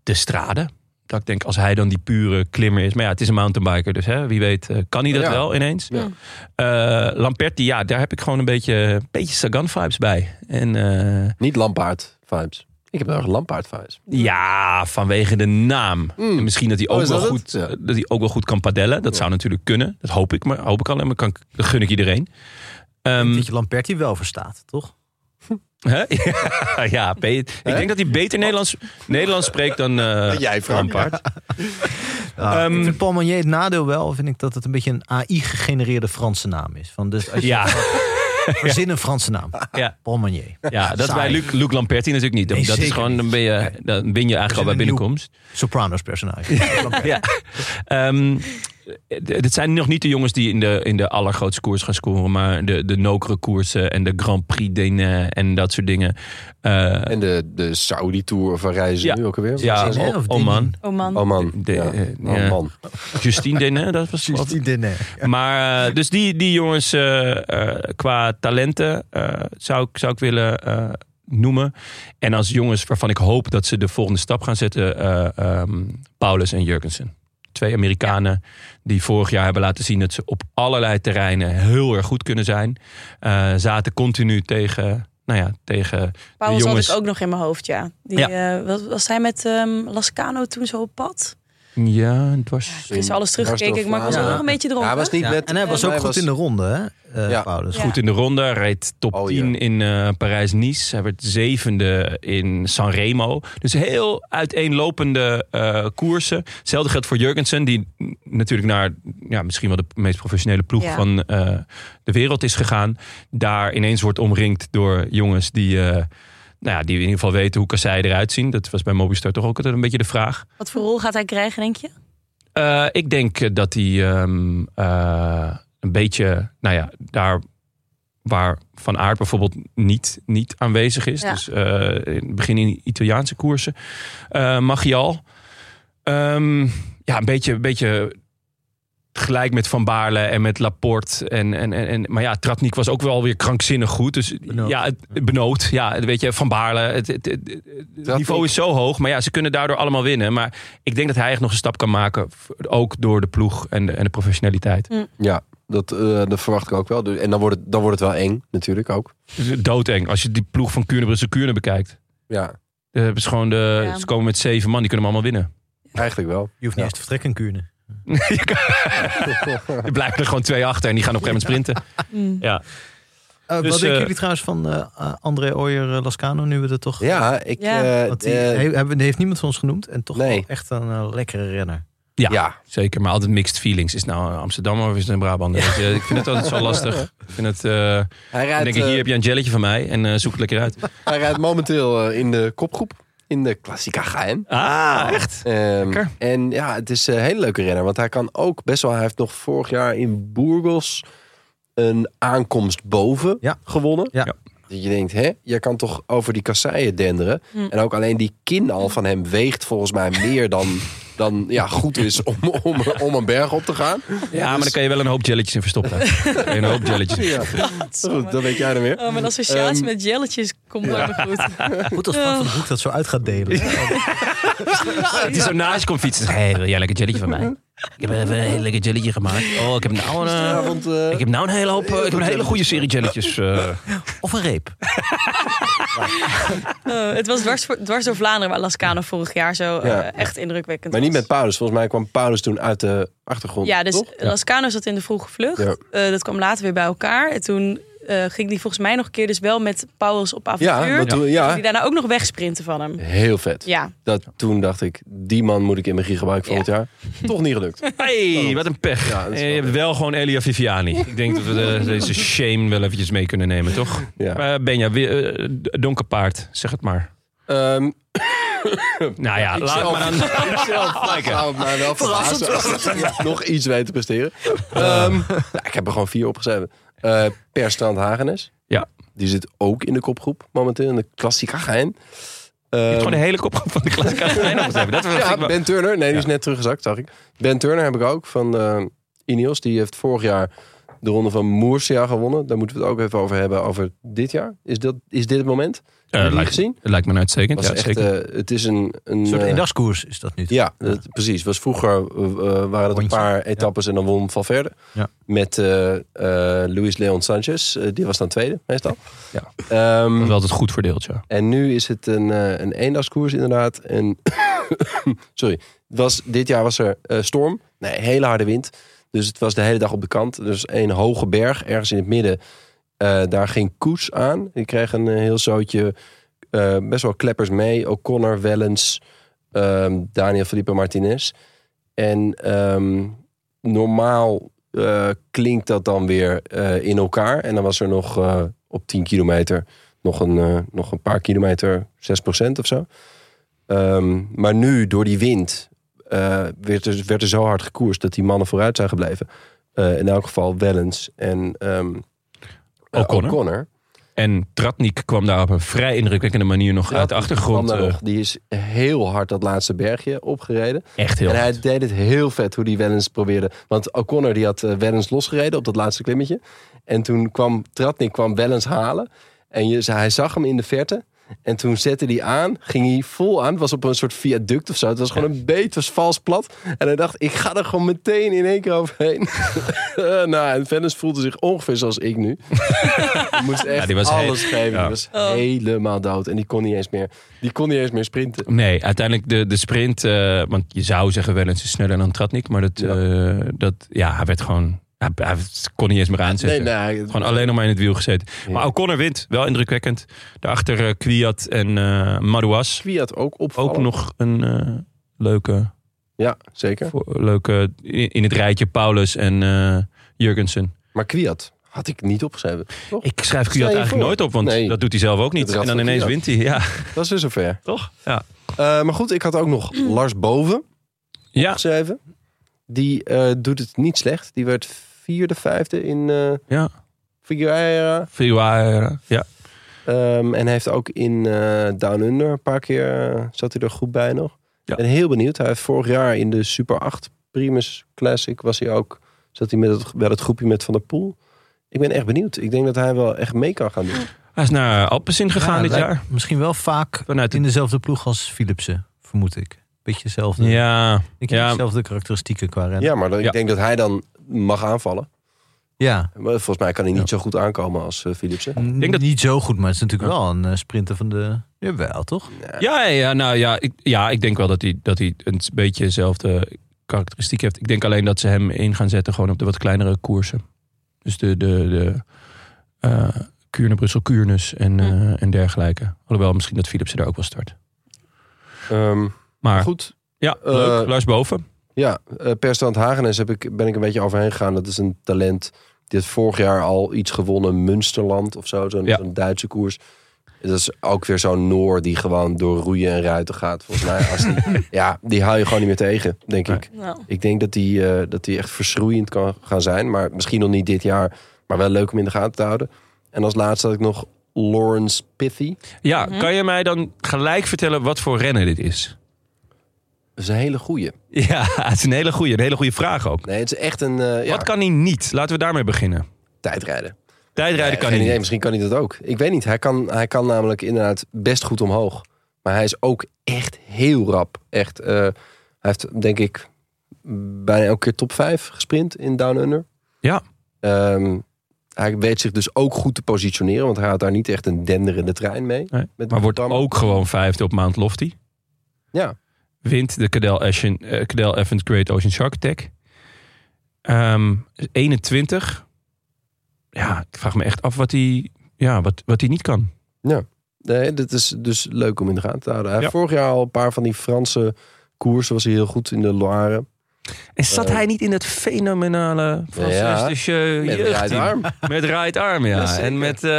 A: de strade. Dat ik denk, als hij dan die pure klimmer is. Maar ja, het is een mountainbiker, dus hè, wie weet eh, kan hij dat
C: Ja.
A: wel ineens.
C: Ja.
A: Eh, Lamperti, ja, daar heb ik gewoon een beetje, beetje Sagan-vibes bij. En eh,
C: Niet lampaard vibes. Ik heb erg lampaard vibes.
A: ja, vanwege de naam.
C: Mm.
A: En misschien dat hij
C: Oh,
A: ook,
C: is
A: wel
C: dat
A: goed,
C: het? Ja.
A: dat hij ook wel goed kan padellen. Dat zou natuurlijk kunnen. Dat hoop ik, maar hoop ik alleen maar kan, dat gun ik iedereen. Ehm,
B: Dat je Lamperti wel verstaat, toch?
A: hè? ja, Pe- ik denk dat hij beter Nederlands, Nederlands spreekt dan eh
C: Jij, Frank.
A: Lampaard.
B: Ja,
A: Ehm,
B: ik vind Paul Manier het nadeel wel, vind ik dat het een beetje een AI-gegenereerde Franse naam is. Van, dus als je
A: Ja,
B: verzin een Franse naam,
A: ja,
B: Paul Manier.
A: ja, dat
B: Saai.
A: bij Luc, Luc Lamperti natuurlijk niet.
B: Nee,
A: dat is
B: zeker
A: gewoon, dan ben je, dan ben je eigenlijk al bij
B: een nieuw-
A: binnenkomst.
B: Sopranos personage. Lamperti.
A: Ja. Ehm, d- dit zijn nog niet de jongens die in de, in de allergrootste koers gaan scoren. Maar de, de nokere koersen en de Grand Prix Denen en dat soort dingen. Eh,
C: En de, de Saudi-tour van reizen
A: Ja.
C: nu ook alweer.
A: ja,
B: hè, of
A: oh, oh man.
B: Denen?
D: Oh man.
C: Oh man.
A: De-
C: ja.
A: eh,
C: Oh
A: ja.
C: man.
A: Justine Denen, dat was wat.
B: Die Denen.
A: Maar eh, dus die, die jongens eh, eh, qua talenten eh, zou, ik, zou ik willen eh, noemen. En als jongens waarvan ik hoop dat ze de volgende stap gaan zetten. eh, ehm, Paulus en Jurgensen. Twee Amerikanen die vorig jaar hebben laten zien dat ze op allerlei terreinen heel erg goed kunnen zijn. Eh, zaten continu tegen, nou ja, tegen
D: Paul
A: de
D: zat
A: jongens.
D: ik ook nog in mijn hoofd, ja. Die, eh, was, was hij met ehm, Lascano toen zo op pad?
A: Ja, het was...
D: Ik is alles
C: Dwars
D: teruggekeken,
C: door
D: maar ik was
C: Vlaanderen.
D: ook nog een beetje
C: Ja,
D: dronken.
C: hij was niet
B: Ja,
C: met...
B: en hij was
C: eh,
B: ook goed in de ronde, hè? eh,
C: Ja.
B: Paulus.
D: Ja.
A: Goed in de ronde, reed top
C: Oh, ja.
A: 10 in eh, Parijs-Nice. Hij werd zevende in Sanremo. Dus heel uiteenlopende eh, koersen. Hetzelfde geldt voor Jurgensen, die n- natuurlijk naar ja, misschien wel de meest professionele ploeg
D: Ja.
A: van eh, de wereld is gegaan. Daar ineens wordt omringd door jongens die, eh, nou ja, die in ieder geval weten hoe Kassei eruit zien. Dat was bij Mobistar toch ook altijd een beetje de vraag.
D: Wat voor rol gaat hij krijgen, denk je?
A: Eh, ik denk eh, dat hij ehm, eh, een beetje, nou ja, daar waar Van Aert bijvoorbeeld niet, niet aanwezig is.
D: Ja.
A: Dus eh, in het begin in Italiaanse koersen. eh mag hij al. Ehm, ja, een beetje, een beetje gelijk met Van Baarle en met Laporte. En, en, en, en- maar ja, Tratnik was ook wel weer krankzinnig goed. Dus
B: Benoot.
A: ja, het, benoot. Ja, weet je, Van Baarle. Het, het, het- het niveau is zo hoog. Maar ja, ze kunnen daardoor allemaal winnen. Maar ik denk dat hij echt nog een stap kan maken. v- Ook door de ploeg en de, en de professionaliteit.
C: Ja, dat, eh, dat verwacht ik ook wel. Dus- En dan wordt, het, dan wordt het wel eng, natuurlijk ook.
A: Dus Doodeng. Als je die ploeg van Kuurne-Brussel Kuurne bekijkt.
C: Ja,
A: eh, hebben ze gewoon de,
D: Ja.
A: ze komen met zeven man. Die kunnen hem allemaal winnen.
C: eigenlijk wel.
B: Je hoeft niet
C: Ja.
B: eens te vertrekken in
A: Eh,
B: Kuurne.
A: Je kan- er blijven er gewoon twee achter. En die gaan op een gegeven moment sprinten.
D: Mm.
A: Ja.
B: Eh,
A: Dus,
B: wat denken
A: eh,
B: jullie trouwens van eh, eh, André Ooyer eh, Lascano, nu we er toch...
C: Ja, ik...
D: Ja.
C: eh,
B: Want die,
C: eh,
B: he- hebben, die heeft niemand van ons genoemd. En toch
C: Nee.
B: wel echt een eh, lekkere renner.
A: Ja.
C: ja,
A: Zeker, maar altijd mixed feelings. Is het nou een Amsterdammer of is het een Brabander? Weet je, Ik vind het altijd zo lastig. Ik vind het, eh,
C: hij
A: dan
C: rijdt,
A: denk ik, hier
C: eh,
A: heb je een jelletje van mij en eh, zoek het lekker uit.
C: hij rijdt momenteel eh, in de kopgroep. In de Klassica Gaim.
A: Ah, echt?
C: Ehm,
A: Lekker.
C: en ja, het is eh, een hele leuke renner. Want hij kan ook best wel... Hij heeft nog vorig jaar in Burgos een aankomst boven
B: Ja.
C: gewonnen.
B: Ja.
A: Ja.
C: Dat je denkt, hè, je kan toch over die kasseien denderen.
D: Hmm.
C: En ook alleen die kin al van hem weegt volgens mij meer dan, dan ja, goed is om, om, om een berg op te gaan. Dus-
A: Ja, maar dan kan je wel een hoop jelletjes in verstoppen. Dan kan je een hoop jelletjes. in.
C: Ja. Goed, dat weet jij dan weer.
D: Oh, mijn associatie
C: Ehm,
D: met jelletjes komt nooit meer goed.
B: Goed als Frank van de Hoek dat zo uit gaat delen.
A: Het is zo naast je komt fietsen. Hé, hey, wil jij een lekker jelletje van mij? Ik heb even een heel lekker jelletje gemaakt. Oh, ik heb nou een, eh,
C: Vanavond, eh,
A: ik heb nou een hele hoop... eh, ik heb een hele goede serie jelletjes. eh.
B: Of een reep.
D: Eh, het was dwars, voor- dwars door Vlaanderen waar Lascano vorig jaar zo eh,
C: Ja.
D: echt indrukwekkend
C: maar niet
D: was.
C: met Paulus. Volgens mij kwam Paulus toen uit de achtergrond.
D: Ja, dus
C: toch?
D: Lascano zat in de vroege vlucht.
C: Ja.
D: Eh, dat kwam later weer bij elkaar. En toen eh, ging die volgens mij nog een keer dus wel met Powers op avontuur.
C: Ja, dat,
D: Toen
C: toen-
D: ging
C: ja,
D: Die daarna ook nog wegsprinten van hem.
C: heel vet.
D: Ja,
C: Dat, toen dacht ik, die man moet ik in mijn gigabyte volgend jaar. Toch niet gelukt.
A: Hey, wat een pech.
C: Ja, dat
A: Eh,
C: is wel
A: je hebt
C: leuk.
A: wel gewoon Elia Viviani. Ik denk dat we de- deze shame wel eventjes mee kunnen nemen, toch?
C: Ja.
A: Eh, Benja, wie- eh, donker paard, zeg het maar.
C: Ehm, Eh,
A: Nou ja, laat
C: zelf-
A: maar dan...
C: ik zelf zou het mij wel verrassen als ik nog iets weet te presteren. Ehm, nou, ik heb er gewoon vier opgeschreven. Eh per Strand Hagenes.
A: Ja.
C: Die zit ook in de kopgroep momenteel, in de Klassica Ehm, Gein.
A: Ik heb gewoon de hele kopgroep van de klas Kastelein opgeschreven. Dat was
C: ja,
A: ja,
C: Ben Turner. Nee, die is net teruggezakt, zag ik. Ben Turner heb ik ook van eh Ineos. Die heeft vorig jaar de ronde van Moersia gewonnen. Daar moeten we het ook even over hebben, over dit jaar. Is, dat, is dit het moment? Heb je die
A: Eh, lijkt,
C: gezien?
A: lijkt me een uitstekend.
C: Was
A: Ja,
C: echt,
A: zeker.
C: eh, het is een... een
B: Een soort
C: eh,
B: eendagskoers is dat nu.
C: Ja, dat, precies. Was vroeger eh, eh, waren het een
B: Rondje.
C: paar etappes en dan won Van Verde.
B: Ja.
C: Met eh, eh, Luis Leon Sanchez. Eh, die was dan tweede, meestal. Ehm, Ja.
A: Dat is wel altijd goed verdeeld, ja.
C: en nu is het een, eh een eendagskoers inderdaad. En sorry, het was, dit jaar was er eh, storm. Nee, hele harde wind. Dus het was de hele dag op de kant. Dus een hoge berg ergens in het midden. Eh, daar ging Koets aan. Die kreeg een eh, heel zootje eh, best wel kleppers mee. O'Connor, Wellens, ehm, Daniel Felipe Martinez. En ehm, normaal eh, klinkt dat dan weer eh, in elkaar. En dan was er nog eh, op 10 kilometer nog een, eh, nog een paar kilometer, 6% of zo. Ehm, maar nu, door die wind, eh, werd, er, werd er zo hard gekoerst dat die mannen vooruit zijn gebleven. Eh, in elk geval Wellens en ehm eh,
A: O'Connor. En Tratnik kwam daar op een vrij indrukwekkende manier nog uit de achtergrond.
C: Van der
A: eh,
C: Rog, die is heel hard dat laatste bergje opgereden.
A: echt heel
C: en hij
A: hard.
C: deed het heel vet hoe die Wellens probeerde. Want O'Connor die had eh, Wellens losgereden op dat laatste klimmetje. En toen kwam Tratnik kwam Wellens halen. En je, hij zag hem in de verte. En toen zette hij aan, ging hij vol aan. Het was op een soort viaduct of zo. Het was gewoon een beet, het was vals plat. En hij dacht, ik ga er gewoon meteen in één keer overheen. Eh, nou, en Wellens voelde zich ongeveer zoals ik nu. Hij moest echt
A: Ja, die was
C: alles geven.
A: ja.
C: Die was helemaal dood. En die kon niet eens meer, die kon niet eens meer sprinten.
A: Nee, uiteindelijk de, de sprint. eh, want je zou zeggen wel eens sneller dan Tratnik. Maar dat,
C: Ja.
A: eh, dat, ja, hij werd gewoon... Hij, hij kon niet eens meer aanzetten.
C: Nee, nee,
A: Gewoon alleen nog maar in het wiel gezeten. Maar
C: Ja.
A: O'Connor wint. Wel indrukwekkend. Daarachter eh, Kwiat en eh Madouas.
C: Kwiat ook opvallen.
A: Ook nog een eh, leuke,
C: Ja, zeker.
A: voor- leuke... In in het rijtje Paulus en eh Jurgensen.
C: Maar Kwiat had ik niet opgeschreven. Toch?
A: Ik schrijf
C: Stel je
A: Kwiat eigenlijk
C: voor.
A: nooit op, want
C: Nee.
A: dat doet hij zelf ook niet.
C: Het rad
A: En dan
C: van
A: ineens
C: Kwiat.
A: wint hij. Ja,
C: Dat is weer zover.
A: toch? Ja.
C: Eh, maar goed, ik had ook nog Lars Boven
A: Ja,
C: opgeschreven. Die eh, doet het niet slecht. Die werd vierde, vijfde in eh
A: ja.
C: Figueira.
A: Figueira. eh, Ja.
C: Ehm, en hij heeft ook in eh, Down Under een paar keer eh, zat hij er goed bij nog.
A: Ja.
C: Ik ben heel benieuwd. Hij heeft vorig jaar in de Super 8 Primus Classic was hij ook Zat hij met het, bij dat groepje met Van der Poel. Ik ben echt benieuwd. Ik denk dat hij wel echt mee kan gaan doen.
A: Hij is naar Alpecin gegaan
B: Ja,
A: dit
B: lijkt
A: jaar.
B: Misschien wel vaak
A: Vanuit
B: in
A: de-
B: dezelfde ploeg als Philipsen, vermoed ik. Beetje hetzelfde.
A: Ja,
B: ik heb
A: ja.
B: dezelfde karakteristieken qua rennen.
C: Ja, maar dan-
A: Ja.
C: ik denk dat hij dan mag aanvallen.
B: Ja.
C: Maar volgens mij kan hij niet zo goed aankomen als eh, Philipsen.
B: Ik
A: denk
B: denk
A: dat-
B: dat niet zo goed, maar het is natuurlijk wel een eh, sprinter van de. Jawel, toch?
A: Ja, ja, ja, nou ja ik, ja, ik denk wel dat hij, dat hij een beetje dezelfde karakteristiek heeft. Ik denk alleen dat ze hem in gaan zetten gewoon op de wat kleinere koersen. Dus de, de, de eh, Kuurne, Brussel, Kuurnes en, eh, en dergelijke. Alhoewel misschien dat Philipsen daar ook wel start.
C: Ehm,
A: Maar
C: goed,
A: ja,
C: eh,
A: leuk. Lars Boven.
C: Ja, eh, per stand Hagenes heb ik, ben ik een beetje overheen gegaan. Dat is een talent. Die heeft vorig jaar al iets gewonnen. Münsterland of zo. Zo'n
A: Ja.
C: zo'n Duitse koers. Dat is ook weer zo'n Noor die gewoon door roeien en ruiten gaat. Volgens mij. Als die, ja, die hou je gewoon niet meer tegen, denk ik.
D: Nou,
C: Ik denk dat die, eh, dat die echt verschroeiend kan gaan zijn. Maar misschien nog niet dit jaar. Maar wel leuk om in de gaten te houden. En als laatste had ik nog Lawrence Pithy.
A: Ja, kan je mij dan gelijk vertellen wat voor rennen dit is?
C: Dat is een hele goeie.
A: Ja, het is een hele goede, een hele goede vraag ook.
C: Nee, het is echt een eh ja,
A: Wat kan hij niet? Laten we daarmee beginnen.
C: tijdrijden.
A: Tijdrijden
C: Ja,
A: kan
C: Eh, geen
A: hij
C: idee,
A: niet.
C: Misschien kan hij dat ook. Ik weet niet. Hij kan, hij kan namelijk inderdaad best goed omhoog. Maar hij is ook echt heel rap. Echt, eh, hij heeft denk ik bijna elke keer top 5 gesprint in Down Under.
A: Ja.
C: Ehm, hij weet zich dus ook goed te positioneren. Want hij had daar niet echt een denderende trein mee.
A: Nee,
C: Met
A: Maar wordt
C: Rotterdam.
A: ook gewoon vijfde op Mount Lofty.
C: Ja.
A: Wint de Cadel, Ashen, eh, Cadel Evans Great Ocean Shark Attack. Ehm, 21. Ja, ik vraag me echt af wat hij, ja, wat, wat hij niet kan.
C: Nee, dat is dus leuk om in de gaten te houden. Hij heeft
A: Ja.
C: vorig jaar al een paar van die Franse koersen. Was hij heel goed in de Loire.
A: En zat
C: Eh.
A: hij niet in dat fenomenale Francistische
C: Met
A: jeugdteam?
C: Rijt Arm.
A: Met Raid Arm, ja.
C: Jazeker.
A: en met eh,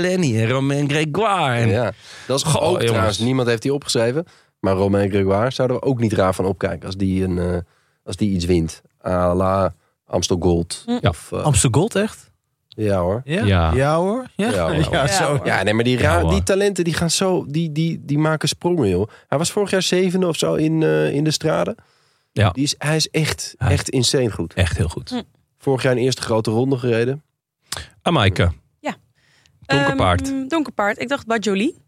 A: Lenny en Romain Grégoire. En,
C: ja. Dat is
A: Goh,
C: ook
A: jongens.
C: trouwens, niemand heeft die opgeschreven. Maar Romain Grégoire zouden we ook niet raar van opkijken als die, een, eh, als die iets wint. A la Amstel Gold.
D: Hm.
A: Ja.
C: Of, eh,
B: Amsterdam Gold, echt?
C: ja hoor.
A: Ja.
B: hoor. Ja,
C: Ja, hoor.
B: Ja, zo.
C: Ja, nee, maar die, raar,
A: hoor.
C: die talenten die gaan zo, die, die, die maken sprongen, joh. Hij was vorig jaar zevende of zo in, eh, in de straden.
A: Ja.
C: Die is, hij is echt,
A: Hij-
C: echt insane goed.
A: Echt heel goed.
C: Vorig jaar een eerste grote ronde gereden.
A: Amaike.
D: Ja.
A: Donkerpaard.
D: Ehm, donkerpaard. Ik dacht Badjolie.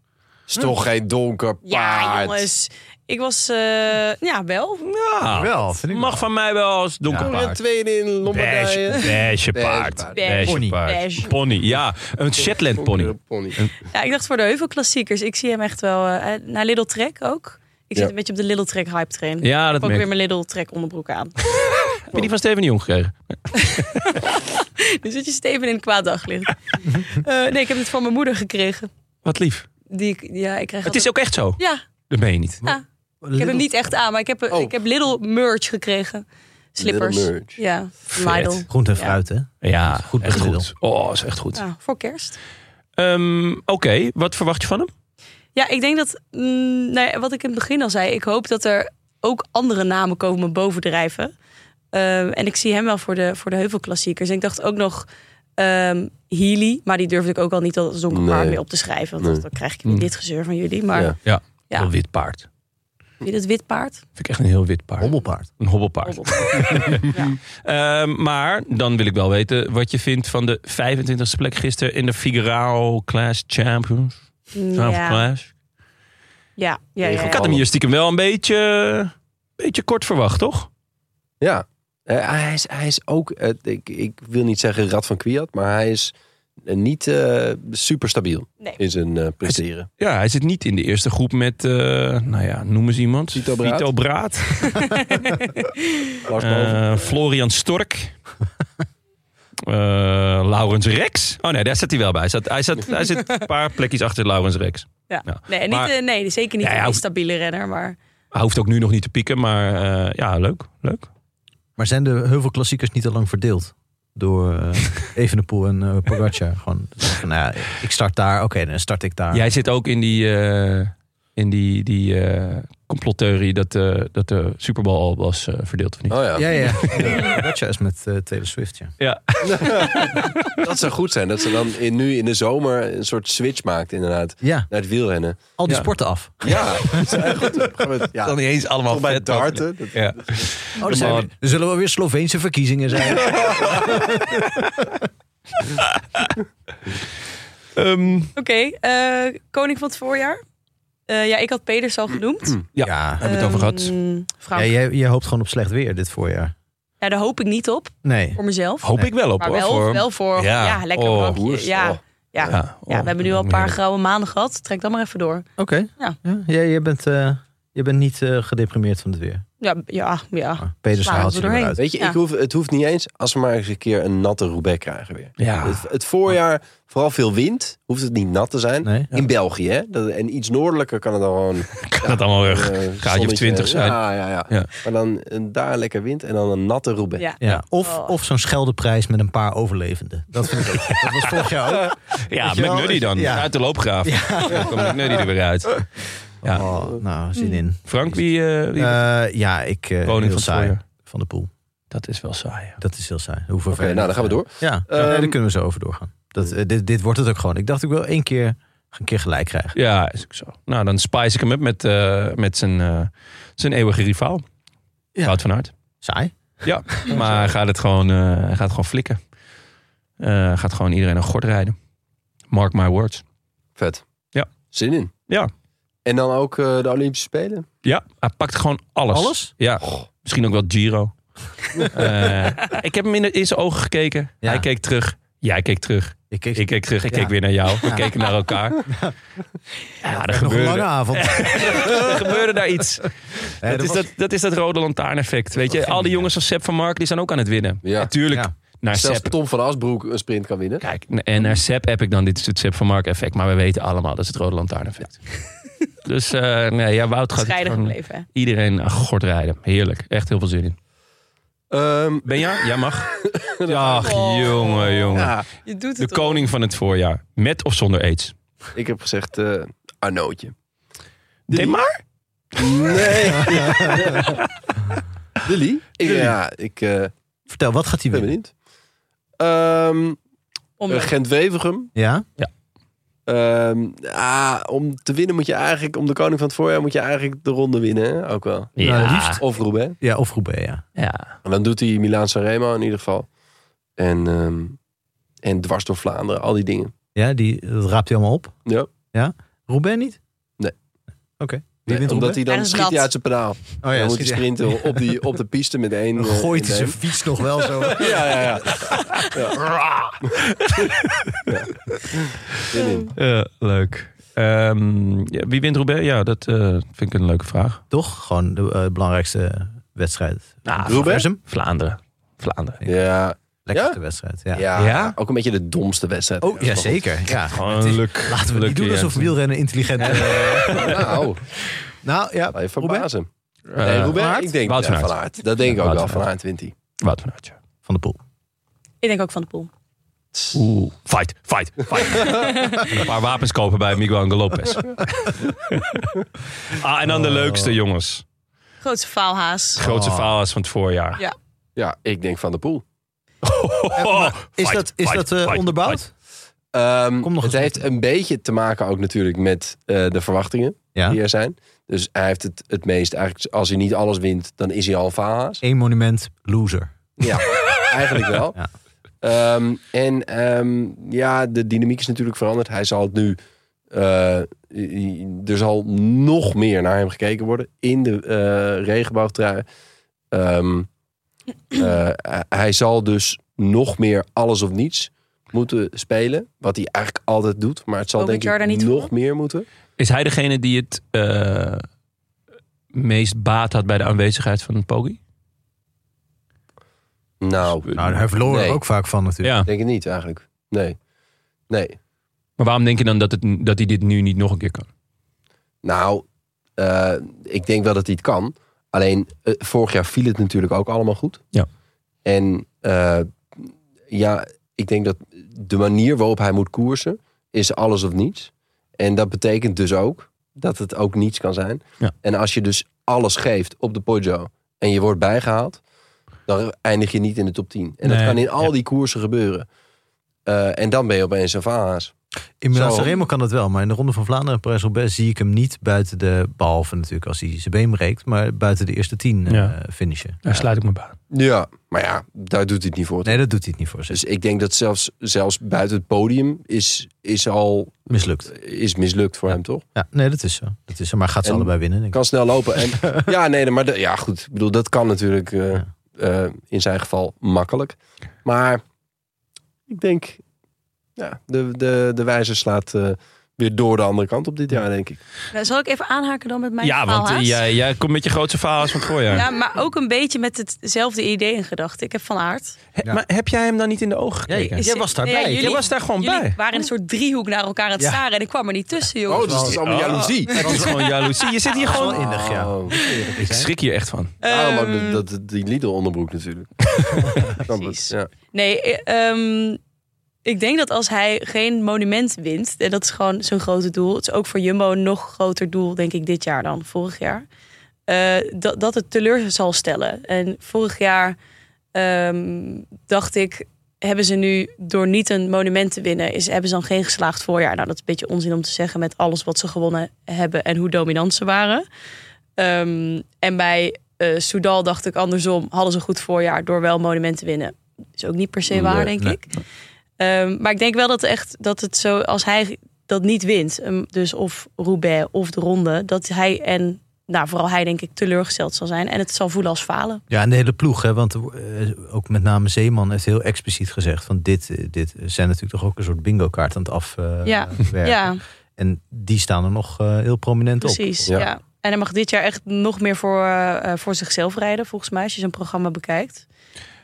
C: Is toch geen donker paard.
D: Ja, jongens. Ik was, eh, ja, wel.
A: ja,
B: Wel, vind ik
A: mag van mij wel als
C: Kom
A: donkerpaard.
C: er tweede in Lombardije.
A: Beige, beige
C: Beige
A: paard.
D: paard.
A: Beige
B: Pony.
A: paard.
D: Beige.
A: Pony, ja. Een Shetland pony.
C: Donkere pony.
D: Ja, ik dacht voor de heuvelklassiekers. Ik zie hem echt wel eh, eh, naar Little Trek ook. Ik zit
C: Ja.
D: een beetje op de Little Trek hype train. ik
A: Ja, dat
D: heb ook
A: merk
D: weer
A: ik.
D: mijn Little Trek onderbroek aan.
A: Heb je die van Steven de Jong gekregen?
D: nu zit Dus je Steven in een kwaad daglicht. Eh, nee, ik heb het van mijn moeder gekregen.
A: Wat lief.
D: Die ik, ja, ik krijg
A: Het is ook echt zo.
D: Ja,
A: Dat meen je niet.
D: Ah. ik heb hem niet echt aan, maar ik heb, eh,
C: Oh.
D: ik heb Little merch gekregen. Slippers.
C: Little merch.
D: Ja,
A: Vet.
D: Lidl.
B: Groente en
D: Ja.
B: fruit, hè?
A: Ja,
B: Goed
A: echt
B: bundel.
A: goed. Oh, is echt goed.
D: Ja, voor kerst.
A: Ehm, Oké, wat verwacht je van hem?
D: Ja, ik denk dat, mm, nou ja, wat ik in het begin al zei, ik hoop dat er ook andere namen komen bovendrijven. Ehm, en ik zie hem wel voor de, voor de heuvelklassiekers. En ik dacht ook nog ehm Healy, maar die durfde ik ook al niet als donkerpaard
C: Nee.
D: meer op te schrijven. Want
C: Nee.
D: dan- dan krijg ik
A: Mm.
D: weer dit gezeur van jullie. Maar
C: Ja.
A: Ja,
D: Ja.
A: een wit paard.
D: vind je het wit paard?
A: Vind ik echt een heel wit paard.
B: Hobbelpaard.
A: Een hobbelpaard. Ehm, maar dan wil ik wel weten wat je vindt van de 25e plek gisteren in de Figaro Class Champions.
D: Ja,
A: Of
D: ja,
A: Clash.
D: ja. ja, ja.
A: Ik had hem hier stiekem wel een beetje, beetje kort verwacht, toch?
C: Ja, Eh, hij, is, hij is ook, eh, ik, ik wil niet zeggen Rad van Kwiat, maar hij is eh, niet eh, super stabiel
D: Nee.
C: in zijn eh, presteren.
A: Ja, hij zit niet in de eerste groep met, eh, nou ja, noem eens iemand.
C: Vito Braat.
A: Braat.
C: Lars Boven.
A: Eh, Florian Stork. Eh, Laurens Rex. Oh nee, daar zat hij wel bij. Hij zat, hij zat, hij zit een paar plekjes achter Laurens Rex.
D: Ja.
A: Ja.
D: Nee, niet,
A: Maar-
D: eh, nee, zeker niet
A: Ja, ja,
D: een
A: ook-
D: stabiele renner, maar
A: Hij hoeft ook nu nog niet te pieken, maar eh, ja, leuk. leuk.
B: Maar zijn de heuvelklassiekers niet al lang verdeeld? Door eh, Evenepoel en eh, Pogacar. Gewoon, van, nou ja, ik start daar, oké, dan start ik daar.
A: Jij zit ook in die, eh, In die, die eh, complottheorie dat, eh, dat de Super Bowl al was eh, verdeeld of niet.
C: Oh ja.
B: Ja, ja. Gotcha is met eh, Taylor Swift, ja.
C: Dat zou goed zijn. Dat ze dan in, nu in de zomer een soort switch maakt inderdaad.
B: Ja,
C: Naar het wielrennen.
B: al die
A: Ja.
B: sporten af.
C: Ja, dat is echt goed. Gaan we het- ja.
A: niet eens allemaal
C: Toch bij darten. Dat-
A: Ja.
B: Oh, er, zijn
A: Man.
B: weer- er zullen wel weer Sloveense verkiezingen zijn.
A: Ehm,
D: Oké, eh, koning van het voorjaar. Eh, ja, ik had Peders al genoemd.
A: Ja.
B: ja.
A: Hebben we het over gehad?
D: Ehm,
B: Ja,
D: Frank. Ja,
B: jij, jij hoopt gewoon op slecht weer dit voorjaar.
D: daar hoop ik niet op,
B: Nee.
D: voor mezelf.
A: hoop ik wel op
D: maar
A: hoor.
D: wel
A: voor-
D: voor, wel voor
A: Ja.
D: ja, lekker
A: Oh,
D: drankje.
C: hoest.
D: Ja,
C: Oh.
D: ja. ja.
A: oh,
D: we hebben nu al een paar
A: heerlijk.
D: grauwe maanden gehad. Trek dan maar even door.
B: Oké.
D: Ja.
B: jij, jij bent, eh, jij bent niet eh, gedeprimeerd van het weer.
D: Ja, ja, ja.
B: Maar Peders
D: Slagen
B: haalt
D: we
B: je er weer
D: doorheen.
B: uit.
C: Weet je,
D: Ja.
C: ik hoef, het hoeft niet eens als we maar eens een keer een natte Roubaix krijgen weer.
A: Ja.
C: Het, het voorjaar, vooral veel wind, hoeft het niet nat te zijn.
B: Nee.
C: In België, hè? Dat, en iets noordelijker kan het dan gewoon...
A: Kan het allemaal weer
C: eh,
A: graadje of
C: zonnetje.
A: 20 zijn.
C: Ja, ja, ja,
A: Ja.
C: Maar dan een, daar lekker wind en dan een natte Roubaix.
D: ja.
B: Ja. Of,
D: Oh.
B: of zo'n scheldeprijs met een paar overlevenden. Dat vind ik ook. Dat was vorig jaar ook.
A: Ja,
B: Weet je wel,
A: McNuddy dan.
B: ja.
A: Uit de loopgraaf. Dan komt McNuddy er weer uit. Ja.
B: Oh, nou, zin in.
A: Frank, wie... eh, wie-
B: Eh, ja, ik... eh
A: Koning
B: heel
A: van het
B: saai.
A: voorjaar.
B: Van de pool.
A: dat is wel saai. ja.
B: Dat is heel saai. Hoeveel
C: Oké, nou, dan gaan we door.
B: Ja,
C: Ehm, hmm.
B: ja, daar kunnen we zo over doorgaan. Dat, eh, dit, dit wordt het ook gewoon. Ik dacht, ik wil één keer, een keer gelijk krijgen.
A: Ja, is ook zo. Nou, dan spice ik hem up met, eh, met zijn, eh, zijn eeuwige rivaal.
B: Ja.
A: Wout van Aert.
B: Saai.
A: Ja, maar hij gaat het gewoon, eh, hij gaat gewoon flikken. Eh, hij gaat gewoon iedereen een gort rijden. Mark my words.
C: Vet.
A: Ja.
C: Zin in.
A: Ja.
C: En dan ook eh, de Olympische Spelen.
A: Ja, hij pakt gewoon alles.
B: Alles?
A: Ja, Oh, misschien ook wel Giro. Eh, ik heb hem in, de- in zijn ogen gekeken.
B: Ja.
A: Hij keek terug. Jij keek terug.
B: Ik keek
A: Ik keek terug. Ik
B: Ja.
A: keek weer naar jou. We keken naar elkaar. Ja, er
B: nog een
A: gebeurde,
B: lange avond.
A: er gebeurde daar iets.
B: Hè,
A: dat, is
B: was-
A: dat, dat is dat rode lantaarneffect. Weet je, al die jongens als Sepp van Mark, die zijn ook aan het winnen.
C: Ja.
A: Natuurlijk.
B: Ja.
A: Naar
C: Zelfs
A: Sepp.
C: Tom van Asbroek een sprint kan winnen.
A: Kijk, en naar Sepp heb ik dan dit is het Sepp van Mark effect. Maar we weten allemaal, dat is het rode lantaarneffect. dus eh, nee, ja, Wout gaat het
D: Scheiden
A: gewoon
D: gebleven. hè.
A: iedereen aan gort rijden. Heerlijk. Echt heel veel zin in.
C: Ehm,
A: Ben jij? Jij mag. Ach, jongen, jongen.
C: ja,
D: Je doet
A: De
D: het toch?
A: koning van het voorjaar. Met of zonder aids.
C: ik heb gezegd eh Arnootje.
A: Nee, maar.
C: Nee. Dilly? Ik, ja, ik eh,
B: Vertel, wat gaat hij
C: ben
B: winnen?
C: benieuwd. Ehm
D: Om-
C: eh, Gent-Wevergem.
B: Ja?
C: Ehm, ah, om te winnen moet je eigenlijk, om de koning van het voorjaar moet je eigenlijk de ronde winnen, hè? ook wel.
B: Nou,
A: Ja.
B: liefst.
C: Of Roubaix.
B: Ja, of Roubaix, ja.
A: ja.
C: En dan doet hij Milaan Sanremo in ieder geval. En, ehm, en dwars door Vlaanderen, al die dingen.
B: Ja, die, dat raapt hij allemaal op.
C: Ja.
B: Roubaix niet?
C: Nee.
B: Oké. Wie wint Roubaix?
C: Omdat hij
D: Hij
C: dan
D: is
C: schiet hij
D: nat.
C: uit zijn pedaal.
B: Oh
C: dan moet
B: schiet
C: hij
B: hij-
C: sprinten op, die, op de piste met één.
B: Dan
C: eh,
B: gooit hij
C: in de
B: zijn
C: hemel.
B: fiets nog wel zo.
C: Ja, ja, ja. Zin in.
A: Eh, leuk. Ehm, ja, wie wint Roubaix? Ja, dat eh, vind ik een leuke vraag.
B: Toch? Gewoon de eh, belangrijkste wedstrijd.
A: Nou,
C: Roubaix?
B: Versum?
A: Vlaanderen. Vlaanderen.
C: Ja,
B: Lekkerste
C: Ja?
B: wedstrijd, ja.
C: ja,
A: Ja?
C: ook een beetje de domste wedstrijd.
B: Oh, ja, zeker. Ja.
A: Gewoon
B: Het is-
A: leuk.
B: Laten we
A: leuk
B: niet doen alsof
A: weekend.
B: wielrennen intelligent is.
C: Nou,
B: nou, ja.
C: laat je
B: Roubaix?
C: verbazen.
A: Eh,
C: Nee,
B: Van
C: Roubaix,
B: Aert?
C: ik denk
A: Wout
C: eh,
A: van
C: van
A: Aert.
C: Aert. Dat denk ik
A: Ja,
C: ook
A: Wout
C: wel,
A: van
C: van Aert wint hij.
A: Wout van Aert, ja.
B: Van de Poel.
D: Ik denk ook van de poel.
A: Oeh, fight, fight, fight. En een paar wapens kopen bij Miguel Angel Lopez. ah, en dan de leukste, jongens.
D: Grootste faalhaas.
A: Grootste
B: Oh.
A: faalhaas van het voorjaar.
C: Ja, ik denk Van der Poel.
B: Is
A: Fight,
B: dat, Eh, is
A: fight,
B: dat eh,
A: fight,
B: onderbouwd?
C: Ehm,
B: Kom nog
C: het
B: eens
C: heeft een beetje te maken ook natuurlijk met eh, de verwachtingen
B: Ja.
C: die er zijn. Dus hij heeft het, het meest eigenlijk, als hij niet alles wint, dan is hij al een faalhaas.
B: Eén monument, loser.
C: Ja, eigenlijk wel.
B: Ja.
C: Ehm, en ehm, ja, de dynamiek is natuurlijk veranderd. Hij zal het nu, eh, er zal nog meer naar hem gekeken worden in de eh regenboogtrui. Ehm, eh, hij zal dus nog meer alles of niets moeten spelen. Wat hij eigenlijk altijd doet. Maar het zal
D: Ook met
C: denk ik
D: Jordan niet
C: nog
D: voor?
C: meer moeten.
A: Is hij degene die het eh, meest baat had bij de aanwezigheid van Poggi?
C: Nou,
B: Nou, daar verloren
C: Nee.
B: ook vaak van natuurlijk.
A: Ja.
C: denk ik niet eigenlijk. Nee. Nee.
A: Maar waarom denk je dan dat, het, dat hij dit nu niet nog een keer kan?
C: Nou, eh, ik denk wel dat hij het kan. Alleen, eh, vorig jaar viel het natuurlijk ook allemaal goed.
A: Ja.
C: En eh, ja, ik denk dat de manier waarop hij moet koersen... is alles of niets. En dat betekent dus ook dat het ook niets kan zijn.
A: Ja.
C: En als je dus alles geeft op de Poggio en je wordt bijgehaald, dan eindig je niet in de top 10. En dat
A: Nee,
C: kan in al
A: ja.
C: die koersen gebeuren. Eh, en dan ben je opeens een vaas.
B: In
C: Zo.
B: Milaan-Sanremo kan dat wel, maar in de Ronde van Vlaanderen en Parijs-Roubaix zie ik hem niet buiten de, behalve natuurlijk als hij zijn been breekt, maar buiten de eerste tien eh,
A: Ja.
B: finishen.
A: Daar sluit ik me bij. aan.
C: Ja, maar ja, daar doet hij het niet voor.
B: Nee, dat doet hij het niet voor zich.
C: Dus ik denk dat zelfs, zelfs buiten het podium is, is al
B: Mislukt.
C: is mislukt voor hem, toch?
B: Ja, nee, dat is zo. Dat is zo. Maar gaat ze
C: En-
B: allebei winnen, denk ik.
C: Kan snel lopen. En, ja, nee, maar de- ja, goed. Ik bedoel, dat kan natuurlijk eh,
B: Ja.
C: eh, in zijn geval makkelijk. Maar ik denk, ja, de, de, de wijzer slaat eh, weer door de andere kant op dit jaar, denk ik.
D: Nou, zal ik even aanhaken dan met mijn
A: Ja, want eh,
D: faalhaast?
A: jij, jij komt met je grootste verhaal van het voorjaar.
D: Ja, maar ook een beetje met hetzelfde idee in gedachten. Ik heb van aard.
A: He-
B: Ja.
A: Maar heb jij hem dan niet in de ogen gekeken?
B: Jij was daarbij.
D: Nee,
B: Jij
A: Jij was daar gewoon
D: jullie
A: bij. Oh,
D: waren in een soort driehoek naar elkaar aan het
B: Ja.
D: staren. En ik kwam er niet tussen, jongens.
C: is
A: dus allemaal jaloezie. Het is gewoon jaloezie. Je zit hier
B: Dat is
A: gewoon...
B: wel innig, ja.
C: Oh,
A: Ik schrik hier echt van.
D: Eh,
C: Daarom ook dat- dat, die Lidl-onderbroek natuurlijk. Snap het,
D: Precies.
C: Ja.
D: Nee, eh, ehm, ik denk dat als hij geen monument wint, en dat is gewoon zijn grote doel, het is ook voor Jumbo een nog groter doel, denk ik, dit jaar dan vorig jaar, eh, dat, dat het teleur zal stellen. En vorig jaar ehm, dacht ik, hebben ze nu door niet een monument te winnen, is, hebben ze dan geen geslaagd voorjaar? Nou, dat is een beetje onzin om te zeggen met alles wat ze gewonnen hebben en hoe dominant ze waren. Ehm, en bij eh, Soudal dacht ik andersom, hadden ze een goed voorjaar door wel monument te winnen. Is ook niet per se waar,
C: Nee,
D: denk
B: nee.
D: ik. Ehm, maar ik denk wel dat, echt, dat het zo, als hij dat niet wint, ehm, dus of Roubaix of de ronde, dat hij en, nou vooral hij denk ik, teleurgesteld zal zijn. En het zal voelen als falen.
B: Ja, en de hele ploeg, hè, want eh, ook met name Zeeman heeft heel expliciet gezegd: van dit, eh, dit zijn natuurlijk toch ook een soort bingo-kaart aan het afwerken. Eh,
D: Ja. ja.
B: En die staan er nog eh, heel prominent op.
D: Precies,
C: Ja.
D: ja. En hij mag dit jaar echt nog meer voor, eh, eh, voor zichzelf rijden, volgens mij, als je zijn programma bekijkt.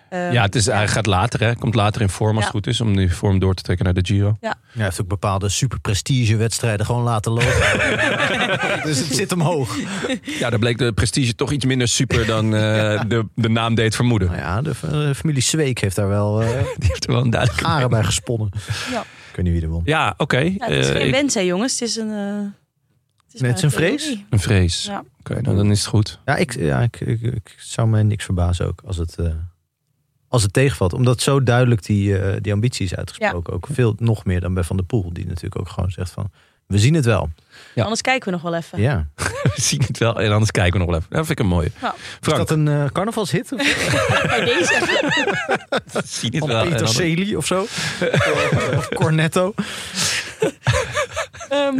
D: Ehm,
A: Ja, het is, hij gaat later, hè. Komt later in vorm als het
D: Ja.
A: goed is. Om die vorm door te trekken naar de Giro.
B: Ja, hij heeft ook bepaalde superprestige-wedstrijden gewoon laten lopen. dus het zit omhoog.
A: Ja, daar bleek de prestige toch iets minder super dan eh, de, de naam deed vermoeden.
B: Nou ja, de eh, familie Zweek heeft daar wel eh
A: Die heeft er wel een duidelijke...
B: garen bij gesponnen.
D: Ja.
B: Ik weet niet wie er won.
A: Ja, oké.
D: Ja, het is
A: Eh,
D: geen
A: ik-
D: wens, hè, jongens. Het is een. eh, het is maar
B: het is een
D: theorie.
B: vrees?
A: een vrees.
D: Ja.
A: Oké, nou, dan is het goed.
B: Ja, ik, ja ik, ik, ik zou mij niks verbazen ook als het, eh, als het tegenvalt. Omdat zo duidelijk die, eh, die ambitie is uitgesproken. Ook veel nog meer dan bij Van der Poel. Die natuurlijk ook gewoon zegt van, we zien het wel.
A: Ja.
D: Anders kijken we nog wel even.
B: Ja.
A: We zien het wel. En anders kijken we nog wel even. Dat vind ik een mooie.
D: Nou.
B: Is
A: Frank,
B: dat een eh, carnavalshit? Of
D: Bij deze.
A: we zien het
B: van
A: wel.
B: Peter
A: En dan-
B: Celi of zo? of Cornetto?
D: Ehm,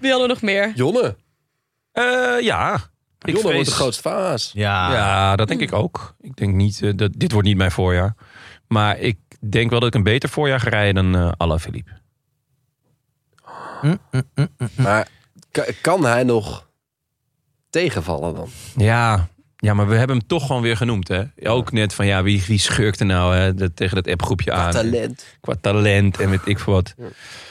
D: wie hadden we nog meer?
C: Jonne,
A: Eh, ja. Ik
C: Jonne
A: vrees-
C: wordt de grootste vaas.
B: Ja.
A: Ja, dat denk ik ook. Ik denk niet, eh, dat, dit wordt niet mijn voorjaar. Maar ik denk wel dat ik een beter voorjaar ga rijden dan eh Alain Philippe. Hm.
C: Maar ka- kan hij nog tegenvallen dan?
A: Ja. ja, maar we hebben hem toch gewoon weer genoemd. Hè? Ook net van, ja, wie, wie schurkt er nou hè, dat- tegen dat appgroepje aan?
C: Talent.
A: Qua talent en weet ik veel wat.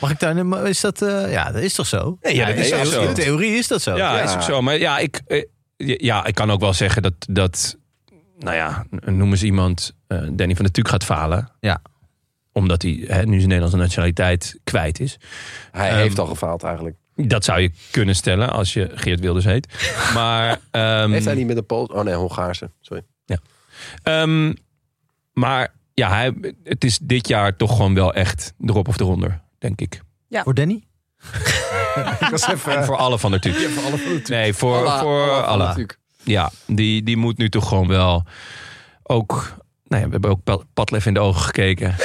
B: Mag ik daar nu... maar Is dat, eh, ja, dat is toch zo?
A: ja, dat is
B: in
A: ook zo.
B: In theorie is dat zo.
A: Ja,
C: Ja.
A: is ook zo. Maar ja, ik, eh, ja, ik kan ook wel zeggen dat, dat nou ja, noem eens iemand, eh, Danny van der Tuuk gaat falen.
B: Ja.
A: Omdat hij hè, nu zijn Nederlandse nationaliteit kwijt is.
C: Hij
A: Ehm,
C: heeft al gefaald eigenlijk.
A: Dat zou je kunnen stellen als je Geert Wilders heet. Maar, ehm,
C: Heeft hij niet met een Pool? Oh nee, Hongaarse. Sorry.
A: ehm, maar ja, hij, het is dit jaar toch gewoon wel echt erop of eronder, denk ik.
B: Voor Danny?
C: eh,
A: En voor alle van der Tuuk. Nee, voor, voor alle.
C: natuurlijk.
A: Ja, die, die moet nu toch gewoon wel ook. Nou ja, we hebben ook Pat- Padlef in de ogen gekeken.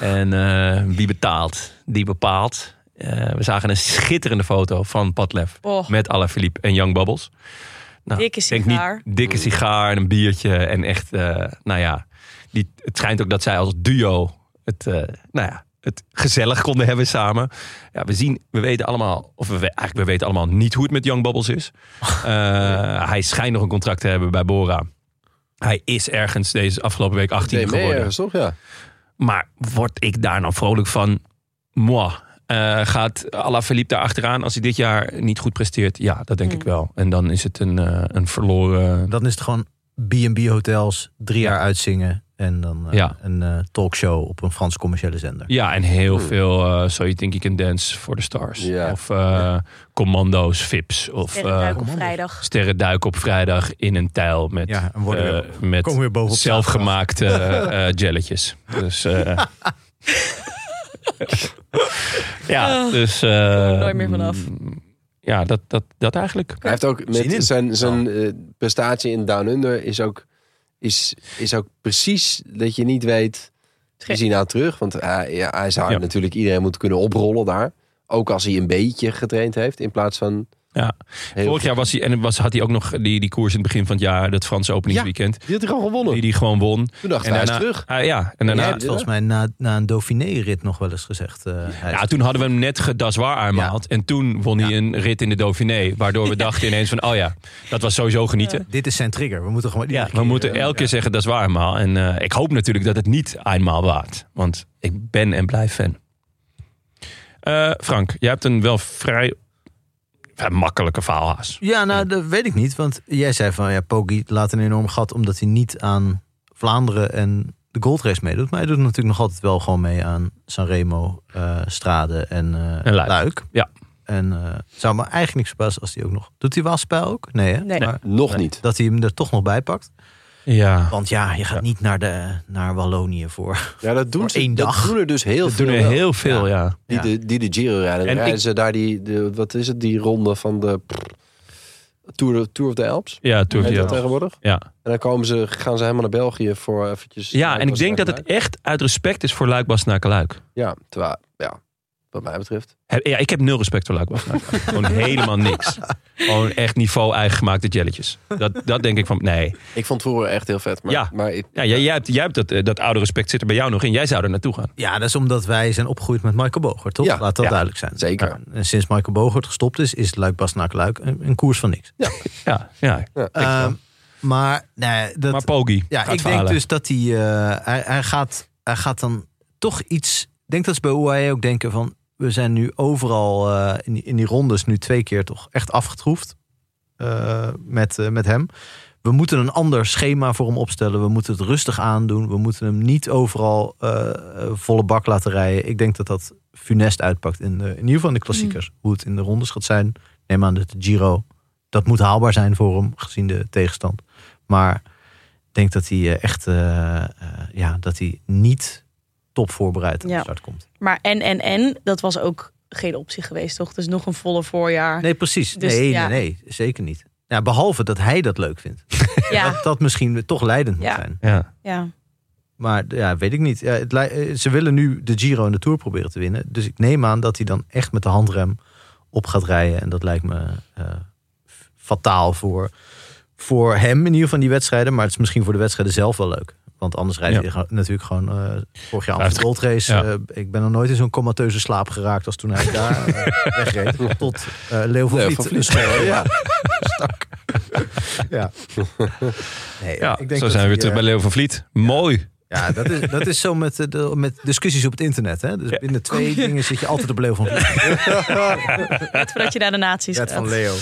A: En eh, wie betaalt, die bepaalt. Eh, we zagen een schitterende foto van Padlef
D: Oh,
A: met Alaphilippe en Young Bubbles. Nou,
D: Dikke
A: ik denk niet-
D: sigaar.
A: dikke sigaar en een biertje. En echt, eh, nou ja, die, het schijnt ook dat zij als duo het, eh, nou ja, het gezellig konden hebben samen. Ja, we zien, we weten allemaal, of we, we- eigenlijk we weten allemaal niet hoe het met Young Bubbles is. Eh, hij schijnt nog een contract te hebben bij Bora. Hij is ergens deze afgelopen week 18
C: Deed mee
A: geworden.
C: ergens, toch? Ja.
A: Maar word ik daar nou vrolijk van? Moi. Eh, gaat Alaphilippe daar achteraan als hij dit jaar niet goed presteert? Ja, dat denk
D: Mm.
A: ik
C: Hmm.
A: wel. En dan is het een, eh, een verloren...
B: Dan is het gewoon B&B hotels, drie jaar uitzingen. En dan eh,
A: Ja.
B: een eh, talkshow op een Frans commerciële zender.
A: Ja, en heel veel eh So You Think You Can Dance for the Stars.
C: Hmm. Ja.
A: Of eh, commando's, vips. Of eh
D: Sterrenduik op vrijdag.
A: sterren duiken op vrijdag in een tijl met,
B: Ja, en worden weer-
A: eh, met
B: komen weer bovenop
A: zelfgemaakte eh, eh, jelletjes. Dus, eh,
D: Ah.
A: ja, dus... eh, mm,
D: er nooit meer vanaf.
A: Ja, dat, dat, dat eigenlijk.
C: Hij heeft ook
B: Zin in.
C: met zijn, zijn
A: Oh.
C: eh, prestatie in Down Under is ook, is, is ook precies dat je niet weet. We zien nou terug, want hij, ja, hij zou
A: Ja.
C: natuurlijk iedereen moeten kunnen oprollen daar. Ook als hij een beetje getraind heeft in plaats van.
A: Ja.
C: heel
A: Vorig
C: veel.
A: jaar was hij, en was, had hij ook nog die, die koers in het begin van het jaar, dat Franse openingsweekend.
C: Die had hij gewoon gewonnen.
A: Die die gewoon won.
C: Toen dacht
A: En
C: hij, hij is
A: daarna-
C: terug.
A: Ah, ja, en
C: Ja,
A: daarna,
C: dat-
B: Nou, Volgens mij na, na een Dauphiné-rit nog wel eens gezegd. eh, hij
A: Ja,
B: is-
A: toen hadden we hem net gedaswaar aanmaald. En toen won hij een rit in de Dauphiné. Waardoor we dachten ineens van, oh ja, dat was sowieso genieten.
B: Dit is zijn trigger. We moeten gewoon.
A: Ja,
B: iedere
A: we
B: keer,
A: moeten
B: eh,
A: elke keer zeggen dat is waar eenmaal. En eh, ik hoop natuurlijk dat het niet eenmaal waard. Want ik ben en blijf fan. Eh, Frank, jij hebt een wel vrij, vrij makkelijke faalhaas.
B: Ja, nou, dat weet ik niet. Want jij zei van ja, Poggi laat een enorm gat omdat hij niet aan Vlaanderen en de goldrace meedoet. Maar hij doet natuurlijk nog altijd wel gewoon mee aan Sanremo, eh Strade en, eh
A: En Luik.
B: Luik.
A: Ja.
B: En eh, zou me eigenlijk niks verbazen als hij ook nog. Doet hij Waspijl ook? Nee, hè?
D: Nee.
B: Maar
C: Nog niet.
B: dat hij hem er toch nog bij pakt.
A: Ja.
B: Want ja, je gaat
A: Ja.
B: niet naar, de, naar Wallonië voor.
C: Ja, dat doen
B: Voor
C: ze.
B: één dag.
C: Dat doen er dus heel
A: Dat
C: veel.
A: doen er
C: wel.
A: heel veel, ja.
C: die,
B: Ja.
C: de, die de Giro rijden.
A: En
C: En rijden
A: ik-
C: ze daar die, de- wat is het, die ronde van de Tour, Tour of the Alps?
A: Ja, Tour of the
C: Heet dat
A: Alps.
C: tegenwoordig.
A: Ja.
C: En dan komen ze, gaan ze helemaal naar België voor eventjes...
A: Ja, en ik denk dat het echt uit respect is voor Luik Bastenaken-Luik.
C: Ja, terwijl, ja, wat mij betreft.
A: Heb- Ja, ik heb nul respect voor Luik Bastenaken. Gewoon helemaal niks. Gewoon echt niveau eigen gemaakte jelletjes. Dat, dat denk ik van, nee.
C: Ik vond het vroeger echt heel vet. Maar,
A: Ja.
C: maar ik-
A: Ja, jij, jij hebt, jij hebt dat, eh, dat oude respect zit er bij jou nog in. Jij zou er naartoe gaan.
B: Ja, dat is omdat wij zijn opgegroeid met Michael Bogert, toch?
C: Ja.
B: Laat dat
A: Ja.
B: duidelijk zijn.
C: Zeker.
B: Ja. En sinds Michael Bogert gestopt is, is Luik Basnak Luik een, een koers van niks.
A: Ja, ja.
B: Ehm, maar nee, dat,
A: maar Pogi
B: ja,
A: gaat
B: ik denk
A: verhalen.
B: dus dat hij, eh, hij, hij, gaat, hij gaat dan toch iets. Ik denk dat ze bij UAE ook denken van. We zijn nu overal eh, in, die- in die rondes nu twee keer toch echt afgetroefd eh, met, eh, met hem. We moeten een ander schema voor hem opstellen. We moeten het rustig aandoen. We moeten hem niet overal eh, eh, volle bak laten rijden. Ik denk dat dat funest uitpakt. In, de, in ieder geval in de klassiekers. Hoe het in de rondes gaat zijn. Neem aan dat de Giro. Dat moet haalbaar zijn voor hem. Gezien de tegenstand. Maar ik denk dat hij eh, echt. eh, eh, ja, dat hij niet top voorbereid aan
D: Ja.
B: de start komt.
D: Maar en, en, en, dat was ook geen optie geweest, toch? Dus nog een volle voorjaar.
B: Nee, precies.
D: Dus,
B: nee,
D: ja.
B: nee, nee. Zeker niet. Ja, behalve dat hij dat leuk vindt.
D: Ja,
B: Dat dat misschien toch leidend
D: Ja.
B: moet zijn.
A: Ja.
D: ja.
B: Maar ja, weet ik niet. Ja, het lij- eh, ze willen nu de Giro en de Tour proberen te winnen. Dus ik neem aan dat hij dan echt met de handrem op gaat rijden. En dat lijkt me eh, f- fataal voor, voor hem in ieder geval die wedstrijden. Maar het is misschien voor de wedstrijden zelf wel leuk. Want anders rijdt
A: Ja.
B: hij gewoon- natuurlijk gewoon eh, vorig
A: Hij
B: jaar aan de
A: heeft-
B: Gold Race.
A: ja.
B: eh, ik ben nog nooit in zo'n comateuze slaap geraakt als toen hij daar eh, wegreed. Tot eh Leo van
C: Leo
B: Vliet
C: van
B: een
C: Vliet.
B: schel
C: Ja.
B: stak. ja. Nee,
A: Ja,
B: ik
A: zo
B: denk dat
A: zijn we
B: hij,
A: weer terug
B: eh,
A: bij Leo van Vliet. Mooi.
B: ja, dat is, dat is zo met, de- de, met discussies op het internet. Hè? Dus binnen twee dingen zit je altijd op Leo van Vliet.
D: Net voordat je naar de nazi's
B: Red
D: gaat.
B: van Leo.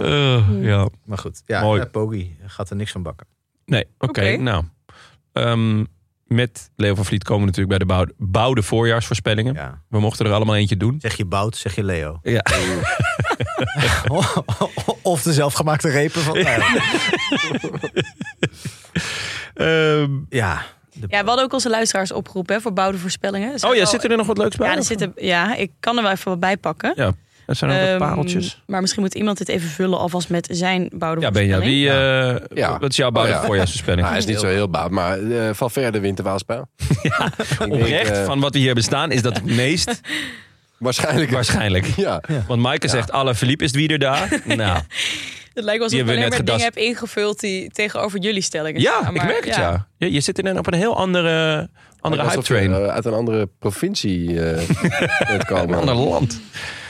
A: Eh, ja.
B: Maar goed, ja,
A: Mooi.
B: Mooi. gaat er niks van bakken.
A: Nee, oké.
D: Oké.
A: Nou, Ehm, met Leo van Vliet komen we natuurlijk bij de bouwde, bouwde voorjaarsvoorspellingen.
B: Ja.
A: We mochten er allemaal eentje doen.
B: Zeg je Bout, zeg je Leo.
A: Ja.
B: of de zelfgemaakte repen van...
A: Ehm,
B: Ja,
D: Ja, we hadden ook onze luisteraars opgeroepen hè, voor bouwde voorspellingen.
A: oh ja,
D: wel-
A: zitten er nog wat leuks bij?
D: ja, er zitten, ja, ik kan er wel even wat bij pakken.
A: Ja, dat zijn ook wat
D: Ehm,
A: pareltjes.
D: Maar misschien moet iemand dit even vullen alvast met zijn bouwde
A: Ja, Benja,
D: voorspelling.
A: wie, eh
C: Ja.
A: wat is jouw bouwde
C: Oh ja.
A: voorjaarsvoorspelling?
C: nou, hij is niet zo heel baat, maar eh, van verder wint de Waalspijl. Ja,
A: Oprecht,
C: eh,
A: van wat we hier hebben staan, is dat het meest
C: Waarschijnlijk.
A: waarschijnlijk.
C: Ja.
A: Want Maaike zegt, alle Philippe is wie er daar. Nou,
D: Het lijkt wel
A: Die
D: alsof ik
A: hebben we
D: alleen maar
A: net
D: dingen
A: gedast.
D: heb ingevuld die tegenover jullie stellingen
A: ja,
D: staan,
A: ik
D: maar
A: merk het, ja. Je, je zit in een, op een heel andere, andere hype
C: Alsof je,
A: train.
C: eh, uit een andere provincie eh bent
A: een
C: komen.
A: ander land.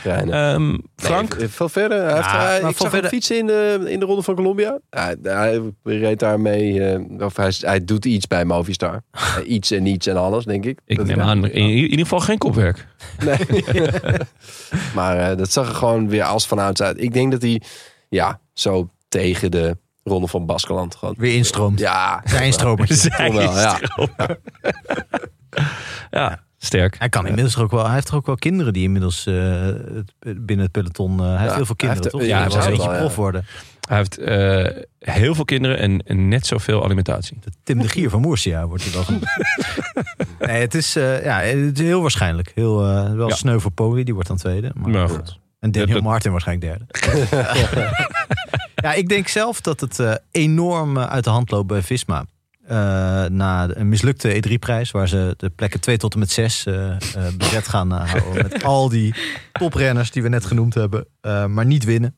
C: Treinen.
A: Ehm, Frank?
C: Nee, eh, veel verder. Hij heeft, hij-
B: maar
C: ik
B: Van
C: zag
B: Verre-
C: hem fietsen in de, in de Ronde van Colombia. Hij, hij reed daarmee... eh, of hij, hij doet iets bij Movistar. Eh, iets en niets en alles, denk ik.
A: ik
C: Dat-
A: neem aan, in, in ieder geval geen kopwerk.
C: Maar eh, dat zag er gewoon weer als vanuit uit. Ik denk dat hij ja, zo tegen de Ronde van Baskeland gewoon.
B: Weer instroomt.
C: Ja,
B: Zijn stromertje.
C: toch wel, ja.
A: Ja, sterk.
B: Hij kan inmiddels ook wel. Hij heeft toch ook wel kinderen die inmiddels eh, het- binnen het peloton. eh, hij heeft
C: Ja,
B: heel veel
C: hij
B: kinderen,
C: heeft-
B: toch?
C: ja,
B: Die
C: hij
B: moeten
C: heeft
B: een
C: wel,
B: beetje
C: ja.
B: prof worden.
A: Hij heeft eh, heel veel kinderen en, en net zoveel alimentatie.
B: De Tim de Gier van Moersia wordt hij wel genoemd. nee, het is, eh, ja, het is heel waarschijnlijk. Heel, eh, wel
A: Ja.
B: sneu voor Poli, die wordt dan tweede. Maar,
A: Maar goed.
B: En Daniel
A: Ja, dat-
B: Martin waarschijnlijk derde. ja, ik denk zelf dat het eh, enorm eh, uit de hand loopt bij Visma. Eh, na een mislukte E3-prijs, waar ze de plekken 2 tot en met 6 bezet gaan eh, houden. Met al die toprenners die we net genoemd hebben, eh, maar niet winnen.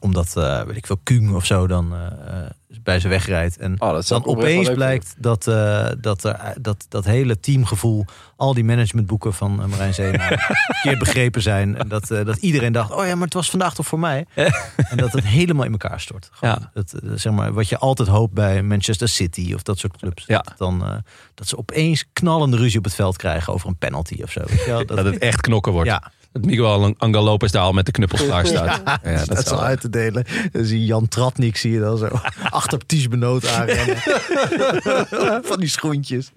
B: Omdat, eh, weet ik veel, Kung of zo dan eh, eh, bij ze wegrijdt. En
C: Oh, dat zou
B: dan
C: ik oprecht wel
B: opeens
C: leuk
B: blijkt dat, eh, dat, er, dat dat hele teamgevoel, al die managementboeken van eh, Marijn Zeeman verkeerd begrepen zijn. En dat, eh, dat iedereen dacht, oh ja, maar het was vandaag toch voor mij? en dat het helemaal in elkaar stort. Gewoon
A: Ja.
B: dat, eh, zeg maar, wat je altijd hoopt bij Manchester City of dat soort clubs.
A: Ja.
B: Dat, het dan, eh, dat ze opeens knallende ruzie op het veld krijgen over een penalty of zo. Weet je wel? Dat,
A: Dat het echt knokken wordt.
B: ja,
A: Dat Miguel Angel Lopez daar al met de knuppels klaar staat. Ja,
B: dat, is al uit te delen. Dan zie je Jan Tratnik, zie je dan zo achter Ties Benoot aanrennen. Van die schoentjes.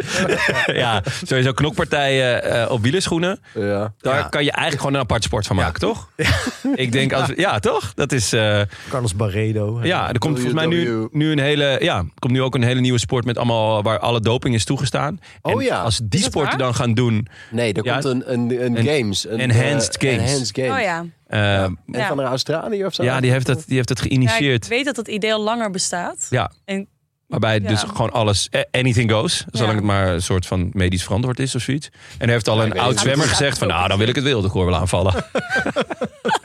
A: ja, sowieso knokpartijen eh, op wielerschoenen.
C: vinden. Ja.
A: Daar
B: Ja.
A: kan je eigenlijk gewoon een apart sport van maken, toch? Ik denk, als, ja, toch? Dat is, eh,
B: Carlos Barredo.
A: ja, er komt volgens mij nu,
C: E?
A: nu een hele, ja, er komt nu ook een hele nieuwe sport met allemaal waar alle doping is toegestaan.
C: Oh
A: en
C: ja.
A: als die
D: dat
A: sporten
D: waar?
A: dan gaan doen,
C: Nee, er
A: Ja,
C: komt een, een, een,
A: een-
C: games. Een,
A: enhanced
C: eh,
A: games.
C: Enhanced games.
D: Oh ja.
A: eh,
C: En
D: Ja.
C: van een Australië of zo?
A: ja, die heeft dat, die heeft dat
D: ja. Ik
A: geïnitieerd.
D: weet dat dat idee al langer bestaat.
A: Ja.
D: En-
A: Waarbij dus
D: Ja.
A: gewoon alles, eh, anything goes. Zolang
D: Ja.
A: het maar een soort van medisch verantwoord is of zoiets. En hij heeft al een
C: ik weet
A: oud
C: het.
A: zwemmer
D: Ja, dat
A: gezegd van,
D: is ook
A: nou, dan wil ik het wildegoor wel aanvallen.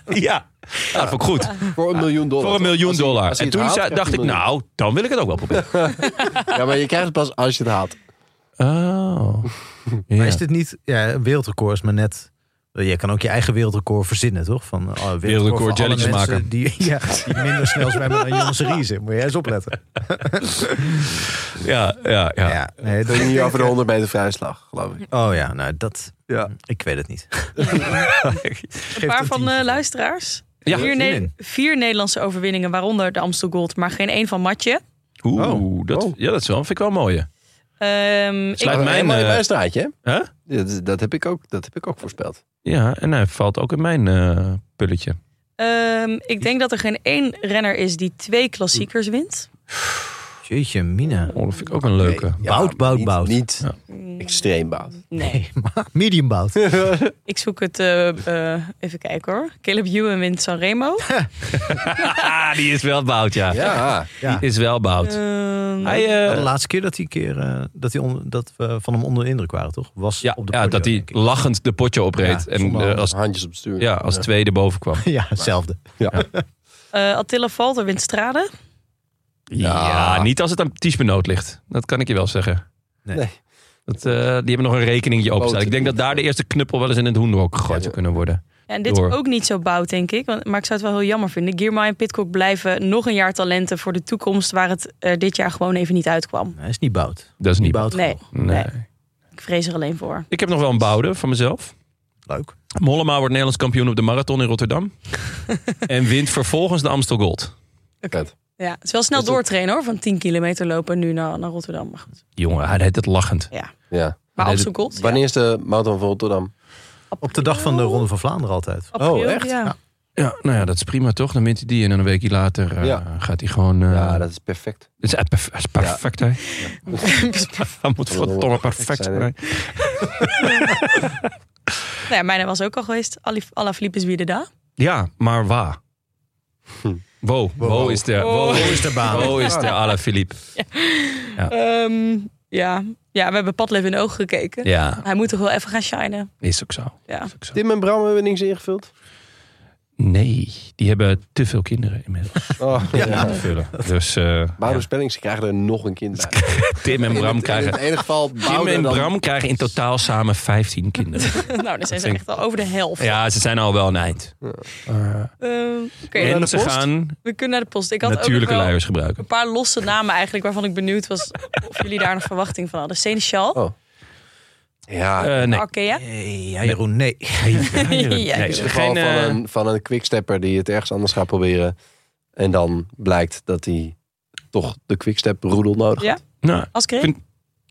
A: ja. ja, dat vond ik goed.
C: Voor een miljoen dollar.
A: Voor een
C: toch?
A: miljoen
C: Als hij-
A: dollar.
C: als hij
A: En
C: het
A: toen
C: haalt,
A: zei-
C: krijgt
A: dacht
C: hij
A: ik,
C: een miljoen.
A: nou, dan wil ik het ook wel proberen.
C: Ja, maar je krijgt het pas als je het haalt.
A: Oh.
B: Maar is dit niet ja, een wereldrecord? Is maar net. eh, Je kan ook je eigen wereldrecord verzinnen, toch? Van oh, wereldrecord,
A: Wereldrecord
B: voor alle
A: jelletjes
B: mensen
A: maken.
B: Die, ja, die minder snel zwemmen dan Jan Seriese. Moet jij eens opletten.
A: Ja, ja, ja.
B: Ja, nee, dat-
C: Dan ging hier over de 100 meter vrijslag, geloof ik.
B: oh ja, nou dat.
C: Ja.
B: Ik weet het niet.
D: Een paar
B: een
D: van
B: tientje.
D: de luisteraars.
A: Ja.
D: vier, Ne-
B: Zin in.
D: vier Nederlandse overwinningen, waaronder de Amstel Gold, maar geen één van Matje.
A: Oeh,
B: Oh.
A: dat,
B: Oh.
A: ja, dat is wel, vind ik wel een mooie.
D: Ehm, ik,
A: Sluit- Uit mijn,
C: Helemaal in
A: eh,
C: mijn straatje, hè?
A: Hè?
C: Ja, Dat, dat, heb ik ook, dat heb ik ook voorspeld.
A: Ja, en hij valt ook in mijn eh, pulletje.
D: ehm, ik denk dat er geen één renner is die twee klassiekers wint. eh,
B: Jeetje, Mina.
A: Oh, dat vind ik ook een leuke.
C: Nee, ja,
B: Bout, bout,
C: niet,
B: bout.
C: Niet
A: Ja.
C: extreem bout.
D: Nee,
B: Maar medium bout.
D: ik zoek het eh, eh, even kijken hoor. Caleb Ewan wint Sanremo.
A: Ah, die is wel bout, ja.
C: Ja,
B: Ja.
A: Is wel bout.
D: Ehm,
A: Hij, eh,
B: de laatste keer dat, die keer, eh, dat, die onder- dat we van hem onder de indruk waren, toch? Was
A: ja,
B: op de
A: ja,
B: podium,
A: dat hij
B: denk ik.
A: lachend de potje opreed.
B: Ja,
A: en
B: zonder
A: eh,
B: handen.
A: als,
C: handjes op het stuur.
A: ja, als tweede boven kwam.
B: Ja, hetzelfde.
D: eh, Attila Valter wint Strade.
A: Ja. niet als het aan Ties Benoot ligt. Dat kan ik je wel zeggen.
B: Nee.
C: Nee.
A: Dat, eh, die hebben nog een rekeningje openstaan. Ik denk dat daar de eerste knuppel wel eens in het hoenderhok gegooid zou kunnen worden.
D: Ja, en dit
A: Door.
D: is ook niet zo bout, denk ik. Want, maar ik zou het wel heel jammer vinden. Gierma en Pitcock blijven nog een jaar talenten voor de toekomst... waar het eh, dit jaar gewoon even niet uitkwam.
B: Hij is niet bout.
A: Dat is
B: Niet
A: niet.
B: bout.
D: Nee,
B: genoeg.
A: Nee.
D: nee. ik vrees er alleen voor.
A: Ik heb nog wel een bouwde van mezelf.
B: Leuk.
A: Mollema wordt Nederlands kampioen op de marathon in Rotterdam. en wint vervolgens de Amstel Gold.
C: Vet.
D: Ja, het is wel snel doortrainen hoor, van 10 kilometer lopen nu naar, naar Rotterdam. Maar, goed.
A: Jongen, hij deed het lachend.
C: Ja.
D: maar
A: Nee,
D: Amstel Gold, ja.
C: Wanneer is de marathon van Rotterdam?
B: Op de dag van de Ronde van Vlaanderen altijd.
D: April,
C: Oh, echt?
D: Ja.
A: Ja, nou ja, dat is prima toch? Dan wint hij die en dan een weekje later eh,
C: Ja.
A: gaat hij gewoon... eh,
C: Ja, Ah, dat is perfect.
A: Het is echt perf- het is perfect, hè? Hij moet verdomme perfect
C: Zijn, hè?
A: zijn.
D: Nou ja, mijne was ook al geweest. Alif- Alaphilippe is wie daar.
A: Ja, maar waar?
C: Hm. Oh.
A: Wow, wow,
B: wow.
A: is de... Wow,
D: Wow.
A: is de baan. Wow is de Alain Philippe.
D: Ehm ja. ja, we hebben Padlef in de ogen gekeken.
A: Ja,
D: Hij moet toch wel even gaan shinen.
A: is ook zo.
D: Ja.
A: Is ook zo.
C: Tim en Bram hebben niks ingevuld.
A: Nee, die hebben te veel kinderen inmiddels.
C: Oh, ja.
A: Ja. Vullen. Dus eh,
C: Mauro
A: ja.
C: Spellings krijgen er nog een kind bij.
A: Tim en
C: In
A: Bram
C: het- In
A: krijgen...
C: het ene geval
A: Tim
C: Bouder
A: en
C: dan-
A: Bram krijgen in totaal samen 15 kinderen.
D: nou, dan zijn ze
A: vind
D: echt al over de helft.
A: Ja, ze zijn al wel een eind. Eh,
D: Ehm, Oké,
C: naar de
A: en ze
C: post?
A: gaan
D: we kunnen naar de post. Ik had ook nog
A: natuurlijke
D: wel
A: luiers gebruiken.
D: een paar losse namen eigenlijk... waarvan ik benieuwd was of jullie daar nog verwachting van hadden. Seneschal,
C: Oh. Ja,
A: Eh, nee.
D: Arkea.
B: Nee, ja, Jeroen, nee.
D: Ah, Ja,
A: nee,
C: is
A: ze geen,
C: het geval van
A: eh,
C: een, van een quickstepper die het ergens anders gaat proberen. En dan blijkt dat hij toch de quickstep roedel nodig.
D: Ja.
A: Nou,
D: Als kreeg?
A: Vind-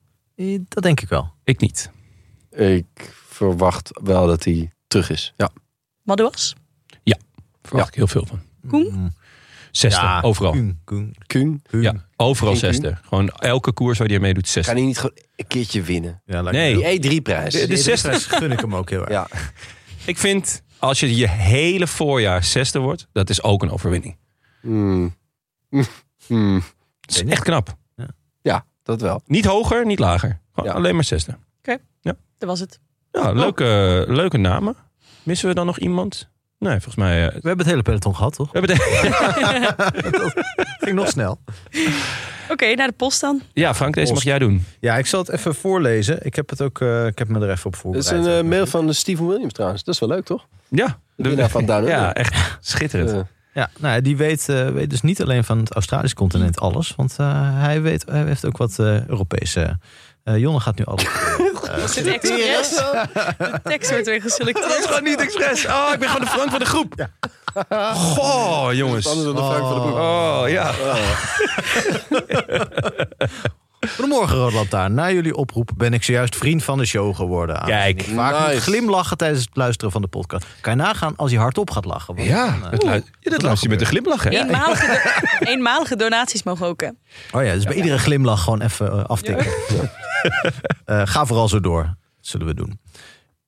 B: Eh, Dat denk ik wel.
A: ik niet.
C: Ik verwacht wel dat hij terug is. Ja.
D: Madouas?
A: Verwacht ik heel veel van.
D: Koen?
B: Mm.
A: Zesde,
B: Ja,
A: overal.
B: Koen, Koen,
C: Kuhn,
B: Koen.
A: Ja, overal
C: Geen
A: zesde. Gewoon elke koers waar je mee doet,
C: kan
A: zesde.
C: hij niet gewoon een keertje winnen?
B: Ja, lijkt
A: Nee.
B: me wel.
C: Die E E3-prijs.
A: De- de
B: Nee,
A: zesde-
B: prijs gun ik hem ook heel erg.
C: Ja.
A: Ik vind, als je je hele voorjaar zesde wordt, dat is ook een overwinning.
C: Hmm. Hmm.
A: Dat is echt knap.
C: Ja, dat wel.
A: Niet hoger, niet lager. Gewoon
C: Ja. Oh.
A: Alleen maar zesde.
D: Dat was het.
A: Ja, leuke, leuke namen. Missen we dan nog iemand? Nee, volgens mij... eh,
B: We hebben het hele peloton gehad, toch?
A: we hebben de-
B: Ging nog snel.
D: Oké, naar de post dan.
A: ja, Frank, deze mag jij doen.
B: Ja, ik zal het even voorlezen. Ik heb, het ook, eh, ik heb me er even op
C: Dat
B: voorbereid.
C: is een eh, mail van Steven Williams trouwens. Dat is wel leuk, toch?
A: Ja,
C: De winnaar van Down Under.
A: ja echt schitterend.
C: Eh,
B: Ja, nou, ja, die weet, eh, weet dus niet alleen van het Australisch continent alles. Want eh, hij, weet, hij heeft ook wat eh, Europese... eh Jonne gaat nu alles.
D: Was dit expres? De tekst wordt weer geselecteerd.
A: gewoon niet expres. Oh, ik ben gewoon de Frank van de groep. Goh, jongens.
C: anders dan de Frank van de Boek.
A: Oh, ja.
B: Goedemorgen, Roodlantaarn. Na jullie oproep ben ik zojuist vriend van de show geworden.
A: Kijk.
B: Ik Vaak
C: Nice.
B: moet glimlachen tijdens het luisteren van de podcast. Kan je nagaan als hij hardop gaat lachen? want
A: Ja,
B: dan, eh,
A: dat, lu- ja, dat luister je met een glimlach, hè?
D: Eenmalige, do- eenmalige donaties mogen ook, hè?
B: Oh ja, dus bij iedere glimlach gewoon even eh, aftikken. Eh, ga vooral zo door. Dat zullen we doen.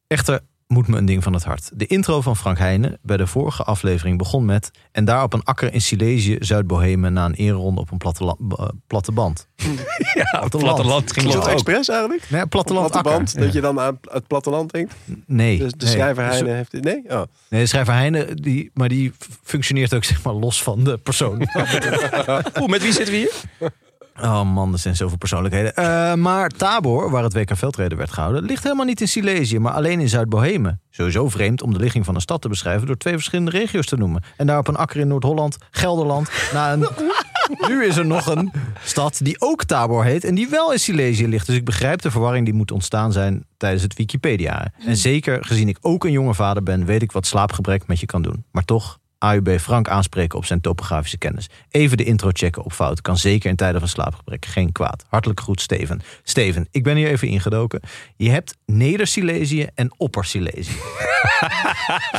B: Echter moet me een ding van het hart. De intro van Frank Heijnen bij de vorige aflevering begon met... en daar op een akker in Silesië, Zuid-Bohemen... na een ereronde op een platteland, eh, platte band.
A: Ja, het platteland ging
C: Is dat
A: dat ook.
C: expres eigenlijk?
B: Nee, platteland,
C: Platteland,
B: akker.
C: dat je dan aan het platteland denkt.
B: Nee.
C: Dus de
B: nee.
C: schrijver
B: Zo-
C: Heine heeft dit. Nee? Oh.
B: Nee, de schrijver Heijnen, die, maar die f- functioneert ook zeg maar los van de persoon.
A: Oeh, met wie zitten we hier?
B: Oh man, er zijn zoveel persoonlijkheden. Eh, maar Tabor, waar het WK Veldreden werd gehouden, ligt helemaal niet in Silesië, maar alleen in Zuid-Bohemen. Sowieso vreemd om de ligging van een stad te beschrijven door twee verschillende regio's te noemen. En daar op een akker in Noord-Holland, Gelderland, na een... Nu is er nog een stad die ook Tabor heet en die wel in Silesië ligt. Dus ik begrijp de verwarring die moet ontstaan zijn tijdens het Wikipedia. En zeker gezien ik ook een jonge vader ben, weet ik wat slaapgebrek met je kan doen. Maar toch, AUB Frank aanspreken op zijn topografische kennis. Even de intro checken op fout. Kan zeker in tijden van slaapgebrek geen kwaad. Hartelijk groet, Steven. Steven, ik ben hier even ingedoken. Je hebt Neder-Silesië en Opper-Silesië.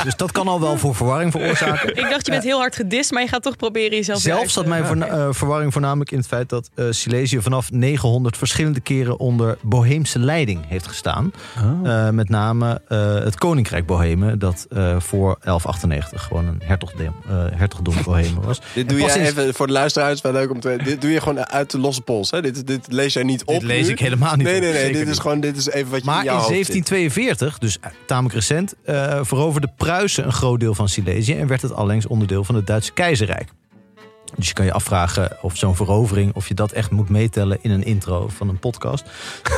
B: dus dat kan al wel voor verwarring veroorzaken.
D: Ik dacht, je bent heel hard gedist, maar je gaat toch proberen jezelf weer
B: Zelf
D: uit
B: zat
D: te-
B: mijn voorna- eh, verwarring voornamelijk in het feit dat eh, Silesië vanaf 900 verschillende keren onder Boheemse leiding heeft gestaan. Eh, met name eh, het Koninkrijk Bohemen, dat eh, voor 1198 gewoon een hertogdom, eh, hertogdom Bohemen was.
C: Dit doe
B: pas
C: jij
B: sinds-
C: even voor de luisteraars. Wel leuk om te, dit doe je gewoon uit de losse pols. Hè? Dit, dit lees jij niet op.
B: Dit lees
C: nu.
B: ik helemaal niet
C: Nee,
B: op,
C: nee, nee.
B: zeker
C: Dit is
B: niet.
C: gewoon dit is even wat je
B: Maar
C: in
B: in
C: jouw hoofd zit.
B: 1742, dus tamelijk recent, eh veroverde Pruisen een groot deel van Silesië en werd het allengs onderdeel van het Duitse keizerrijk. Dus je kan je afvragen of zo'n verovering, of je dat echt moet meetellen in een intro van een podcast.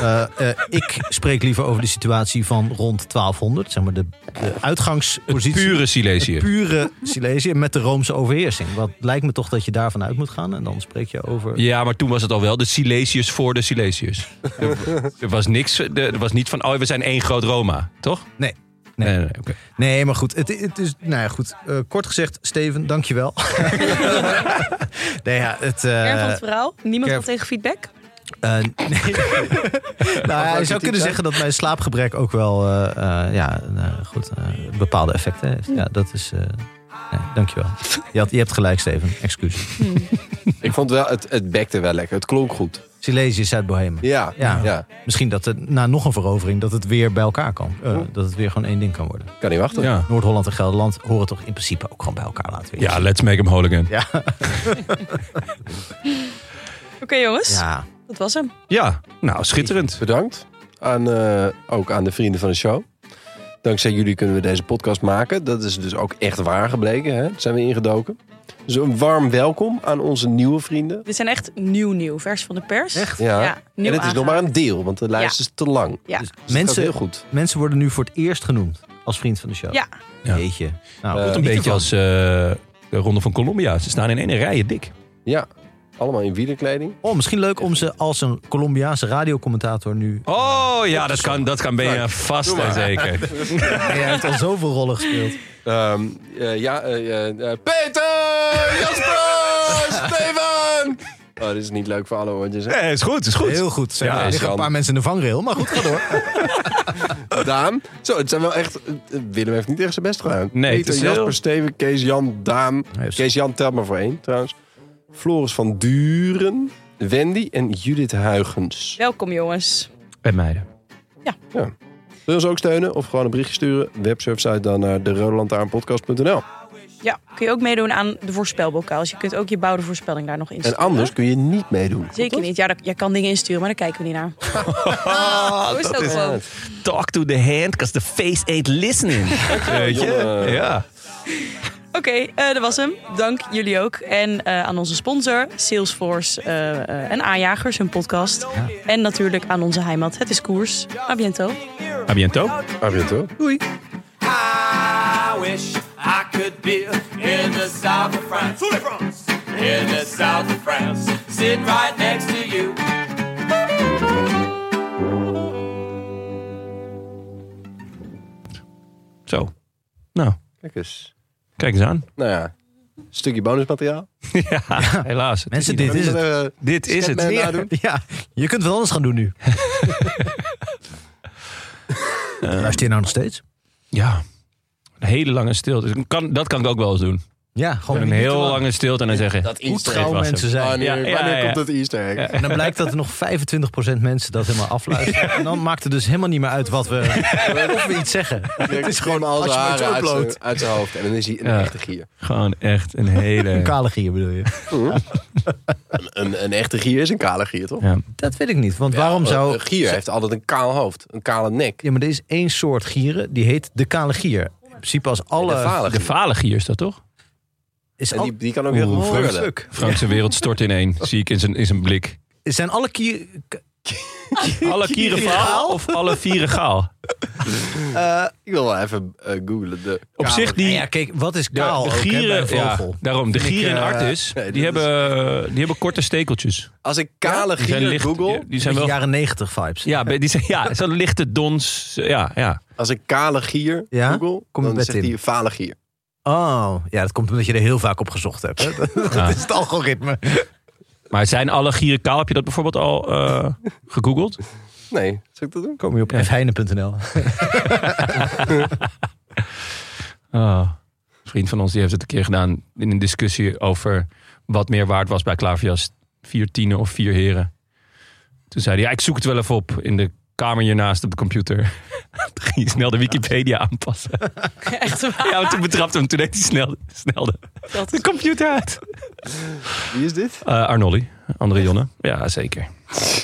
B: Eh, eh, ik spreek liever over de situatie van rond 1200, zeg maar de, de uitgangspositie.
A: Pure Silesië.
B: Pure Silesië met de Roomse overheersing. Wat lijkt me toch dat je daarvan uit moet gaan en dan spreek je over.
A: Ja, maar toen was het al wel de Silesiërs voor de Silesiërs. er, er was niks, er er was niet van, oh, we zijn één groot Roma, toch?
B: Nee.
A: Nee,
B: Nee.
A: nee, oké.
B: Nee, maar goed. Het, het is, nou ja, goed. Eh, kort gezegd, Steven, dankjewel. nee, ja, het... eh,
D: Kern van het verhaal. Niemand
B: Kern-
D: had tegen feedback.
B: eh, nee. nou, ja, je zou kunnen zeggen dat mijn slaapgebrek ook wel eh, eh, ja, nou, goed, eh, bepaalde effecten heeft. Ja, dat is... eh nee, dankjewel. Je, had, je hebt gelijk, Steven. Excuus.
C: Ik vond wel, het, het bekte wel lekker. Het klonk goed.
B: Silesië, Zuid-Bohemen.
C: Ja, ja.
B: Ja. Misschien dat het na nog een verovering dat het weer bij elkaar kan. Eh, dat het weer gewoon één ding kan worden.
C: Kan niet wachten.
A: Ja.
B: Noord-Holland en Gelderland horen toch in principe ook gewoon bij elkaar laten we
A: ja, let's make him whole again. Ja,
D: Oké, jongens.
B: Ja.
D: Dat was hem.
A: nou, schitterend.
C: Bedankt. Aan, eh, ook aan de vrienden van de show. Dankzij jullie kunnen we deze podcast maken. Dat is dus ook echt waar gebleken. Hè? Daar zijn we ingedoken. Dus een warm welkom aan onze nieuwe vrienden.
D: Dit zijn echt nieuw nieuw. Vers van de pers.
B: Echt?
C: Ja.
D: Ja, nieuw
C: en het is nog
D: aangehakt.
C: maar een deel, want de lijst is te lang.
D: Ja.
B: Dus
C: Dus het gaat
B: mensen,
C: heel goed.
B: Mensen worden nu voor het eerst genoemd als vriend van de show.
D: Ja.
A: Ja.
B: Jeetje. Nou,
C: Eh,
B: geniet
A: Een beetje
B: ervan.
A: als eh, de Ronde van Colombia. Ze staan in één rij dik.
C: Ja, allemaal in wielerkleding.
B: Oh, misschien leuk om ze als een Colombiaanse radiocommentator nu...
A: Oh, ja, dat kan, dat kan ben je vast
C: doe maar.
A: en zeker.
B: Hij heeft al zoveel rollen gespeeld.
C: Ehm, eh, ja, eh, eh, eh, Peter, Jasper, Stefan, Oh, dit is niet leuk voor alle oortjes. hè?
A: Nee, is goed, is goed.
B: Heel goed. Zijn
A: Ja,
B: er liggen
C: Sjan.
B: een paar mensen in de vangrail, maar goed, ga door.
C: Daan. Zo, het zijn wel echt... eh, Willem heeft niet echt zijn best gedaan.
A: Nee, het
C: Peter,
A: is heel-
C: Jasper, Steven, Kees, Jan, Daan.
B: heeft-
C: Kees Jan telt maar voor één, trouwens. Floris van Duren. Wendy en Judith Huigens.
D: Welkom jongens.
A: Bij meiden.
C: Wil je ons ook steunen of gewoon een berichtje sturen? Websurfsite dan naar de
D: Ja, kun je ook meedoen aan de voorspelbokaal. Dus je kunt ook je bouwde voorspelling daar nog
C: En
D: insturen.
C: anders kun je niet meedoen.
D: Zeker niet. Ja, dat- jij kan dingen insturen, maar daar kijken we niet naar.
B: Oh,
D: Ah, Zo is het ook gewoon.
A: Talk to the hand, because the face ain't listening. Weet je?
C: Jongen.
A: Ja.
D: Oké, eh, dat was hem. Dank jullie ook. En eh, aan onze sponsor, Salesforce eh, eh, en Aanjagers, hun podcast. En natuurlijk aan onze heimat, Het is Koers. A biento.
A: A bientôt.
C: Ah, weet je wel.
E: I wish I could be in the south of France. In the south of France. Sitting right next to you.
A: Zo. Nou,
C: Kijk eens.
A: kijk eens aan.
C: Nou ja, stukje bonusmateriaal.
A: ja, helaas.
B: Mensen, dit is het.
C: Eh,
A: Dit is het.
C: Scatman nadoen.
B: Ja, je kunt wel anders gaan doen nu. Luister je nou nog steeds?
A: Ja. Een hele lange stilte. Dus Kan, dat kan ik ook wel eens doen.
B: Ja, gewoon
A: Een heel lange stilte en dan zeggen...
C: Dat
B: Hoe
C: Easter
B: trouw
A: was Oh,
B: mensen zijn.
C: Wanneer,
A: Ja, ja,
C: wanneer
A: ja.
C: komt dat Easter egg?
B: En dan blijkt dat er nog 25% mensen dat helemaal afluisteren. En dan maakt het dus helemaal niet meer uit wat we, of we iets zeggen.
C: Het is gewoon al
B: als
C: zijn
B: je maar
C: haren
B: zo
C: uit
B: bloot.
C: zijn- uit zijn hoofd. En dan is hij een
A: Ja.
C: echte gier.
A: Gewoon echt een hele...
B: Een kale gier bedoel je?
C: Een, een echte gier is een kale gier, toch? Eh,
A: Ja.
B: Dat weet ik niet, want waarom zou...
C: Een gier heeft altijd een kaal hoofd. Een kale nek.
B: Ja, maar er is één soort gieren, die heet de kale gier. In principe als alle...
C: de vale
A: De
C: gier.
A: falen gier is dat toch?
B: is
C: En
B: al,
C: die, die kan ook heel goed
B: Frank
C: frullen.
B: Stuk.
A: Frank zijn wereld stort ineen, zie ik in zijn, in zijn blik.
B: Zijn alle kieren...
A: Alle kieren faal of alle vieren gaal?
C: Ik wil wel even eh, googlen. De
A: Op
C: kale-
A: zich die...
B: Ja, kijk, wat is
A: De,
B: kaal
A: de
B: ook, hè, bij
A: gieren,
B: een vogel?
A: ja, daarom. De
B: Vind ik,
A: gieren in
B: eh,
A: Artis,
C: nee,
A: die,
C: dit is-
A: hebben, die hebben korte stekeltjes.
C: Als ik kale
A: Die zijn
C: gier
A: licht,
C: google...
A: die- die
B: Een
A: zijn
B: beetje
A: wel,
B: jaren negentig vibes.
A: ja, be- die zijn, ja, zo'n lichte dons. Ja, ja.
C: Als ik kale gier
B: Ja?
C: google...
B: Kom je
C: dan
B: bed
C: zegt
B: in.
C: hij vale gier.
B: Oh, ja, dat komt omdat je er heel vaak op gezocht hebt. Hè? Dat
A: Ja.
B: is het algoritme.
A: Maar zijn alle gieren kaal? Heb je dat bijvoorbeeld al eh, gegoogeld?
C: Nee, zal ik dat doen?
B: Kom je op fheine.nl.
A: Ah, een vriend van ons die heeft het een keer gedaan in een discussie over wat meer waard was bij Klaverjas. Vier tienen of vier heren. Toen zei hij, ja, ik zoek het wel even op in de kamer hiernaast op de computer. Toen ging hij snel de Wikipedia aanpassen.
D: Echt waar.
A: Ja, maar toen betrapte hem, toen deed hij snel, snel de,
D: Dat
A: de computer uit.
C: Wie is dit?
A: Eh Arnoldi, André Jonne. Ja, zeker.